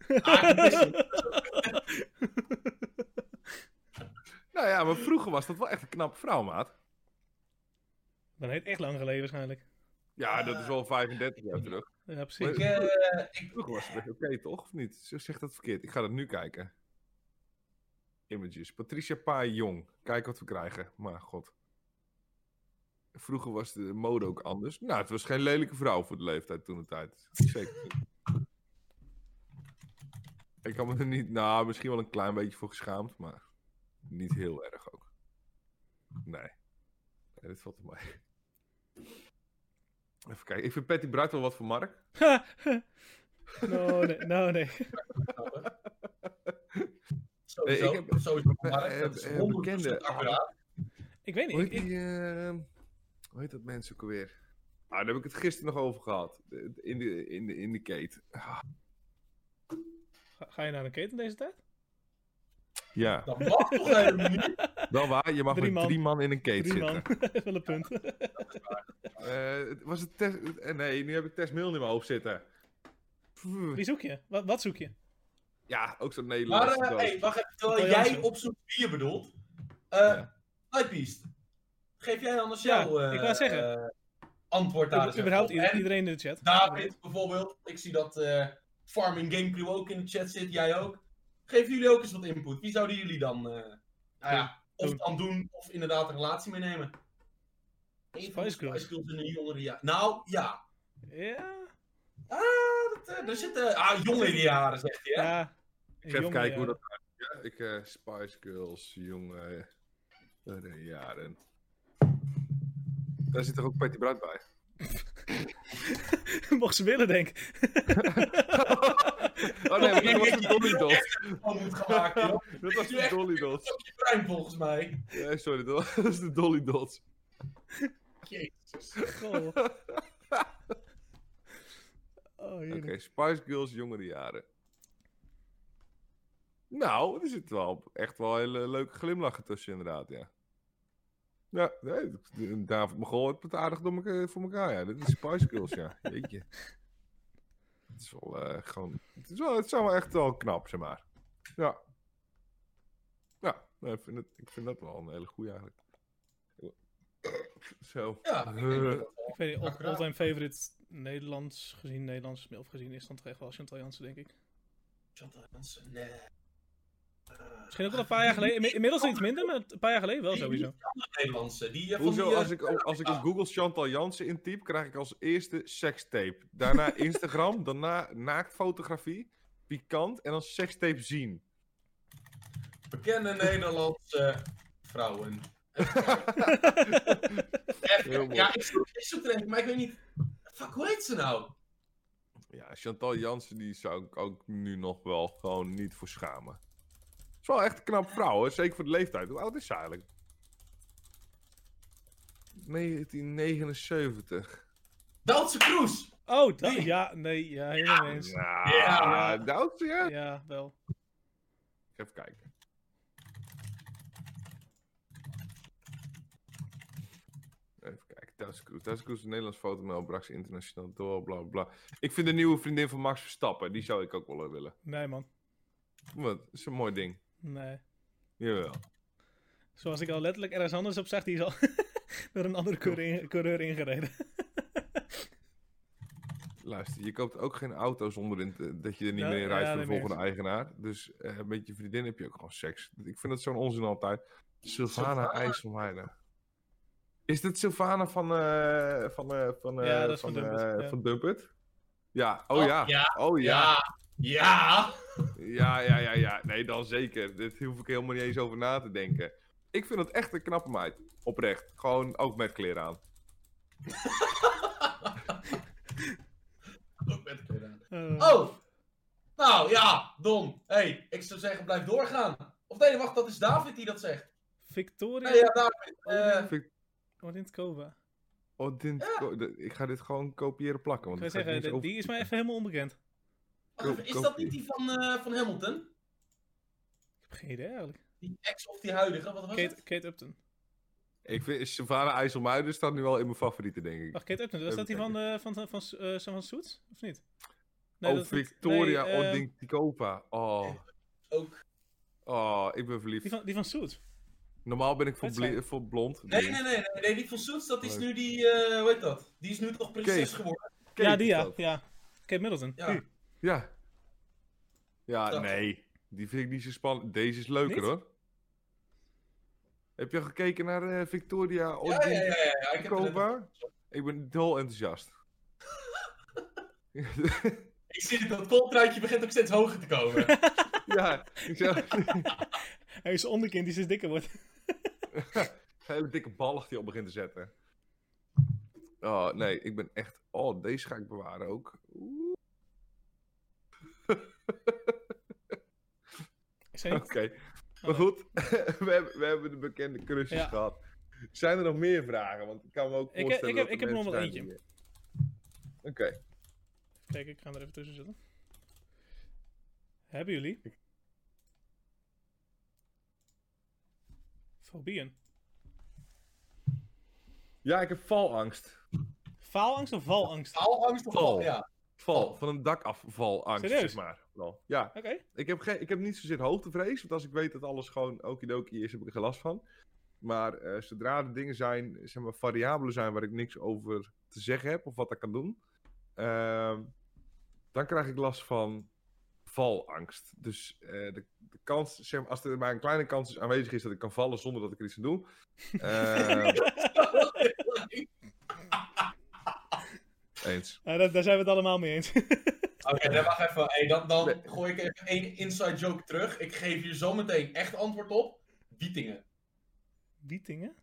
Ah, ik wist het.
Nou ja, maar vroeger was dat wel echt een knappe vrouw, maat.
Dan heet echt lang geleden waarschijnlijk.
Ja, dat
Eh,
is wel 35 jaar terug.
Ja, precies.
ik, eh, ik,
Vroeger was het echt oké, toch? Of niet? Zeg zeg dat verkeerd. Ik ga dat nu kijken. Images. Patricia Paar Jong. Kijk wat we krijgen. Maar god. Vroeger was de mode ook anders. Nou, het was geen lelijke vrouw voor de leeftijd toen de tijd. Zeker niet. Ik kan me er niet... Nou, misschien wel een klein beetje voor geschaamd, maar niet heel erg ook. Nee. Nee, dit valt er mee. Even kijken. Ik vind Patty Bright wel wat voor Mark.
nou, nee, nou, nee.
sowieso,
ik heb-
sowieso Mark,
eh,
dat is
eh,
100%
bekende-
accuraat.
Ik weet niet.
Hoe heet,
Ik, ik-
die, eh, hoe heet dat mensen ook alweer? Ah, daar heb ik het gisteren nog over gehad. Eh, In de, in de, in de kate.
ga, ga je naar een keten deze tijd?
Ja,
Dat mag toch helemaal niet?
wel waar. Je mag
Drie
met
man.
drie man in een kate
Drie man.
zitten.
Wel een punt.
Eh, het was het Tess... eh, nee, nu heb ik Tess Mil in mijn hoofd zitten. Pff,
Wie zoek je? Wat, wat zoek je?
Ja, ook zo'n
Maar
Nederlands.
eh, hey, wacht even, terwijl
Anton Jansen.
jij opzoekt wie je bedoelt. Eh
Ja.
Typebeast, geef jij anders
Ja,
jouw eh,
ik wou zeggen.
eh, antwoord daar eens
U- überhaupt
even op.
ieder-
En
iedereen in de chat.
David bijvoorbeeld, ik zie dat eh Farming Game Crew ook in de chat zit, jij ook. Geven jullie ook eens wat input. Wie zouden jullie dan, eh, nou ja, of dan doen of inderdaad een relatie meenemen? Een van de
Spice Girls.
Spice Girls in de jongere jaren. Nou, ja.
Ja.
Ah, dat, eh, daar zitten... Ah, jongere jaren, zegt hij, hè?
ja.
Ik ga even
Jongen,
kijken
ja.
hoe dat gaat. Ja, ik, eh, Spice Girls, jonge eh, jaren. Daar zit toch ook Patty Bruid bij?
Mocht ze willen, denk ik.
Oh nee, maar dat was een Dolly Dot.
Al moet gemaakt worden.
Dat was de Dolly Dot.
Dat is je brein volgens mij.
Nee, sorry, dat was de Dolly Dot.
Jezus.
Goh. Oh,
Oké,
heerlijk.
Spice Girls, jongere jaren. Nou, er zit wel echt wel hele leuke glimlachen tussen, inderdaad, ja. Ja, nee, d- David Mogol heeft het aardig door meka- voor elkaar, ja. Dit is Spice Girls, ja. Jeetje. Het is wel eh, gewoon... Het, is wel, het zijn wel echt wel knap, zeg maar. Ja. Ja, nee, ik, vind het, ik vind dat wel een hele goeie eigenlijk. Zo.
Ja, ik denk dat dat
Ik weet niet, all-
Accuraat.
all-time favorite Nederlands gezien, Nederlands of gezien is dan toch echt wel Chantal Jansen, denk ik.
Chantal Jansen, nee. Eh,
Misschien ook wel een paar jaar geleden. Inmi- Inmiddels iets minder, maar een paar jaar geleden wel
die-
sowieso.
Die andere Nederlandse. Die, eh, van
Hoezo,
die, eh,
als ik, als ik op Google Chantal Jansen intyp, krijg ik als eerste sekstape. Daarna Instagram, daarna naaktfotografie, pikant en dan sekstape zien.
Bekende Nederlandse vrouwen. Even-
Heel mooi.
ja, ik zoek, ik zoek er even, maar ik weet niet... Fuck, hoe heet ze nou?
Ja, Chantal Jansen die zou ik ook nu nog wel gewoon niet voor schamen. Het is wel echt een knap vrouw, hoor. zeker voor de leeftijd. Hoe oud is ze eigenlijk? 1979.
Daltse Kroes!
Oh, dat,
Nee.
ja, nee, ja, helemaal niet eens.
Ja,
Ja.
de oudste, ja?
Ja, wel.
Even kijken. Even kijken. Thuis Kroes. Thuis Kroes, een Nederlands fotomel, brak ze internationaal door, bla bla. Ik vind de nieuwe vriendin van Max Verstappen, die zou ik ook wel willen.
Nee, man.
Wat, dat is een mooi ding.
Nee.
Jawel.
Zoals ik al letterlijk ergens anders op zag, die is al door een andere coureur, coureur ingereden.
Luister, je koopt ook geen auto zonder in te- dat je er niet
Ja,
meer in rijdt
ja,
voor de
nee,
volgende eigenaar. Dus eh, met je vriendin heb je ook gewoon seks. Ik vind dat zo'n onzin altijd. Sylvana
Sylvana?
IJsselmeijden. Is dit Sylvana van, eh van, eh van, eh
Ja, dat is
van,
van Dumpert,
eh,
ja.
van Dumpert? Ja, oh, ja.
ja.
Oh ja.
Ja. Ja.
Ja, ja, ja, ja. Nee, dan zeker. Dit hoef ik helemaal niet eens over na te denken. Ik vind het echt een knappe meid. Oprecht. Gewoon ook met kleren aan.
Ook met kleur aan.
Eh,
Oh! Nou ja, Don. hey, ik zou zeggen, blijf doorgaan. Of nee, wacht, dat is David die dat zegt.
Victoria
Nee, Ah, ja, David. eh,
Orintskova.
Oh, dit, ik ga dit gewoon kopiëren plakken.
Ik
Want
wil
dit gaat
zeggen,
niks
de- die is mij even helemaal onbekend. Ik
wacht even, is dat niet die van, eh, van Hamilton?
heb geen idee eigenlijk.
Die ex of die huidige, wat was
Kate,
het?
Kate Upton.
Ik vind Savannah IJsselmuiden staat nu wel in mijn favorieten, denk ik.
Wacht, Kate Upton, was
Even
dat die van, eh, van, van, van, eh, zo van Soets? Of niet? Nee,
oh,
dat is niet-
Victoria
nee, eh,
Ordinkopa. Oh,
Ook.
oh, ik ben verliefd.
Die van, die van Soets.
Normaal ben ik voor,
Wat zei-
blie- voor blond.
Nee, nee, nee, nee, nee, die van Soets, dat is
Leuk.
nu die, eh, hoe heet dat? Die is nu toch prinses
Kate.
geworden?
Kate
ja, die
is
ja.
dat.
ja. Kate Middleton.
Ja.
Ja. Ja,
Dat.
nee. Die vind ik niet zo spannend. Deze is leuker,
Niet?
hoor. Heb je al gekeken naar eh, Victoria
Ja, ja, ja,
Ordinkopa?
ja, ja, ik heb het net-
Ik ben dol enthousiast.
Ik zie dat kooltruitje begint ook steeds hoger te komen.
ja, ik zeg,
Hij is onderkind die steeds dikker wordt.
hele dikke ballig die al begint te zetten. Oh, nee, ik ben echt... Oh, deze ga ik bewaren ook. Oeh,
Is hij
Oké.
Oh.
niet?
Maar goed, we hebben, we hebben de bekende crushes
Ja.
gehad. Zijn er nog meer vragen? Want ik kan me ook
Ik heb-
voorstellen
ik heb-
dat
ik
er
heb nog
mensen
wel
zijn
eentje.
die- Oké.
Kijk, ik ga hem er even tussen zetten. Hebben jullie? Fobieën.
Ja, ik heb valangst.
Faalangst of valangst? Oké.
Haalangst of
Val.
wat? Ja.
Val, van een dak af valangst,
Oh. Serieus?
zeg maar. Wel, Ja, Ik heb, geen, ik heb niet zozeer hoogtevrees, want als ik weet dat alles gewoon okidoki is, heb ik er geen last van. Maar eh, zodra er dingen zijn, zeg maar, variabelen zijn waar ik niks over te zeggen heb of wat ik kan doen, ehm, dan krijg ik last van valangst. Dus eh, de, de kans, zeg maar, als er maar een kleine kans is aanwezig is dat ik kan vallen zonder dat ik er iets aan doe. eh, eens.
Ja, Nou, daar, daar zijn we het allemaal mee eens.
Oké, dan wacht even. Hey, dan dan
Eh, Nee.
gooi ik even één inside joke terug. Ik geef je zo meteen echt antwoord op. Wietingen.
Wietingen?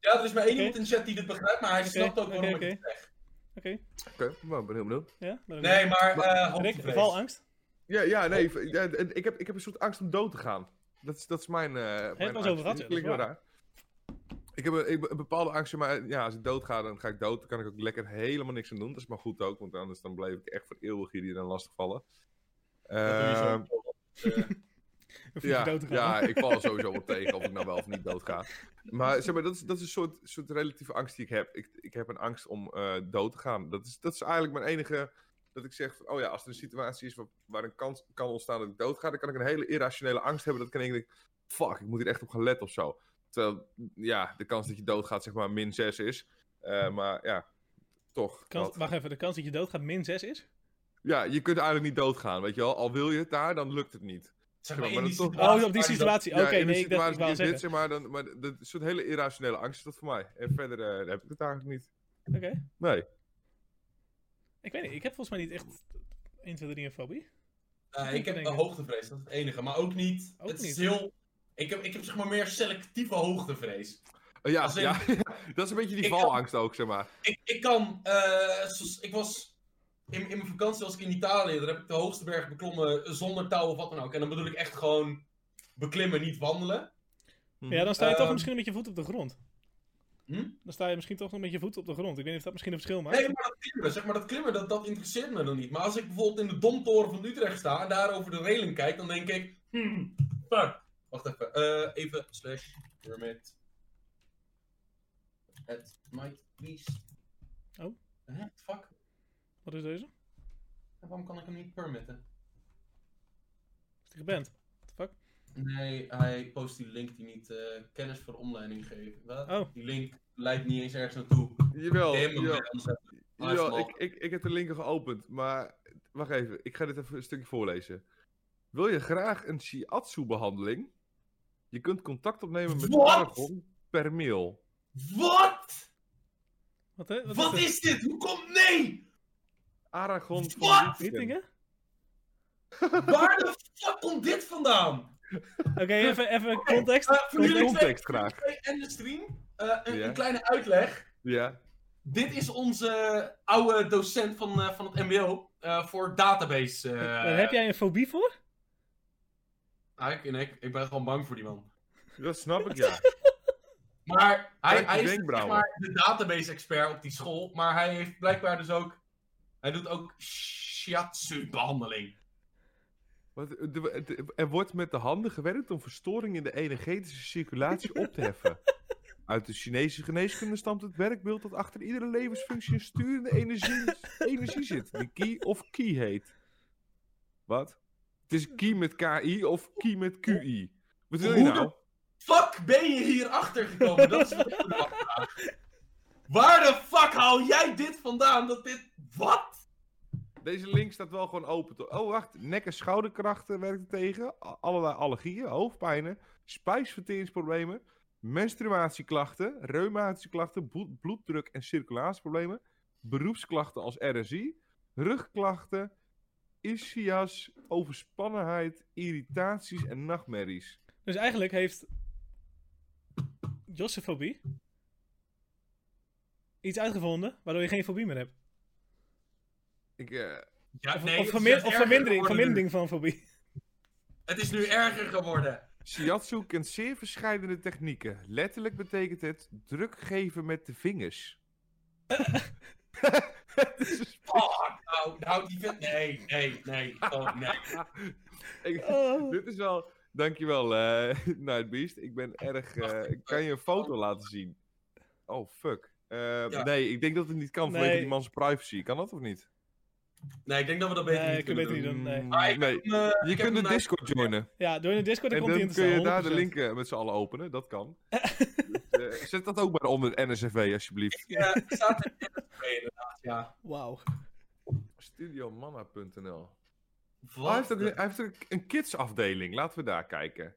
Ja, er is maar één
Oké.
iemand in de chat die dit begrijpt, maar hij
Oké,
snapt ook
oké,
waarom ik
oké.
het zeg.
Oké,
Oké, nou, ik ben heel benieuwd.
ja? ben ik
Nee, maar eh
mee. Rick,
hoogtevrees.
valangst?
Ja, ja nee,
Oh.
ik, ja, en ik, heb, ik heb een soort angst om dood te gaan. Dat is, dat is mijn. eh mijn
het was
angst.
over gehad,
Dat
ja, dat
klinkt wel
is waar.
raar. Ik heb een, ik heb een bepaalde angst, maar ja, als ik dood ga, dan ga ik dood. Dan kan ik ook lekker helemaal niks aan doen. Dat is maar goed ook, want anders dan blijf ik echt voor eeuwig hier dan lastig vallen.
Dat doe je
Ehm,
zo.
Of je
Eh, ja,
dood te gaan?
ja, ik val er sowieso wel tegen of ik nou wel of niet dood ga. Maar zeg maar, dat is, dat is een soort, soort relatieve angst die ik heb. Ik, ik heb een angst om eh, dood te gaan. Dat is, dat is eigenlijk mijn enige. Dat ik zeg, van, oh ja, als er een situatie is waar, waar een kans kan ontstaan dat ik dood ga, dan kan ik een hele irrationele angst hebben. Dat ik kan denk, fuck, ik moet hier echt op gaan letten of zo. Terwijl, ja, de kans dat je dood gaat, zeg maar, min 6 is. Eh, maar ja, toch.
Hm. Kans,
dat-
wacht even, de kans dat je dood gaat min 6 is?
Ja, je kunt eigenlijk niet doodgaan, weet je wel. Al wil je het daar, dan lukt het niet.
Zeg
Ja,
maar,
maar
in die
dat is toch-
situatie.
Oh, op die
waar je dat-
situatie. Oké,
Ja, in de
nee, ik dacht, ik
situatie die
wou zeggen.
is dit, zeg maar, dan, maar dat is een soort hele irrationele angst is dat voor mij. En verder eh, heb ik het eigenlijk niet.
Oké.
Nee.
Ik weet niet, ik heb volgens mij niet echt 1, 2, 3 een fobie.
Nee, eh, ik heb
Denk
een
ik.
hoogtevrees, dat is het enige. Maar ook niet.
Ook
het
niet.
is heel. Ik heb, ik heb zeg maar meer selectieve hoogtevrees.
Eh, ja,
Als in-
ja, dat is een beetje die
Ik kan-
valangst ook, zeg maar.
Ik, ik kan. eh, zoals- ik was. In, in mijn vakantie was ik in Italië. Daar heb ik de hoogste berg beklommen zonder touw of wat dan ook. En dan bedoel ik echt gewoon beklimmen, niet wandelen.
Ja, dan sta je toch
Ehm.
misschien met je voet op de grond.
Hm?
Dan sta je misschien toch nog met je voet op de grond. Ik weet niet of dat misschien een verschil maakt.
Nee, maar dat klimmen, zeg maar, dat, klimmen dat, dat interesseert me dan niet. Maar als ik bijvoorbeeld in de Domtoren van Utrecht sta en daar over de reling kijk, dan denk ik. Hmm, fuck. Wacht even. eh, even slash permit. Het might please.
Oh.
Huh, fuck.
Wat is deze?
Waarom kan ik hem niet permitten?
Is die geband? What the fuck?
Nee, hij post die link die niet eh, kennis voor omleiding geeft. Wat?
Oh.
Die link leidt niet eens ergens naartoe.
Jawel,
Damn,
jawel,
man, anders heb ik- Ah, is
jawel
mal.
ik, ik, ik heb de linker geopend, maar wacht even. Ik ga dit even een stukje voorlezen. Wil je graag een shiatsu-behandeling? Je kunt contact opnemen met
What?
Paragon per mail.
Wat?
Wat, hè?
Wat,
dit?
is dit? Hoe komt... Nee!
Aragon van
What?
Wietingen.
Wietingen?
Waar de fuck komt dit vandaan?
Oké, even, even context.
Eh, voor jullie twee,
Context graag.
twee en de stream, eh, een,
Ja.
een kleine uitleg.
Ja.
Dit is onze oude docent van, eh, van het mbo eh, voor database. eh.
Daar heb jij een fobie voor?
Ah, ik, nee, ik, ik ben gewoon bang voor die man.
Dat snap ik, ja.
Maar hij,
Kijk die
hij is zeg
wenkbrauwen.
maar, de database-expert op die school. Maar hij heeft blijkbaar dus ook... Hij doet ook shiatsu-behandeling.
Wat, eh, de- de- er wordt met de handen gewerkt om verstoring in de energetische circulatie op te heffen. Uit de Chinese geneeskunde stamt het werkbeeld dat achter iedere levensfunctie een sturende energie, energie zit, die ki of ki heet. Wat? Het is ki met ki of ki met qi. Wat wil je
Hoe de-
nou?
Fuck ben je hier achter gekomen? Dat is wat ik me afvraag. Waar de fuck haal jij dit vandaan? Dat dit... Wat?
Deze link staat wel gewoon open. toch? Oh, wacht. Nek- en schouderkrachten werkt er tegen. A- Allerlei allergieën, hoofdpijnen, spijsverteringsproblemen, menstruatieklachten, reumatische klachten, bloe- bloeddruk- en circulatieproblemen, beroepsklachten als RSI, rugklachten, ischias, overspannenheid, irritaties en nachtmerries.
Dus eigenlijk heeft Josse fobie iets uitgevonden waardoor je geen fobie meer hebt.
Ik, eh,
Ja,
Of, of,
nee, het is
vermin-
juist
of
erger
vermindering,
geworden
vermindering van fobie.
nu. Het is nu erger geworden.
shiatsu kent zeer verschillende technieken. Letterlijk betekent het druk geven met de vingers. Het is een
Fuck, nou, nou die vent... Nee, nee, nee. Oh, nee.
Ik-
Oh.
Dit is wel. Dankjewel, eh Nightbeast. Ik ben erg. eh,
Wacht, ik-
kan je een foto laten zien? Oh, fuck. Eh,
Ja.
Nee, ik denk dat het niet kan vanwege
Nee.
die man's privacy. Kan dat of niet?
Nee, ik denk dat we dat beter
Nee,
niet
ik
kunnen
weet
doen.
niet doen, nee.
Mm,
Ah, ik heb hem, eh,
Je
ik heb
kunt de
hem naar-
Discord joinen.
Ja, door in de Discord dan
En
komt hij
dan
in te
kun je
staan.
daar de
100%.
link eh, met z'n allen openen. Dat kan. Dus, eh, zet dat ook maar onder het NSFW, alsjeblieft.
Ja, het eh, staat in de inderdaad, ja.
Wauw.
Studiomanna.nl Hij heeft, ook,
eh,
hij heeft ook een kids afdeling. Laten we daar kijken.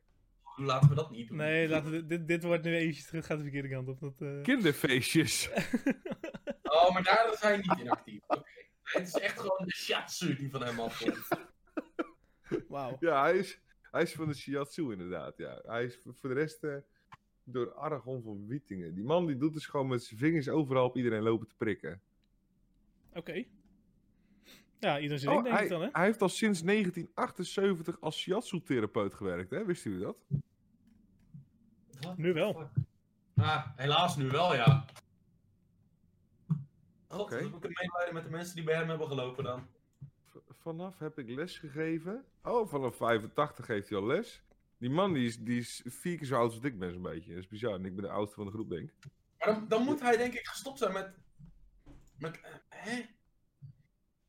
Laten we dat niet doen.
Nee, laten we- dit, dit wordt nu eventjes, het gaat de verkeerde kant op. Dat, eh,
Kinderfeestjes.
Oh, maar daar zijn niet in actief. Oké. Nee, het is echt gewoon de shatsu die van hem afkomt.
Wauw.
Ja, hij is, hij is van de Shiatsu inderdaad. Ja. Hij is voor voor de rest eh, door Aragon van Wietingen. Die man die doet dus gewoon met zijn vingers overal op iedereen lopen te prikken.
Oké. Ja, iedereen zit
Oh,
denk
hij,
ik dan, hè?
hij heeft al sinds 1978 als Shiatsu-therapeut gewerkt, hè? Wist u dat?
What
Nu wel.
the fuck? Ah, helaas nu wel, ja. God,
Oké.
we kunnen medelijden met de mensen die bij hem hebben gelopen dan.
V- vanaf heb ik les gegeven. Oh, vanaf 85 geeft hij al les. Die man die is, die is vier keer zo oud als ik ben, zo'n beetje. Dat is bizar. En ik ben de oudste van de groep, denk ik.
Maar dan, dan moet hij denk ik gestopt zijn met... met eh, hè?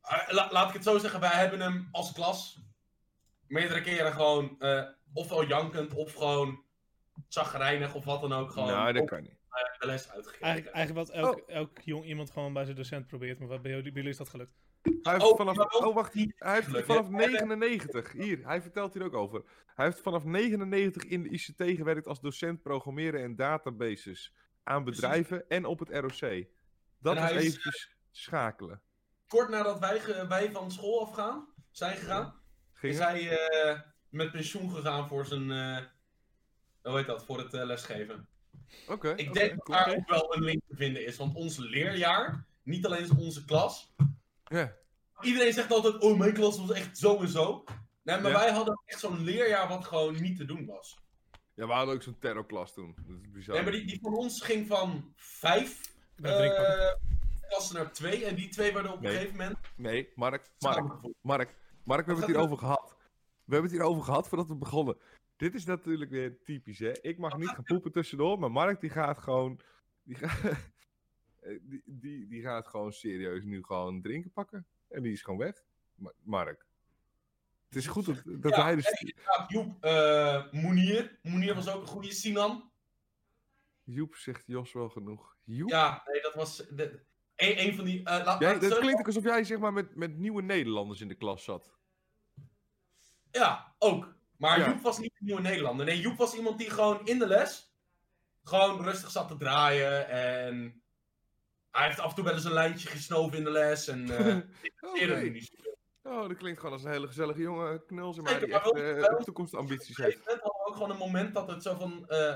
Ah, la- laat ik het zo zeggen, wij hebben hem als klas meerdere keren gewoon eh ofwel jankend of gewoon chagrijnig of wat dan ook gewoon
nou, dat
op
kan niet.
de les uitgegeven.
Eigenlijk, eigenlijk wat
Oh.
elk, elk jong iemand gewoon bij zijn docent probeert, maar wat bij jullie bij jullie is dat gelukt.
Hij heeft
Oh,
vanaf,
maar wel
oh, wacht.
niet
Hij heeft
gelukt,
vanaf
hè? Hij-
99, hier, hij vertelt hier ook over. Hij heeft vanaf 99 in de ICT gewerkt als docent programmeren en databases aan
Precies.
bedrijven en op het ROC. Dat
En
is
hij is,
eventjes schakelen.
Kort nadat wij, ge- wij van school afgaan, zijn gegaan,
Ging
is
hij?
hij eh, met pensioen gegaan voor zijn. eh, hoe heet dat? Voor het eh, lesgeven.
Oké.
Ik
oké,
denk
cool.
dat daar ook wel een link te vinden is. Want ons leerjaar, niet alleen is onze klas.
Ja.
Iedereen zegt altijd: oh, mijn klas was echt zo en zo. Nee, maar
Ja.
wij hadden echt zo'n leerjaar wat gewoon niet te doen was.
ja, we hadden ook zo'n terrorklas toen. Dat is bizar.
Nee, maar die, die van ons ging van vijf
Ik ben een drinkpakken.
eh, klassen naar twee. En die twee werden op een
Nee.
gegeven moment.
Nee, Mark, Mark,
samengevoegd.
Mark, Mark, we hebben het hierover gehad. We hebben het hierover gehad voordat we begonnen. Dit is natuurlijk weer typisch, hè. Ik mag niet gaan poepen tussendoor, maar Mark die gaat gewoon... Die, ga- Eh, die, die, die gaat gewoon serieus nu gewoon drinken pakken. En die is gewoon weg. Ma- Mark. Het is goed dat, dat
Ja,
hij dus...
Ja, Joep, eh Moenier. Moenier was ook een goede. Sinan.
Joep zegt Jos wel genoeg. Joep?
Ja, nee, dat was. De, een, een van die. eh, laat, laat
Jij,
ik
dat
zo-
klinkt ook alsof jij zeg maar met, met nieuwe Nederlanders in de klas zat.
Ja, ook. Maar
Ja.
Joep was niet een nieuwe Nederlander. Nee, Joep was iemand die gewoon in de les. gewoon rustig zat te draaien. En. Hij heeft af en toe wel eens een lijntje gesnoven in de les. En. eh
Oké.
irriteerde hem niet zoveel.
Oh, dat klinkt gewoon als een hele gezellige jongen. Knul zeg maar,
Zeker,
die
maar
echt
wel-
eh,
wel-
toekomstambities
Op een
heeft.
gegeven moment hadden we ook gewoon een moment dat het zo van. eh,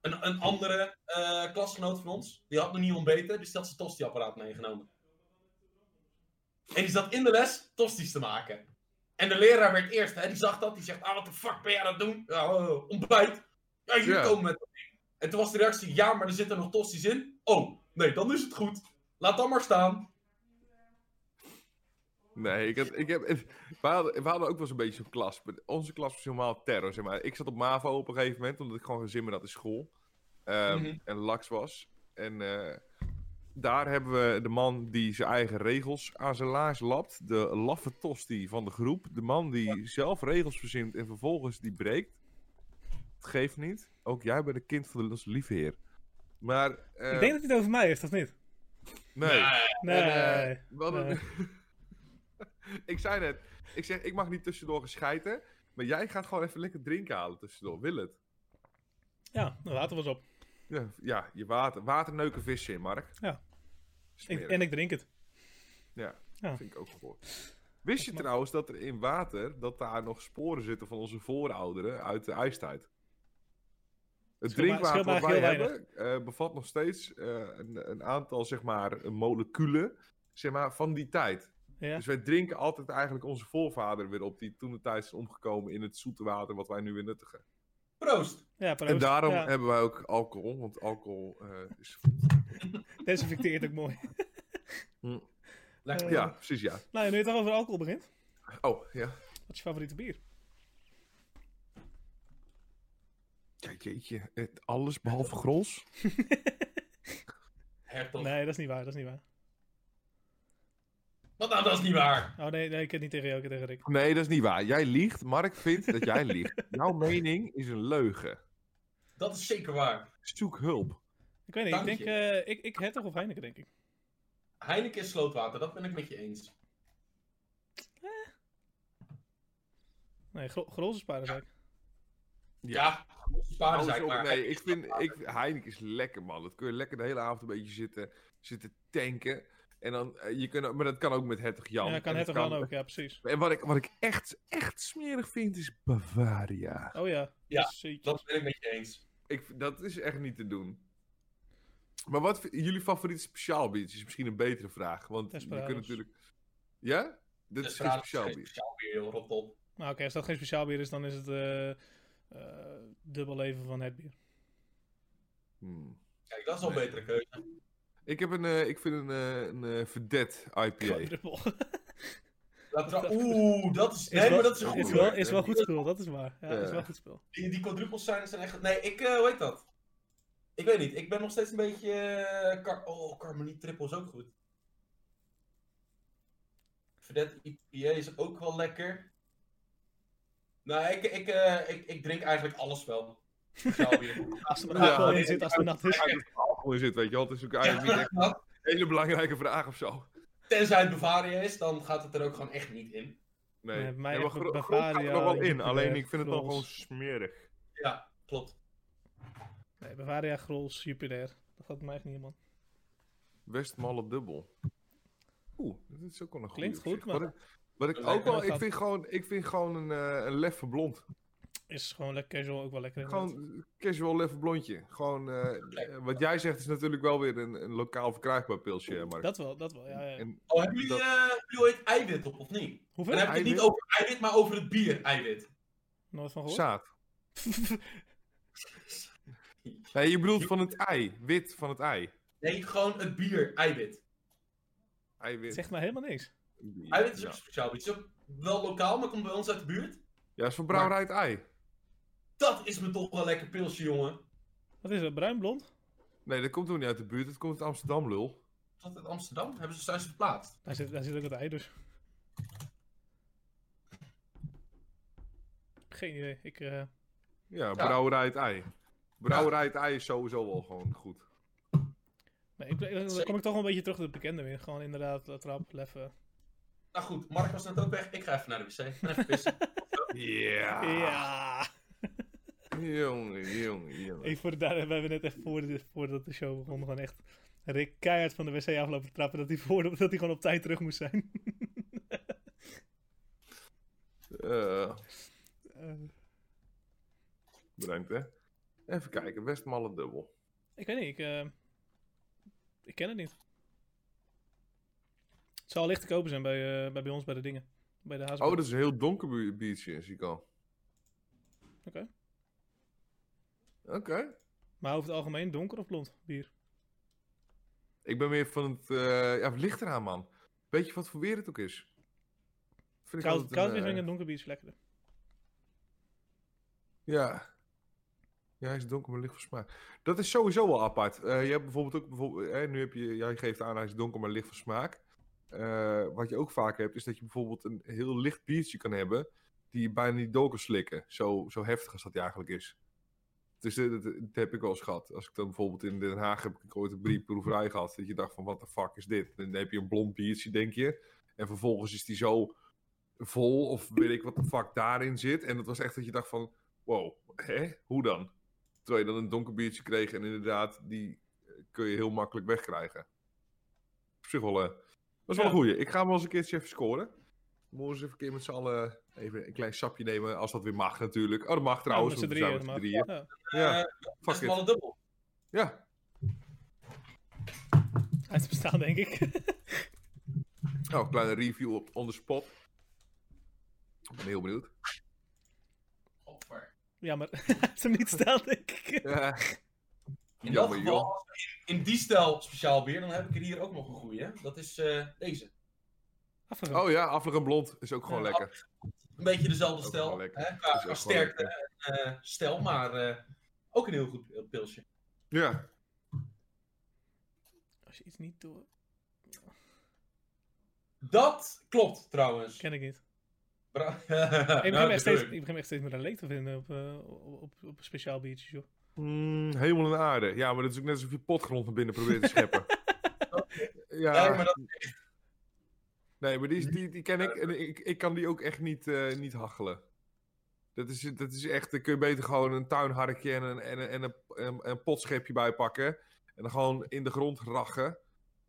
een, een andere eh, klasgenoot van ons. die had nog niet ontbeten. dus die had zijn tosti-apparaat meegenomen. En die zat in de les tosti's te maken. En de leraar werd eerst, hè, die zag dat. Die zegt: Ah, wat de fuck ben jij aan het doen? Ja, eh, ontbijt. Ja, jullie
Ja.
komen met dat ding. En toen was de reactie: Ja, maar er zitten nog tosti's in. Oh, nee, dan is het goed. Laat dan maar staan.
Nee, ik heb, ik heb, we, hadden, we hadden ook wel eens een beetje zo'n klas. maar Onze klas was helemaal terror, zeg maar. Ik zat op MAVO op een gegeven moment, omdat ik gewoon geen zin meer had in school. Ehm,
Mhm.
En lax was. En eh, daar hebben we de man die zijn eigen regels aan zijn laars lapt. De laffe tosti van de groep. De man die zelf regels verzint en vervolgens die breekt. Het geeft niet. Ook jij bent een kind van de liefheer. Maar, eh,
Ik denk dat hij het over mij heeft, of niet?
nee.
Nee.
En, eh, we hadden-
Nee.
ik zei net, ik zeg, ik mag niet tussendoor gescheiden. Maar jij gaat gewoon even lekker drinken halen tussendoor, wil het?
Ja, nou, water was op.
Ja, ja je water, waterneuken vissen in, Mark.
Ja. Ik,
Smerig.
en ik drink het.
Ja,
Ja.
vind ik ook gehoord. Wist je trouwens dat er in water, dat daar nog sporen zitten van onze voorouderen uit de ijstijd? Het
Scheelt maar-
drinkwater
scheelt maar
wat wij
heel
hebben eh, bevat nog steeds eh, een, een aantal, zeg maar, moleculen, zeg maar, van die tijd.
Ja.
Dus wij drinken altijd eigenlijk onze voorvader weer op, die toen de tijd is omgekomen in het zoete water wat wij nu weer nuttigen.
Proost.
Ja, proost.
En daarom eh.
Ja,
hebben wij ook alcohol, want alcohol eh, is...
Desinfecteert ook mooi.
Lekker.
Eh,
Ja, precies ja.
Nou, en nu je het toch over alcohol begint.
Oh, ja.
Wat is je favoriete bier?
Ja, jeetje. Het, alles behalve grols.
Hertog.
Nee, dat is niet waar, dat is niet waar.
Wat nou, dat is niet waar.
Oh nee, nee ik heb het niet tegen jou, ik heb het tegen Rick.
Nee, dat is niet waar. Jij liegt. Mark vindt dat jij liegt. Jouw mening is een leugen.
Dat is zeker waar.
Zoek hulp.
Ik weet niet,
Dank
ik denk, eh ik, ik Hertog of Heineken, denk ik.
Heineken is slootwater, dat ben ik met je eens.
Nee, gro grote spaardenzaak.
Ja,
Hou
sparen
eens
zijn
op,
maar.
nee, ik vind ik, Heineken is lekker, man. Dat kun je lekker de hele avond een beetje zitten, zitten tanken. En dan, eh, je kunt, maar dat kan ook met Hertog Jan.
Ja, dat kan
En
het
dat
toch dan ook, ja, precies.
En wat ik, wat ik echt, echt smerig vind, is Bavaria.
Oh ja.
Ja,
dat is zoiets.
Dat ben ik met je eens.
Ik, dat is echt niet te doen. Maar wat vind- jullie favoriete speciaal biertje is misschien een betere vraag. Want je
Desperados.
kunt natuurlijk... Ja? Dit is geen
Desperados
speciaal
geen
bier.
speciaal bier, joh, rot op.
Nou, oké, als dat geen speciaal bier is, dan is het eh eh, dubbel leven van het bier.
Hmm.
Kijk, dat is al een
Nee.
betere keuze.
Ik, heb een, eh, ik vind een, eh, een eh, verdet IPA.
Quadruple.
Dat tra- Oeh, dat is. Nee, maar dat is een goed
is
hoor.
wel, is wel goed spul, dat is waar. Ja,
Ja.
is wel goed spul.
Die, die quadruples zijn, zijn echt. Nee, ik. eh hoe heet dat? Ik weet niet. Ik ben nog steeds een beetje. eh, car- oh, Carmoniet Triple is ook goed. Verdet IPA is ook wel lekker. Nou, ik, ik, eh, ik, ik drink eigenlijk alles wel. Speciaal bier.
Als er
Ja,
een alcohol
nee,
in zit, als het nat is.
Ja, dat er dus alcohol in zit, weet je wel. Het is ook eigenlijk niet echt
Ja,
een hele belangrijke vraag of zo.
Tenzij het Bavaria is, dan gaat het er ook gewoon echt niet in.
Nee,
Nee, bij mij
Ja,
echt
maar gro-
Bavaria,
grond gaat er nog wel in.
Jupiler,
Alleen ik vind het dan
Grols.
gewoon smerig.
Ja, klopt.
Nee, Bavaria, Grols, Jupiter. Dat gaat mij echt niet, man.
Westmalle dubbel. Oeh, dat is ook wel een goede
Klinkt
op
goed,
zich.
maar-
Wat ik, wat ik
Dat
ook
lijkt me
wel...
wel
Ik vind gewoon, ik vind gewoon een, eh, een leffe blond.
Is gewoon lekker casual, ook wel lekker. inderdaad.
Gewoon casual level blondje. Gewoon, eh, eh, wat jij zegt is natuurlijk wel weer een, een lokaal verkrijgbaar pilsje, maar
Dat wel, dat wel, ja. ja.
En,
Oh, hebben jullie,
Dat-
eh, hebben jullie ooit eiwit op, of niet?
Hoeveel?
Dan heb ik het niet
Eiwit?
over eiwit, maar over het bier eiwit.
Nooit van gehoord?
zaad. Nee, je bedoelt van het ei. Wit van het ei.
Nee, gewoon het bier eiwit.
Eiwit.
Zegt mij helemaal niks.
Eiwit is ook
ja.
een speciaal bier. Het is ook wel lokaal, maar komt bij ons uit de buurt.
ja, is van brouwerij het ei.
Dat is me toch wel lekker pilsje, jongen.
Wat is dat, bruin, blond?
Nee, dat komt toch niet uit de buurt. Dat komt uit Amsterdam, lul.
Is dat uit Amsterdam? Hebben ze zijn ze verplaatst?
Daar zit, daar zit ook het ei, dus. Geen idee. Ik, eh,
Ja, brouwerij het ei. Brouwerij het ei is sowieso wel gewoon goed.
nee, ik, dan kom ik toch wel een beetje terug tot het bekende weer. Gewoon inderdaad, eh, trap, leffen.
Nou goed, Mark was net ook weg. Ik ga even naar de wc. En even pissen.
Ja.
Ja!
Jongen, jongen, jongen.
Ik voor de, daar, we hebben net echt voor de, voordat de show begon gewoon echt Rick keihard van de wc aflopen trappen dat hij, voor, dat hij gewoon op tijd terug moest zijn.
Eh,
Eh,
bedankt, hè. Even kijken. Westmalle dubbel.
ik weet niet, ik, eh, ik ken het niet. Het zal licht te kopen zijn bij, eh, bij, bij ons bij de dingen. Bij de HSB.
Oh, dat is een heel donker bu- biertje, zie ik al.
Oké.
Oké.
Maar over het algemeen donker of blond bier?
Ik ben meer van het... eh ja, het ligt eraan, man. Weet je wat voor weer het ook is? Vind ik
Koud,
altijd
koud
een,
Riesling
eh,
en donker bier is lekkerder.
Ja. Ja, hij is donker, maar licht van smaak. Dat is sowieso wel apart. Eh, je hebt bijvoorbeeld ook... Bijvoorbeeld, eh, nu heb je... Jij geeft aan, hij is donker, maar licht van smaak. Eh, wat je ook vaak hebt, is dat je bijvoorbeeld een heel licht biertje kan hebben... die je bijna niet door kan slikken. Zo, zo heftig als dat die eigenlijk is. Dus eh, dat, dat heb ik wel eens gehad. Als ik dan bijvoorbeeld in Den Haag heb ik
Hm.
ooit een bierproeverij gehad... dat je dacht van, wat de fuck is dit? Dan heb je een blond biertje, denk je. En vervolgens is die zo vol of weet ik wat de fuck daarin zit. En dat was echt dat je dacht van wow, hè? Hoe dan? Terwijl je dan een donker biertje kreeg en inderdaad, die eh, kun je heel makkelijk wegkrijgen. Op zich wel, eh, dat is wel
Ja.
een goeie. Ik ga hem wel eens een keertje even scoren. Moeten we eens even een keer met z'n allen even een klein sapje nemen, als dat weer mag natuurlijk. Oh, dat mag trouwens,
Ja, met z'n
want we zijn
drieën,
met z'n
maar-
drieën.
ja.
Ja,
Eh,
fuck it.
Westmalle dubbel.
Ja,
Uit het bestaan, denk ik.
nou, een kleine review op on the spot. Ik ben heel benieuwd.
Hopper.
ja, maar uit hem niet staan, denk ik.
Ja.
In
Jammer,
dat geval,
joh.
als we in, in die stijl speciaal bier, dan heb ik er hier ook nog een goeie. Dat is eh, deze.
Afgegaan.
Oh ja, afleg en blond is ook gewoon
Ja.
lekker.
Een beetje dezelfde
Ook
stijl.
wel lekker.
Hè?
Is
Qua,
ook
qua
gewoon
sterkte
lekker.
en eh, stijl, maar eh, ook een heel goed pilsje.
Ja,
Als je iets niet door...
Dat klopt trouwens.
Ken ik niet.
Bra-
Ik
Nou,
begin, echt steeds,
bedoel ik.
ik begin echt steeds meer een leek te vinden op, eh, op, op, op speciaal biertjes, joh.
Mm, hemel en aarde. Ja, maar dat is ook net alsof je potgrond naar binnen probeert te scheppen. ja,
Nee, maar dat-
nee, maar die, is- die, die ken ik en ik, ik kan die ook echt niet, eh, niet hachelen. Dat is, dat is echt, daar kun je beter gewoon een tuinharkje en een, en, een- en een, een, een potschepje bij pakken. En dan gewoon in de grond rachen.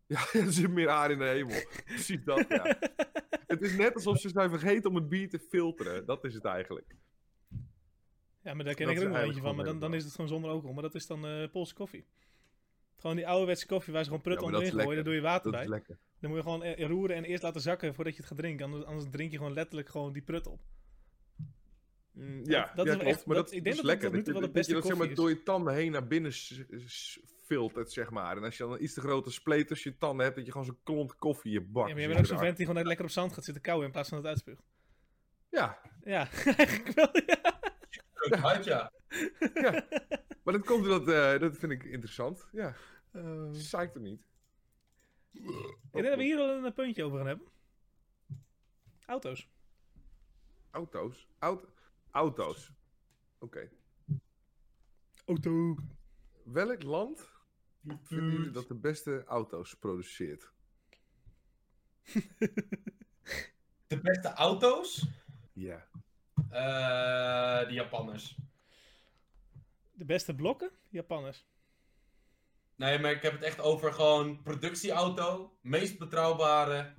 Ja, er zit meer aarde in de hemel. Precies dat, ja. Het is net alsof ze zijn vergeten om het bier te filteren. Dat is het eigenlijk.
Ja, maar daar ken
Dat
ik
is
er ook nog eentje
eigenlijk
van. Maar dan,
gewoon eh,
dan is het gewoon zonder alcohol. Maar dat is dan eh, Poolse koffie. Gewoon die ouderwetse koffie waar ze gewoon prut
Ja, maar dat
onderin
is
gooien. Daar
lekker.
doe je water
Dat
bij.
is lekker.
Dan moet je gewoon eh, roeren en eerst laten zakken voordat je het gaat drinken. Anders, anders drink je gewoon letterlijk gewoon die prut op.
Mm, Ja, ja,
dat is wel
klopt.
echt-
maar
dat-
dat,
ik
dat is
denk dat dat
lekker.
tot nu toe
je-
wel de
je
beste
dat zeg maar
koffie
door je tanden heen naar binnen s- s- filtert, zeg maar. En als je dan een iets te grote spleet tussen je tanden hebt, dat je gewoon zo'n klont koffie in je bak
Ja, maar je
zit
bent ook zo'n
te
vent die gewoon lekker op zand gaat zitten kauwen in plaats van het uitspuugt.
raken.
Ja, eigenlijk wel. Ja.
Leuk, hype, ja.
Ja, maar dat komt omdat, eh, dat vind ik interessant. Ja,
ik
zeikt er niet.
denk dat we hier al een puntje over gaan hebben. Auto's.
Auto's. Auto- auto's. Oké.
Auto.
Welk land vinden jullie dat de beste auto's produceert?
De beste auto's?
Ja.
Eh, de Japanners.
De beste blokken? Japanners.
Nee, maar ik heb het echt over gewoon productieauto. Meest betrouwbare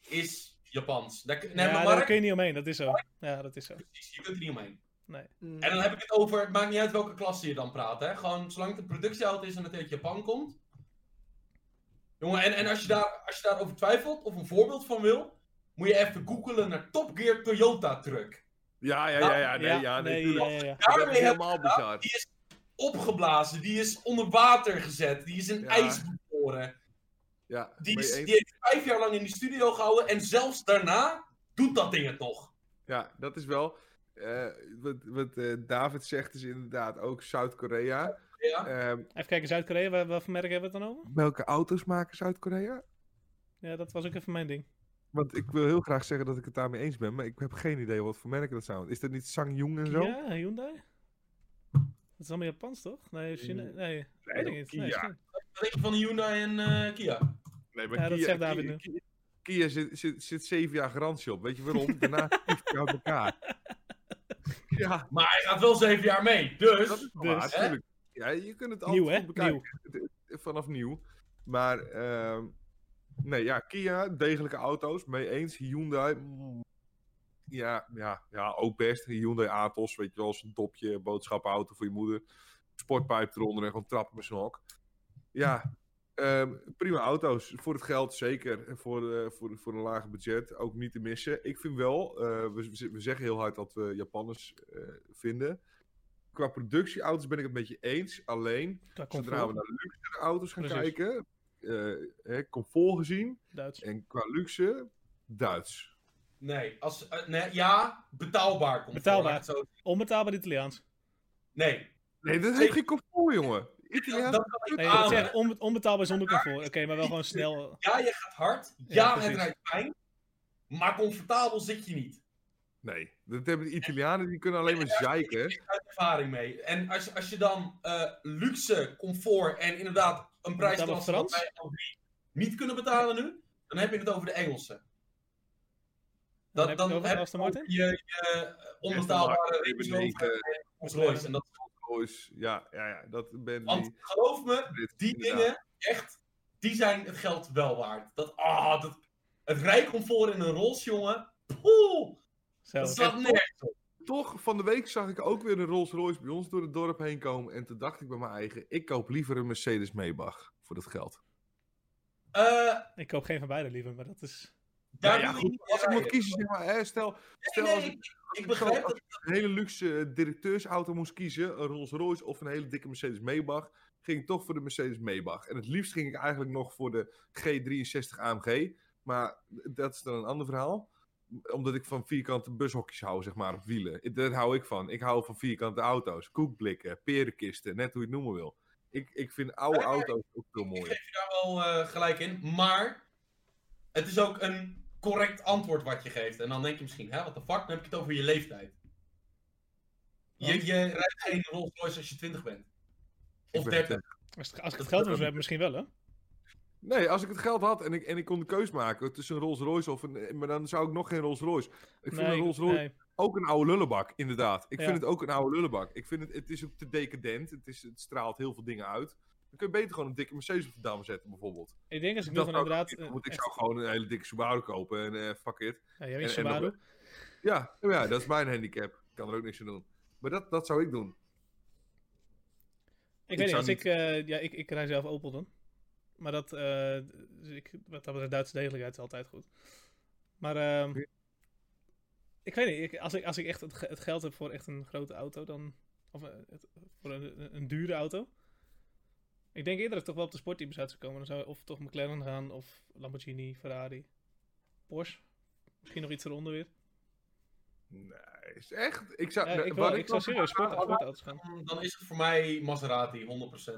is Japans. Daar, kun- nee,
ja,
maar
daar
Mark,
kun je niet omheen, dat is zo. Ja, dat is zo.
precies, je kunt er niet omheen.
Mm.
En dan heb ik het over, het maakt niet uit welke klasse je dan praat, hè. Gewoon, zolang het een productieauto is en het uit Japan komt. Jongen, en, en als, je daar, als je daarover twijfelt of een voorbeeld van wil, moet je even googelen naar Top Gear Toyota truck.
Ja, ja, ja, ja. Nee, ja, nee,
nee,
tuurlijk.
Nou, ja, ja, ja.
Dat is
Daarmee heb
helemaal bizar.
Die is opgeblazen, die is onder water gezet, die is in
Ja.
ijs bevroren.
Ja,
Die,
ben je
is,
eens?
die heeft vijf jaar lang in die studio gehouden en zelfs daarna doet dat ding het nog.
ja, dat is wel. eh, wat wat eh, David zegt is inderdaad ook Zuid-Korea.
Ja.
Ehm,
Even kijken, Zuid-Korea, waar, welke merk hebben we het dan over?
welke auto's maken Zuid-Korea?
Ja, dat was ook even mijn ding.
Want ik wil heel graag zeggen dat ik het daarmee eens ben, maar ik heb geen idee wat voor merken dat zijn. Is dat niet Sangyong en zo?
Ja, Hyundai? Dat is allemaal Japans, toch? Nee, China...
Mm.
Nee, weet ik niet. Nee,
Kia.
is niet.
Wat denk je van de Hyundai en eh, Kia?
Nee,
Ja, dat zegt David nu.
Kia, Kia, Kia zit, zit, zit zeven jaar garantie op. Weet je waarom? Daarna vliegt hij uit elkaar. Ja,
Maar hij gaat wel zeven jaar mee, dus...
dat is wel
Dus,
waar,
hè?
tuurlijk. Ja, je kunt het altijd
Nieuw, hè?
goed bekijken.
Nieuw.
vanaf nieuw. Maar ehm, nee, ja, Kia, degelijke auto's, mee eens. Hyundai, mm, ja, ja, ja, ook best. Hyundai Atos, weet je wel, zo'n dopje, boodschappenauto voor je moeder. Sportpijp eronder en gewoon trappen met zo'n hok. Ja, ehm, prima auto's. Voor het geld zeker. En voor, eh, voor, voor een laag budget ook niet te missen. Ik vind wel, eh, we, we- we zeggen heel hard dat we Japanners eh, vinden. Qua productieauto's ben ik het met je eens. Alleen,
Qua
Zodra we
comfort,
naar luxe auto's gaan
Precies.
kijken, eh, hè, comfort gezien
Duits.
en qua luxe, Duits.
Nee, als, eh, nee, ja, betaalbaar komt
Betaalbaar.
voor, laat ik het zo-
Onbetaalbaar Italiaans.
Nee,
Nee, dat heeft
Zeker.
geen comfort, jongen.
dat,
Italiaans.
dat kan ik
Nee, dat
aan.
zegt onbe- onbetaalbaar zonder comfort. Oké, maar wel gewoon snel.
Ja, je gaat hard. Ja,
Ja,
het
precies.
rijdt fijn. Maar comfortabel zit je niet.
Nee, dat hebben de Italianen, die kunnen alleen maar zeiken.
ervaring mee. En als, je- als je dan eh, luxe, comfort en inderdaad een prijsklasse
Betalen
dat
we
wij alle drie niet kunnen betalen nu, dan heb je het over de Engelsen.
Dan
Dat-
heb je
dan
het over
heb
Aston
je
Martin? eh,
je, je onbetaalbare Range Rover en Rolls Royce. En dat,
Boys. Ja, ja, ja, dat ben
want
die.
geloof me, die
inderdaad.
dingen, echt, die zijn het geld wel waard. Dat, ah, dat, het rijcomfort in een Rolls, jongen, poeh,
Zo.
dat slaat nergens.
Toch, van de week zag ik ook weer een Rolls Royce bij ons door het dorp heen komen. En toen dacht ik bij mijn eigen, ik koop liever een Mercedes Maybach voor dat geld.
Eh,
Ik koop geen van beide liever, maar dat is...
Nou
daar
ja,
doe je
goed,
niet
Als ik
aan
moet
rijden.
kiezen, zeg maar, hè, stel, stel
Nee,
als
nee,
ik
ik, ik begrijp dat
een hele luxe eh, directeursauto moest kiezen, een Rolls Royce of een hele dikke Mercedes Maybach, ging ik toch voor de Mercedes Maybach. En het liefst ging ik eigenlijk nog voor de G63 AMG, maar dat is dan een ander verhaal. Omdat ik van vierkante bushokjes hou, zeg maar, op wielen. Ik- Daar hou ik van. Ik hou van vierkante auto's, koekblikken, perenkisten, net hoe je het noemen wil. Ik, ik vind oude
Nee, nee.
auto's ook veel mooier.
daar wel eh, gelijk in. Maar het is ook een correct antwoord wat je geeft. En dan denk je misschien, hè, wat de fuck? Dan heb ik het over je leeftijd. Je, je rijdt geen Rolls Royce als je 20 bent. Of
ben eh.
30.
Als, het- als ik het geld was, hebben misschien wel, hè?
Nee, als ik het geld had en ik, en ik kon de keus maken tussen een Rolls Royce of een... Maar dan zou ik nog geen Rolls Royce. Ik vind
Nee,
een Rolls Royce
nee.
Ook een oude lullenbak, inderdaad. Ik
Ja.
vind het ook een oude lullenbak. Ik vind het, het is ook te decadent. Het, is, het straalt heel veel dingen uit. Dan kun je beter gewoon een dikke Mercedes op de dam zetten, bijvoorbeeld.
Ik denk als ik nu
Dat
gewoon
zou ik
inderdaad...
ook niet
eh,
doen, want ik
echt-
zou gewoon een hele dikke Subaru kopen en eh, fuck it.
ja, jij bent
en- en nog-
Subaru.
Ja, nou ja, dat is mijn handicap. Ik kan er ook niks aan doen. Maar dat, dat zou ik doen.
Ik,
Ik
weet niet,
zou
als ik, eh, ja, ik, ik rij zelf Opel dan. Maar dat, eh dus ik, wat dat betreft, Duitse degelijkheid is altijd goed. Maar, ehm, ik weet niet, ik- als, ik, als ik echt het, ge- het geld heb voor echt een grote auto, dan, of eh, het- voor een, een- een dure auto. Ik denk eerder dat ik toch wel op de sportteams uit zou komen. Dan zou ik of toch McLaren gaan, of Lamborghini, Ferrari, Porsche. Misschien nog iets eronder weer.
Nee, is echt. Ik zou,
Ja, ik, wil,
wat
ik zou
dan-
serieus sport,
maar-
sportauto's gaan.
Dan, dan is het voor mij Maserati,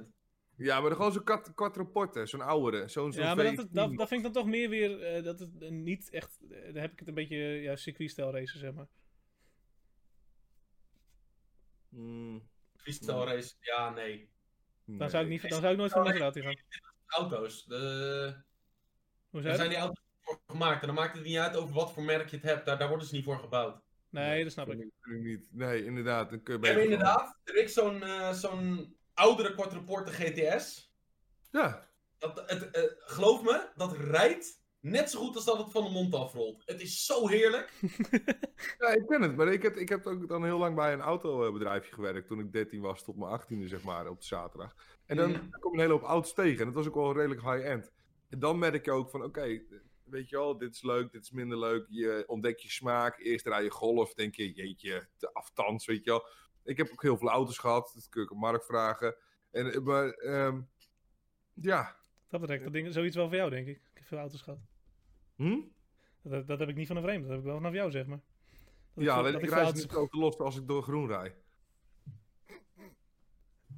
100%.
Ja, maar dan gewoon zo'n kat- quattroporte, zo'n oudere. Zo'n zo'n
Ja, maar dat,
V10.
het- dat, dat vind ik dan toch meer weer eh, dat het eh, niet echt. eh, dan heb ik het een beetje ja, circuitstijl racen, zeg maar.
Mm,
Freestyle race, ja, nee.
Dan
nee.
zou ik, niet, dan zou ik nooit voor Maserati gaan.
Auto's, de,
Hoe
daar
zei
zijn
dat?
die auto's voor gemaakt. En dan maakt het niet uit over wat voor merk je het hebt. Daar, daar worden ze niet voor gebouwd.
Nee, dat snap
Vind
ik.
ik natuurlijk niet. Nee, inderdaad. Dan kun je
We hebben
beter gewoon-
inderdaad, er is zo'n eh, zo'n oudere quadruporte GTS.
Ja,
Dat, het, eh, geloof me, dat rijdt net zo goed als dat het van de mond afrolt. Het is zo heerlijk.
ja, ik ken het. Maar ik heb, ik heb ook dan heel lang bij een autobedrijfje gewerkt. Toen ik 13 was tot mijn 18e, zeg maar, op de zaterdag. En dan
Mm.
kom je een hele hoop auto's tegen. En dat was ook wel redelijk high-end. En dan merk je ook van, oké, weet je wel, dit is leuk, dit is minder leuk. Je ontdekt je smaak. Eerst rij je golf, denk je, jeetje, te aftans, weet je wel. Ik heb ook heel veel auto's gehad. Dat kun ik op Mark vragen. En, eh, maar, ehm, ja.
Dat betrekt dat ding, zoiets wel voor jou, denk ik. Ik heb veel auto's gehad.
Hm?
Dat, dat heb ik niet van een vreemde, dat heb ik wel vanaf jou, zeg maar. Dat
Ja,
veel-
alleen
dat
ik
veel
rijd
auto's-
niet ook los als ik door groen rijd.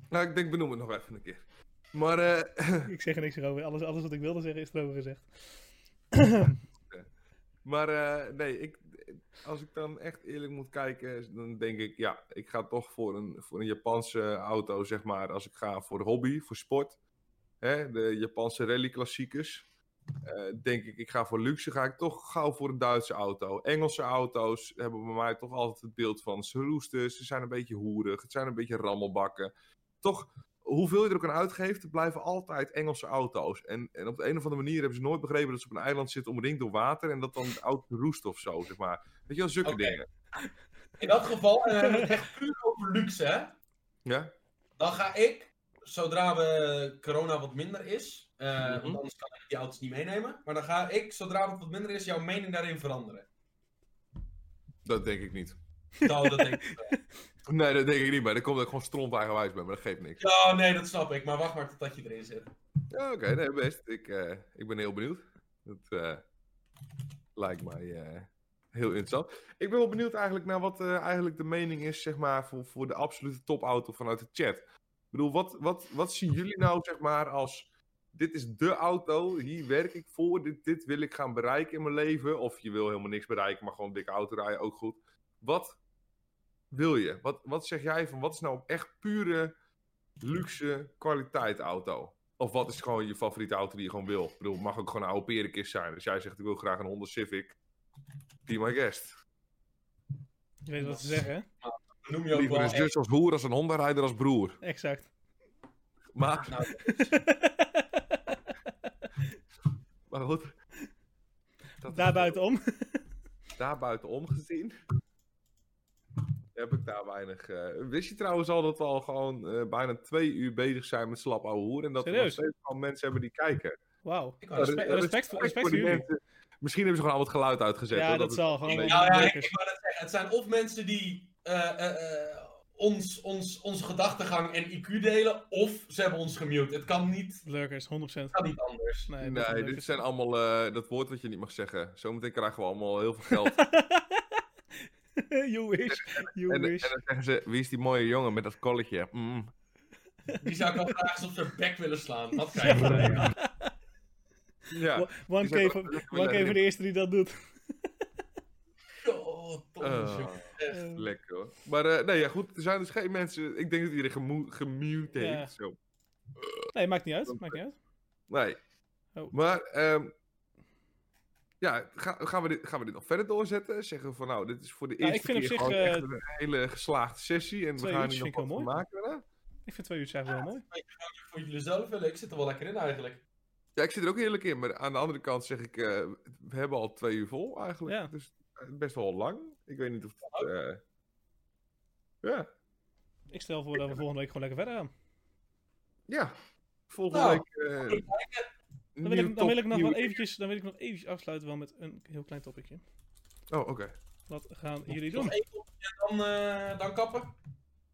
Nou, ik denk, benoem het nog even een keer. Maar, eh,
Ik zeg er niks over. Alles, alles wat ik wilde zeggen is erover gezegd.
maar eh, nee, ik, als ik dan echt eerlijk moet kijken, dan denk ik, ja, ik ga toch voor een, voor een Japanse auto, zeg maar, als ik ga voor hobby, voor sport. Hè, de Japanse rally-klassiekers. Eh, denk ik, ik ga voor luxe, ga ik toch gauw voor een Duitse auto. Engelse auto's hebben bij mij toch altijd het beeld van ze roesten, ze zijn een beetje hoerig, het zijn een beetje rammelbakken. Toch, hoeveel je er ook aan uitgeeft, het blijven altijd Engelse auto's. En, en op de een of andere manier hebben ze nooit begrepen dat ze op een eiland zitten omringd door water en dat dan de auto roest of zo, zeg maar. Weet je wel, zulke
Oké.
dingen.
In dat geval, en dan hebben we het echt puur over luxe, hè.
Ja?
Dan ga ik, zodra we corona wat minder is, eh,
Mhm.
want anders kan ik die auto's niet meenemen. Maar dan ga ik, zodra het wat minder is, jouw mening daarin veranderen.
Dat denk ik niet.
Nou, dat denk ik. wel.
Nee, dat denk ik niet, maar dat komt dat ik gewoon stront eigenwijs ben, maar dat geeft niks.
Ja, Oh, nee, dat snap ik. Maar wacht maar totdat je erin zit.
Ja, oké, nee, best. Ik, eh, ik ben heel benieuwd. Dat eh, lijkt mij eh, heel interessant. Ik ben wel benieuwd eigenlijk naar wat eh, eigenlijk de mening is, zeg maar, voor, voor de absolute topauto vanuit de chat. Ik bedoel, wat, wat, wat zien jullie nou, zeg maar, als dit is de auto, hier werk ik voor, dit, dit wil ik gaan bereiken in mijn leven. Of je wil helemaal niks bereiken, maar gewoon een dikke auto rijden, ook goed. Wat wil je? Wat, wat zeg jij van, wat is nou echt pure luxe kwaliteit auto? Of wat is gewoon je favoriete auto die je gewoon wil? Ik bedoel, het mag ook gewoon een oude perenkist zijn. Als jij zegt, ik wil graag een Honda Civic, be my guest.
Je weet wat ze zeggen, hè?
Dan noem je ook
Liever
wel
is dus als hoer, als een Honda-rijder, als broer.
Exact.
Maar,
echt- nou,
maar goed. Dat is-
Daarbuitenom.
daar buitenom gezien. Heb ik daar weinig. eh, wist je trouwens al dat we al gewoon eh, bijna twee uur bezig zijn met slap ouwe hoer? En dat we nog
Serieus?
steeds gewoon mensen hebben die kijken.
Wauw.
Ja,
ik wou
dus-
Respe-
eh,
respect voor- respect
die
voor jullie.
mensen. Misschien hebben ze gewoon al wat geluid uitgezet.
Ja,
hoor,
dat
het-
zal gewoon.
Nou
wel
ja, ik,
leuk is.
wou net zeggen, het zijn of mensen die eh, eh, eh, ons, ons, onze gedachtegang en IQ delen, of ze hebben ons gemute. Het kan niet,
Lurkers, 100%.
het kan niet anders.
Nee, dat is
Nee, dit
lurkers.
zijn allemaal eh, dat woord wat je niet mag zeggen. Zometeen krijgen we allemaal heel veel geld.
you wish, you
en, en dan
wish.
zeggen ze: wie is die mooie jongen met dat kolletje? Mm.
Die zou ik wel graag eens op zijn bek willen slaan. Dat krijgen we. Ja.
Ja.
One
die zijn
keer voor
wel-
one keer voor de eerste die dat doet.
Oh, Thomas,
Eh.
jongen, echt.
Eh,
Lekker hoor. Maar eh, nee, ja, goed. Er zijn dus geen mensen. Ik denk dat iedereen gemu- gemute heeft.
Ja.
Zo.
nee, maakt niet uit. Maakt niet uit.
Nee.
Oh.
Maar ehm, Ja, ga- gaan, we dit, gaan we dit nog verder doorzetten? Zeggen we van nou, dit is voor de
Ja, ik
eerste
vind op
keer
zich,
gewoon
eh,
echt een hele geslaagde sessie. En we
twee
gaan
uurtjes
hier nog
vind
wat
ik
van
wel mooi.
maken. daarna.
Ik vind twee uurtjes eigenlijk wel mooi.
Voor jullie zelf willen, ik zit er wel lekker in eigenlijk.
Ja, ik zit er ook eerlijk in. Maar aan de andere kant zeg ik, eh, we hebben al twee uur vol eigenlijk.
Ja.
Dus eh, best wel lang. Ik weet niet of het... eh, Ja,
Ik stel voor dat we volgende week gewoon lekker verder gaan.
ja. Volgende
Nou,
week... eh,
Dan wil,
nieuw
ik, dan wil
top,
ik nog
nieuw-
wel eventjes, dan wil ik nog eventjes afsluiten wel met een heel klein toppetje.
Oh, oké.
Wat gaan jullie doen?
Nog één kopje en dan, eh, dan kappen.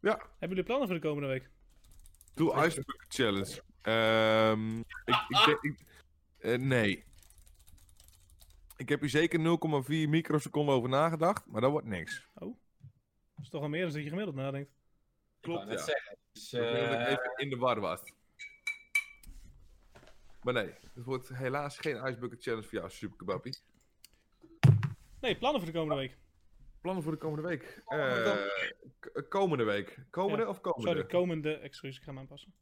Hebben jullie plannen voor de komende week?
Doe Ice Bucket Challenge. Ehm, ik, ik, denk- ik- eh, nee. Ik heb hier zeker 0,4 microseconden over nagedacht, maar dat wordt niks.
Dat is toch al meer dan dat je gemiddeld nadenkt.
Klopt,
ik wou net
ja.
zeggen. Dus,
Ik denk dat ik
eh,
even in de war was. Maar nee, het wordt helaas geen Ice Bucket Challenge voor jou, superkebappie.
Nee, plannen voor de komende week.
Plannen voor de komende week.
Komende
Eh, k- komende week. Komende
Ja.
of komende?
Sorry, komende. Excuus, ik ga hem aanpassen.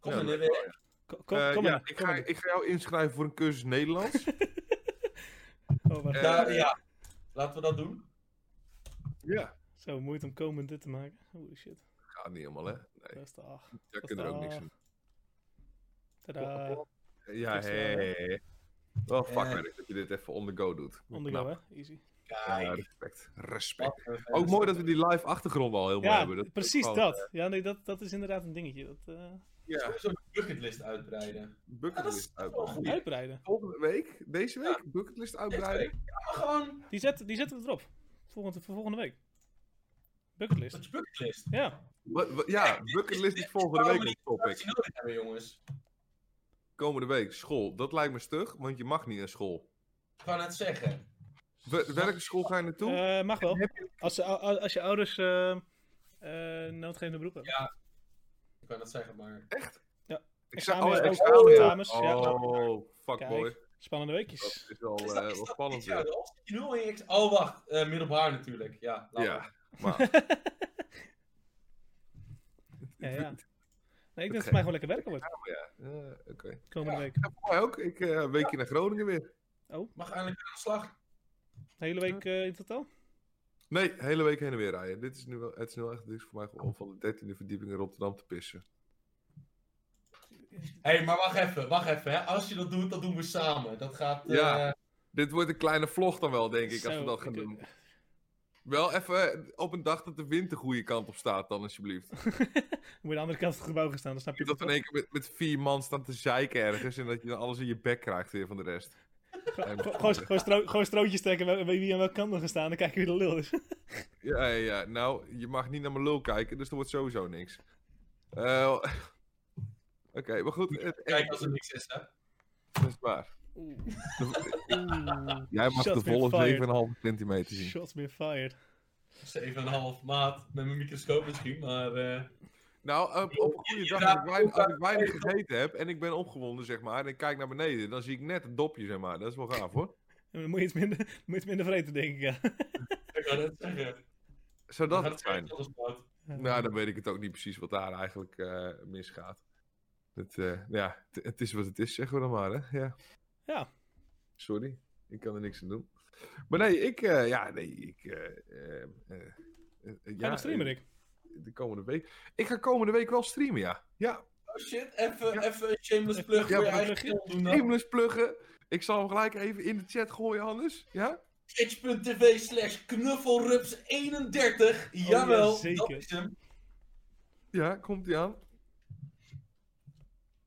kom
Ja,
er
maar-
weer.
Ko- ko-
Eh,
kom
ja,
maar.
ik
kom
ga,
maar.
ik ga jou inschrijven voor een cursus Nederlands.
Oh, wacht.
eh,
Ja, ja, laten we dat doen.
ja.
Zo, moeite om komende te maken. Holy shit.
Gaat niet helemaal, hè? Nee,
Beste ach.
daar kunnen er ook niks aan
Tadaa.
Ja,
Dus, eh,
hé. hé, hé. Wel
eh,
fuck dat je dit even on the go doet.
On the go,
Knap.
hè? Easy.
Kijk,
Ja, respect. Respect.
wat een
Ook mooi dat we die live achtergrond al helemaal
Ja,
hebben. is
precies
gewoon, eh,
dat. Ja, nee, dat, dat is inderdaad een dingetje. Dat, eh,
Ja,
Sowieso de bucketlist uitbreiden. Ja, dat is
bucketlist
wel
uitbreiden.
goed. Goeie.
Uitbreiden.
Volgende week, deze week, bucketlist
Uitbreiden.
uitbreiden.
Ja, maar gewoon
Die, zet, die zetten we erop. Volgende, voor volgende week. Bucketlist.
dat je bucketlist.
Ja.
Wat- wat- ja, bucketlist is volgende week op
Dat is
topic.
nodig hebben, jongens.
Komende week, school. Dat lijkt me stug, want je mag niet naar school.
Ik wou net zeggen.
We- welke school ga je naartoe?
Eh, mag wel.
Heb je-
Als, ze- a- a- als je ouders eh eh noodgevende beroep hebben.
Ja. Ik wou net zeggen, maar...
Ik zou-
examens
oh, examen,
ook.
ja.
Examens, ja.
Oh, fuck
Kijk.
boy.
Spannende
Dat
weekjes.
is wel,
Is
eh,
dat,
wel spannend.
ja,
weer.
nu al in je ex- Oh, wacht. eh, middelbaar natuurlijk. Ja, laat
Ja,
maar.
maar
Ja, ja. Nee, ik denk dat het
Oké.
voor mij gewoon lekker werken wordt.
ja, eh, oké.
Komende week.
Voor mij ook. Ik eh, een weekje naar Groningen weer.
Mag eindelijk aan de slag.
De hele week eh, in totaal.
Nee, hele week heen en weer rijden. Dit is nu wel, het is nu wel echt, dit is voor mij gewoon om van de 13e verdieping in Rotterdam te pissen.
Hé, hey, maar wacht even, wacht even. Hè. Als je dat doet, dat doen we samen. Dat gaat... eh,
Ja. Dit wordt een kleine vlog dan wel, denk ik, als
Zo,
we dat gaan
ik, eh,
doen. Wel even eh, op een dag dat de wind de goede kant op staat dan, alsjeblieft.
Moet je aan de andere kant van het gebouw gaan staan, dan snap je
Niet dat
het
we in één keer met, met vier man staan te zeiken ergens en dat je dan alles in je bek krijgt weer van de rest.
Gewoon- Gewoon, gewoon, stro gewoon strootjes trekken bij, bij wie aan welke kant nog gaan staan, dan kijk je wie de lul is.
Ja, ja, ja, nou, je mag niet naar mijn lul kijken, dus er wordt sowieso niks. Eh, Oké, maar goed. Het,
Kijk, als er niks is, hè.
dat is waar.
Oeh.
Jij mag de
Shots been fired.
volle 7,5 centimeter zien.
Shots been fired.
7,5 maat met mijn microscoop misschien, maar... eh,
Nou, op, op een goede dag, als ik, weinig, als ik weinig gegeten heb en ik ben opgewonden, zeg maar, en ik kijk naar beneden, dan zie ik net het dopje, zeg maar. Dat is wel gaaf, hoor.
En Dan moet je iets minder, moet je iets minder vreten, denk ik. Ja.
ik wou net zeggen.
Zou
Dan
dat
gaat
het zijn?
alles fout.
Nou, dan weet ik het ook niet precies wat daar eigenlijk eh, misgaat. Het, eh, ja, het, het is wat het is, zeggen we dan maar, hè. Ja.
Ja.
Sorry, ik kan er niks aan doen. Maar nee, ik, eh, ja, nee, ik, eh, eh, eh, eh,
Ga
ja,
je nog streamen,
eh,
Rick?
De komende week. Ik ga komende week wel streamen, ja. Ja,
Oh shit, even even een shameless plug voor je
maar dat
eigen
lucht je.
film doen dan.
Aimless pluggen. Ik zal hem gelijk even in de chat gooien, Hannes. Ja?
Twitch.tv slash
Oh,
knuffelrups31. Jawel, dat
jazeker.
is hem.
Ja, komt hij aan.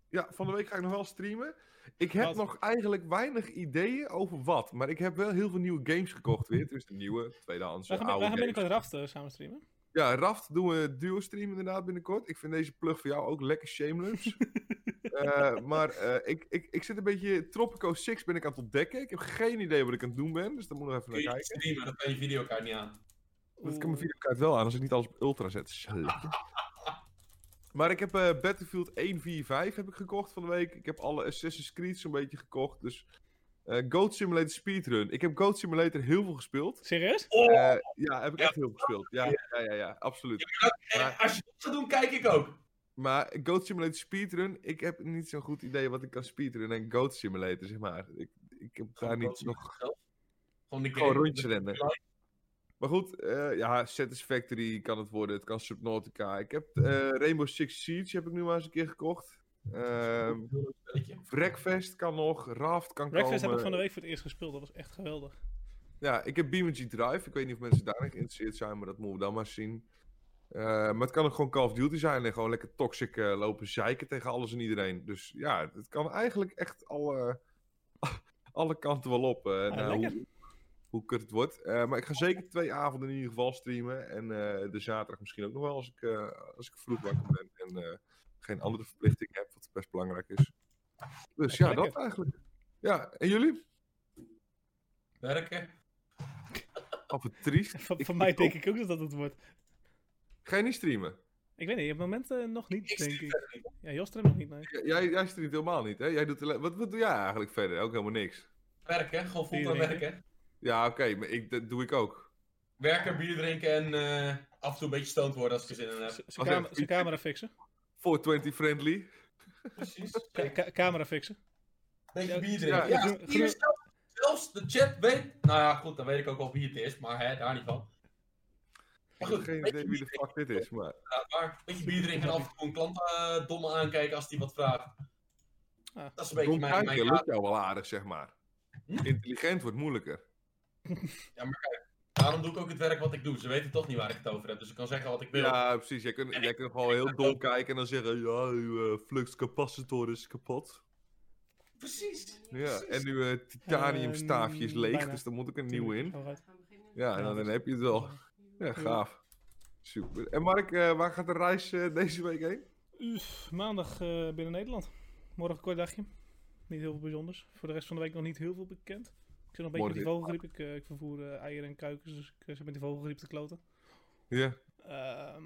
Ja, van de week ga ik nog wel streamen. Ik heb
Wat?
nog eigenlijk weinig ideeën over wat. Maar ik heb wel heel veel nieuwe games gekocht weer. Dus de nieuwe, tweedehands,
Wij gaan, wij
oude
gaan
games.
binnenkort Raft eh, samen streamen.
Ja, Raft doen we duo stream inderdaad binnenkort. Ik vind deze plug voor jou ook lekker shameless. Eh, maar eh, ik, ik, ik zit een beetje... Tropico 6 ben ik aan het ontdekken. Ik heb geen idee wat ik aan het doen ben. Dus daar moet ik nog even
Kun
naar
je
kijken.
niet streamen, dan kan je videokaart niet aan.
Dat kan mijn
Oeh.
videokaart wel aan als ik niet alles op ultra zet. Sletje. Maar ik heb eh, Battlefield 145 heb ik gekocht van de week. Ik heb alle Assassin's Creed zo'n beetje gekocht. Dus eh, Goat Simulator Speedrun. Ik heb Goat Simulator heel veel gespeeld.
Serieus?
Oh,
Eh, ja, heb ik
Ja.
echt heel veel gespeeld. Ja, ja, ja, ja, absoluut.
eh, als je dat gaat doen, kijk ik ook.
Maar Goat Simulator Speedrun, ik heb niet zo'n goed idee wat ik kan speedrunnen en Goat Simulator, zeg maar. Ik, ik heb daar niet nog...
zelf? Gewoon de game.
Gewoon rondjes rennen. Maar goed, eh, ja, Satisfactory kan het worden, het kan Subnautica. Ik heb eh, Rainbow Six Siege heb ik nu maar eens een keer gekocht. Ehm
Spelletje.
Wreckfest kan nog, Raft kan
Breakfast heb
komen.
ik van de week voor het eerst gespeeld. Dat was echt geweldig.
Ja, ik heb Beamergy Drive. Ik weet niet of mensen daarin geïnteresseerd zijn, maar dat moeten we dan maar zien. Eh, maar het kan ook gewoon Call of Duty zijn en gewoon lekker toxic eh, lopen zeiken tegen alles en iedereen. Dus ja, het kan eigenlijk echt alle, alle kanten wel op. eh,
Ah,
nou,
lekker.
hoe, hoe kut het wordt. Eh, maar ik ga zeker twee avonden in ieder geval streamen. En eh, de zaterdag misschien ook nog wel als ik, eh, als ik vroeg wakker ben en eh, geen andere verplichting heb, wat best belangrijk is. Dus ja, dat
lekker.
eigenlijk. Ja, en jullie?
Werken.
Af en triest.
Van,
Ik-
van mij denk ik ook dat dat het wordt.
Ga je niet streamen?
Ik weet niet, op het moment eh, nog niet,
Ik
denk
stream
ik. Ja, Jos streamt nog niet, nee.
J- Jij, jij streamt helemaal niet, hè? Jij doet alleen- wat, wat doe jij eigenlijk verder? Ook helemaal niks.
Werken, gewoon
Bier
fulltime
drinken.
werken.
Ja, oké, maar ik, dat doe ik ook.
Werken, bier drinken en eh, af en toe een beetje stoned worden als ik er zin in heb.
Z-
Als
Zijn cam-
even-
zijn camera fixen.
420 friendly.
Precies.
Ka-
Een
ka- camera fixen.
beetje bier
Ja,
drinken. Ja,
groen-
bier is
groen-
dat. Zelfs de chat weet... Nou ja, goed, dan weet ik ook wel wie het is, maar hè, daar niet van.
Ik
Maar
heb
goed,
geen
een
idee
beetje
wie
bier
de
drinken,
fuck dit is, maar...
inderdaad, maar een beetje bier drinken en af en toe een klant eh domme aankijken als die wat vraagt.
Ah.
Dat is een beetje
Dom
mijn...
kijken lukt
mijn
jou wel aardig, zeg maar.
Hm?
Intelligent wordt moeilijker.
daarom doe ik ook het werk wat ik doe. Ze weten toch niet waar ik het over heb, dus ik kan zeggen wat ik wil.
Ja, precies. Jij kunt, jij kunt gewoon heel dom kijken en dan zeggen... Ja, uw eh, fluxcapacitor is kapot.
Precies.
Ja,
precies.
en uw eh, titaniumstaafje is
Ehm,
leeg,
bijna.
dus daar moet ook een nieuwe in.
Vooruit.
Ja, en dan, dan heb je het wel. Ja, gaaf. Super. En Mark, eh, waar gaat de reis eh, deze week heen?
Uff, maandag eh, binnen Nederland. Morgen een kort dagje. Niet heel veel bijzonders. Voor de rest van de week nog niet heel veel bekend. Ik zit nog een beetje met die
Morgen
vogelgriep. Ik, eh, ik vervoer eh, eieren en kuikens, dus ik eh, zit met die vogelgriep te kloten.
Ja.
Ehm,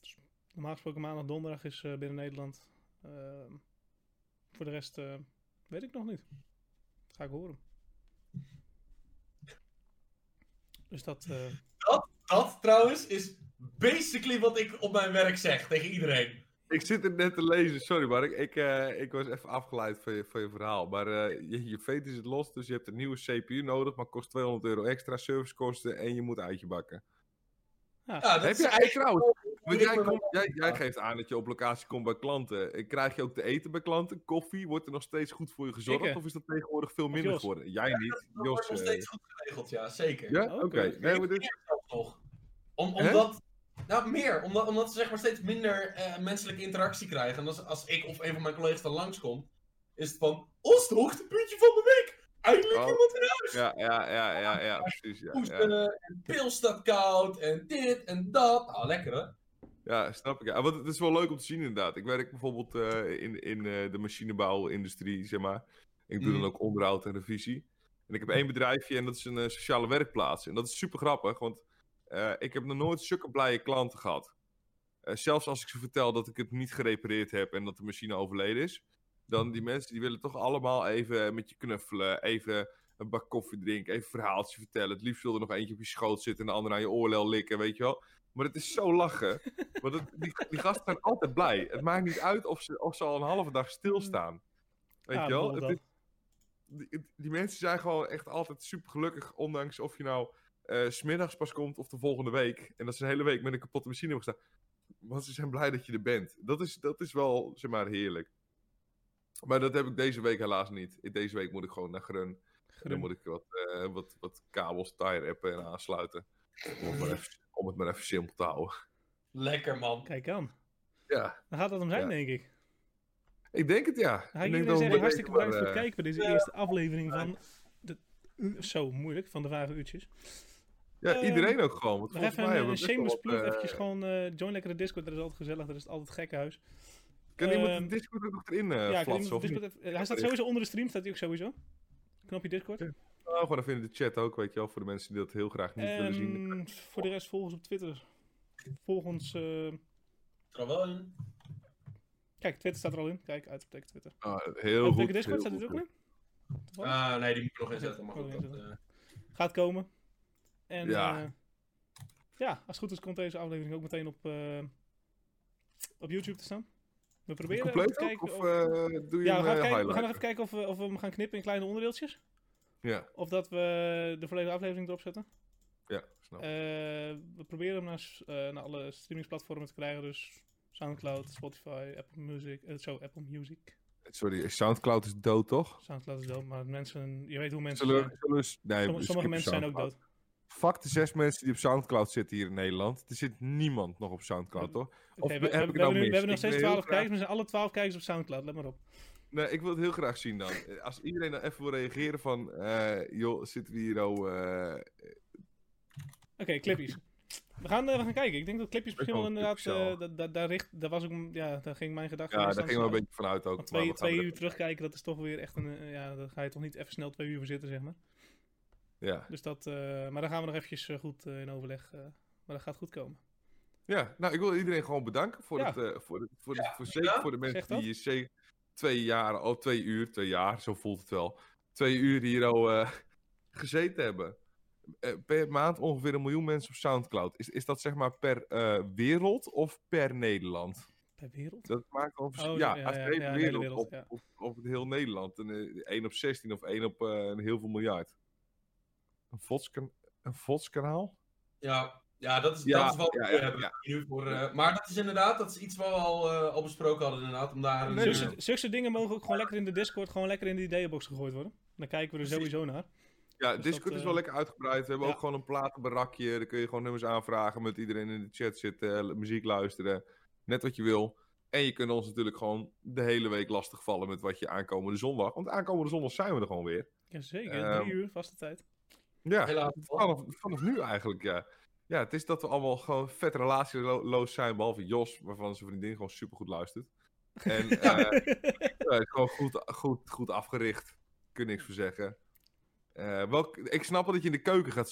dus normaal gesproken maandag, donderdag is eh, binnen Nederland. Ehm, voor de rest eh, weet ik nog niet. Dat ga ik horen. Dus dat... eh,
Dat trouwens is basically wat ik op mijn werk zeg tegen iedereen.
Ik zit het net te lezen, sorry Mark. Ik, eh, ik was even afgeleid van je, van je verhaal. Maar eh, je, je veet is het los, dus je hebt een nieuwe CPU nodig, maar kost 200 euro extra servicekosten en je moet uitje bakken.
Ja, dat
Heb
is
je
eigenlijk
eigenlijk trouwens?
hoe
Want
ik
jij,
me-
komt- jij, jij geeft aan dat je op locatie komt bij klanten. Eh, Krijg je ook te eten bij klanten? Koffie? Wordt er nog steeds goed voor je gezorgd?
Ik, eh.
Of is dat tegenwoordig veel minder
Jos.
geworden? Jij niet,
Dat
Jos.
wordt nog
eh,
steeds goed geregeld, ja, zeker.
ja, oké.
Oké.
Nee, maar dit-
Nog. Om,
Hè?
omdat, nou, meer. Omdat, omdat ze zeg maar steeds minder eh, menselijke interactie krijgen. En als, als ik of een van mijn collega's dan langskomt, is het van... Ons het hoogtepuntje van de week! Eindelijk
Oh.
iemand in huis!
ja, ja, ja, ja, ja, precies. Ja, ja.
Hoesten, en pil staat koud, en dit en dat. Nou, lekker hè?
Ja, snap ik. Ja, want het is wel leuk om te zien inderdaad. Ik werk bijvoorbeeld eh, in, in eh, de machinebouwindustrie, zeg maar. Ik doe
Mm.
dan ook onderhoud en revisie. En ik heb één bedrijfje en dat is een eh, sociale werkplaats. En dat is super grappig, want eh, ik heb nog nooit zulke blije klanten gehad. Eh, zelfs als ik ze vertel dat ik het niet gerepareerd heb en dat de machine overleden is. Dan die mensen die willen toch allemaal even eh, met je knuffelen, even een bak koffie drinken, even een verhaaltje vertellen. Het liefst wil er nog eentje op je schoot zitten en de ander aan je oorlel likken, weet je wel. Maar het is zo lachen. Want het- die, die gasten zijn altijd blij. Het maakt niet uit of ze, of ze al een halve dag stilstaan. Weet
ja,
je wel?
lol
Het
Ah, dat.
is- die, die mensen zijn gewoon echt altijd super gelukkig. Ondanks of je nou eh, 's smiddags pas komt of de volgende week. En dat ze een hele week met een kapotte machine hebben gestaan. Want ze zijn blij dat je er bent. Dat is, dat is wel, zeg maar, heerlijk. Maar dat heb ik deze week helaas niet. Deze week moet ik gewoon naar Grun. En dan
Grun.
moet ik wat, eh, wat, wat kabels tie rappen en aansluiten. Om het, maar even, om het maar even simpel te houden.
Lekker man.
Kijk aan.
Ja,
Dan gaat dat hem zijn,
Ja.
denk ik.
ik denk het ja.
Hij
ik
jullie
denk
zeggen
we
hartstikke
maar,
bedankt voor het
eh,
kijken bij deze eerste aflevering van de, zo moeilijk, van de vage uurtjes.
Ja,
Eh,
iedereen ook gewoon. Want
Nog
volgens
even
mij
een,
hebben
een
we best wel
shameless
wat,
plug,
eh,
eventjes gewoon eh, join lekker de Discord, dat is altijd gezellig, dat is altijd gek huis.
Kan iemand
Ehm,
de Discord ook nog erin eh
ja, ik weet
flatsen?
niet of
Eh, Of
Discord
niet?
even- hij staat sowieso onder de stream, staat hij ook sowieso. Knopje Discord.
Nou, gewoon even in de chat ook, weet je wel. Voor de mensen die dat heel graag niet willen zien.
En Ehm, voor de rest volg ons op Twitter. Volg ons, eh,
Er wel in.
kijk, Twitter staat er al in. Kijk, uitgetekend Twitter.
Ah, heel goed.
Uitgetekend
heel
Ehm, Discord staat er
goed.
ook in. Toevallig.
Ah, nee, die moet ik nog inzetten. Maar goed,
Moet ik
dat,
nog
eh,
Gaat komen. En
Ja.
ja. ja, als het goed is komt deze aflevering ook meteen op, eh, op YouTube te staan. We proberen even
Compleet
te
ook?
kijken
Of
of-
eh, doe je
Ja, we
een eh,
gaan, kijken, we gaan nog
highlight?
even kijken of we, of we hem gaan knippen in kleine onderdeeltjes.
Ja,
Of dat we de volledige aflevering erop zetten.
ja, snap.
Eh, we proberen hem naar, s- eh, naar alle streamingsplatformen te krijgen. Dus Soundcloud, Spotify, Apple Music. eh, zo, Apple Music.
Sorry, Soundcloud is dood, toch?
Soundcloud is dood, maar mensen, je weet hoe mensen
Zullen
zijn.
we, zullen we- nee,
Somm-
we
sommige
skippen
mensen zijn ook
Soundcloud.
dood.
Fuck de zes mensen die op Soundcloud zitten hier in Nederland. Er zit niemand nog op Soundcloud, toch? Of
Oké, we,
heb ik het
we- we
nou
hebben nu-
mis?
we hebben
Ik
nog steeds
ben heel
12
graag-
kijkers, maar er zijn alle 12 kijkers op Soundcloud, let maar op.
Nee, ik wil het heel graag zien dan. Eh, Als iedereen dan even wil reageren van... eh, joh, zitten we hier al... eh,
Oké, clipjes. We gaan, eh, we gaan kijken. Ik denk dat clipjes misschien wel
wel een
inderdaad.
clipje
eh, da- da- daar, richt, daar, was ik, m- ja, daar ging mijn gedachte.
ja,
eerst
daar
aan
gingen we een
slaan.
beetje vanuit ook.
Want
maar
twee,
we gaan
twee
er-
uur terugkijken, dat is toch weer echt een. eh, Ja, daar ga je toch niet even snel twee uur voor zitten, zeg maar.
Ja.
Dus dat, eh, maar daar gaan we nog eventjes eh, goed eh, in overleg. eh, maar dat gaat goed komen.
ja, nou, ik wil iedereen gewoon bedanken voor
Ja.
het... eh, voor, het- voor, het- voor, zeker
ja.
voor de mensen
Zeg dat.
die hier zeker twee jaar... al twee uur, twee jaar, zo voelt het wel. Twee uur hier al eh, gezeten hebben. Eh, per maand ongeveer een miljoen mensen op Soundcloud. Is, is dat zeg maar per eh, wereld of per Nederland?
Per wereld?
Dat maakt wel verschil.
Oh,
ja,
ja,
als de
ja,
hele
ja, de hele
wereld,
wereld,
op,
ja.
op, op het heel Nederland. Een, eh, 1 op 16 of 1 op eh, een heel veel miljard. Een Vodskan- een Vodskanaal?
Ja, ja, dat is,
Ja,
dat is wat
ja,
we
ja,
hebben
ja.
nu voor. eh, maar dat is inderdaad, dat is iets wat we al, eh, al besproken hadden, inderdaad. Om daar een,
Nee,
eh,
dus-
Zulke, zulke dingen mogen ook gewoon lekker in de Discord, gewoon lekker in de ideeënbox gegooid worden. Dan kijken we er
Precies.
sowieso naar.
Ja,
Dus
Discord
dat,
is
eh,
wel lekker uitgebreid. We hebben
ja.
ook gewoon een platenbarakje. Daar kun je gewoon nummers aanvragen. Met iedereen in de chat zitten. l- Muziek luisteren. Net wat je wil. En je kunt ons natuurlijk gewoon de hele week lastigvallen met wat je aankomende zondag. Want aankomende zondag zijn we er gewoon weer.
Jazeker,
Ehm,
drie uur vaste tijd.
Ja.
helaas.
Vanaf, vanaf nu eigenlijk, ja. Ja, het is dat we allemaal gewoon vet relatieloos zijn, behalve Jos, waarvan zijn vriendin gewoon supergoed luistert. En eh, eh, gewoon goed, goed, goed afgericht, kun niks voor zeggen. Eh, welk, ik snap wel dat je in de keuken gaat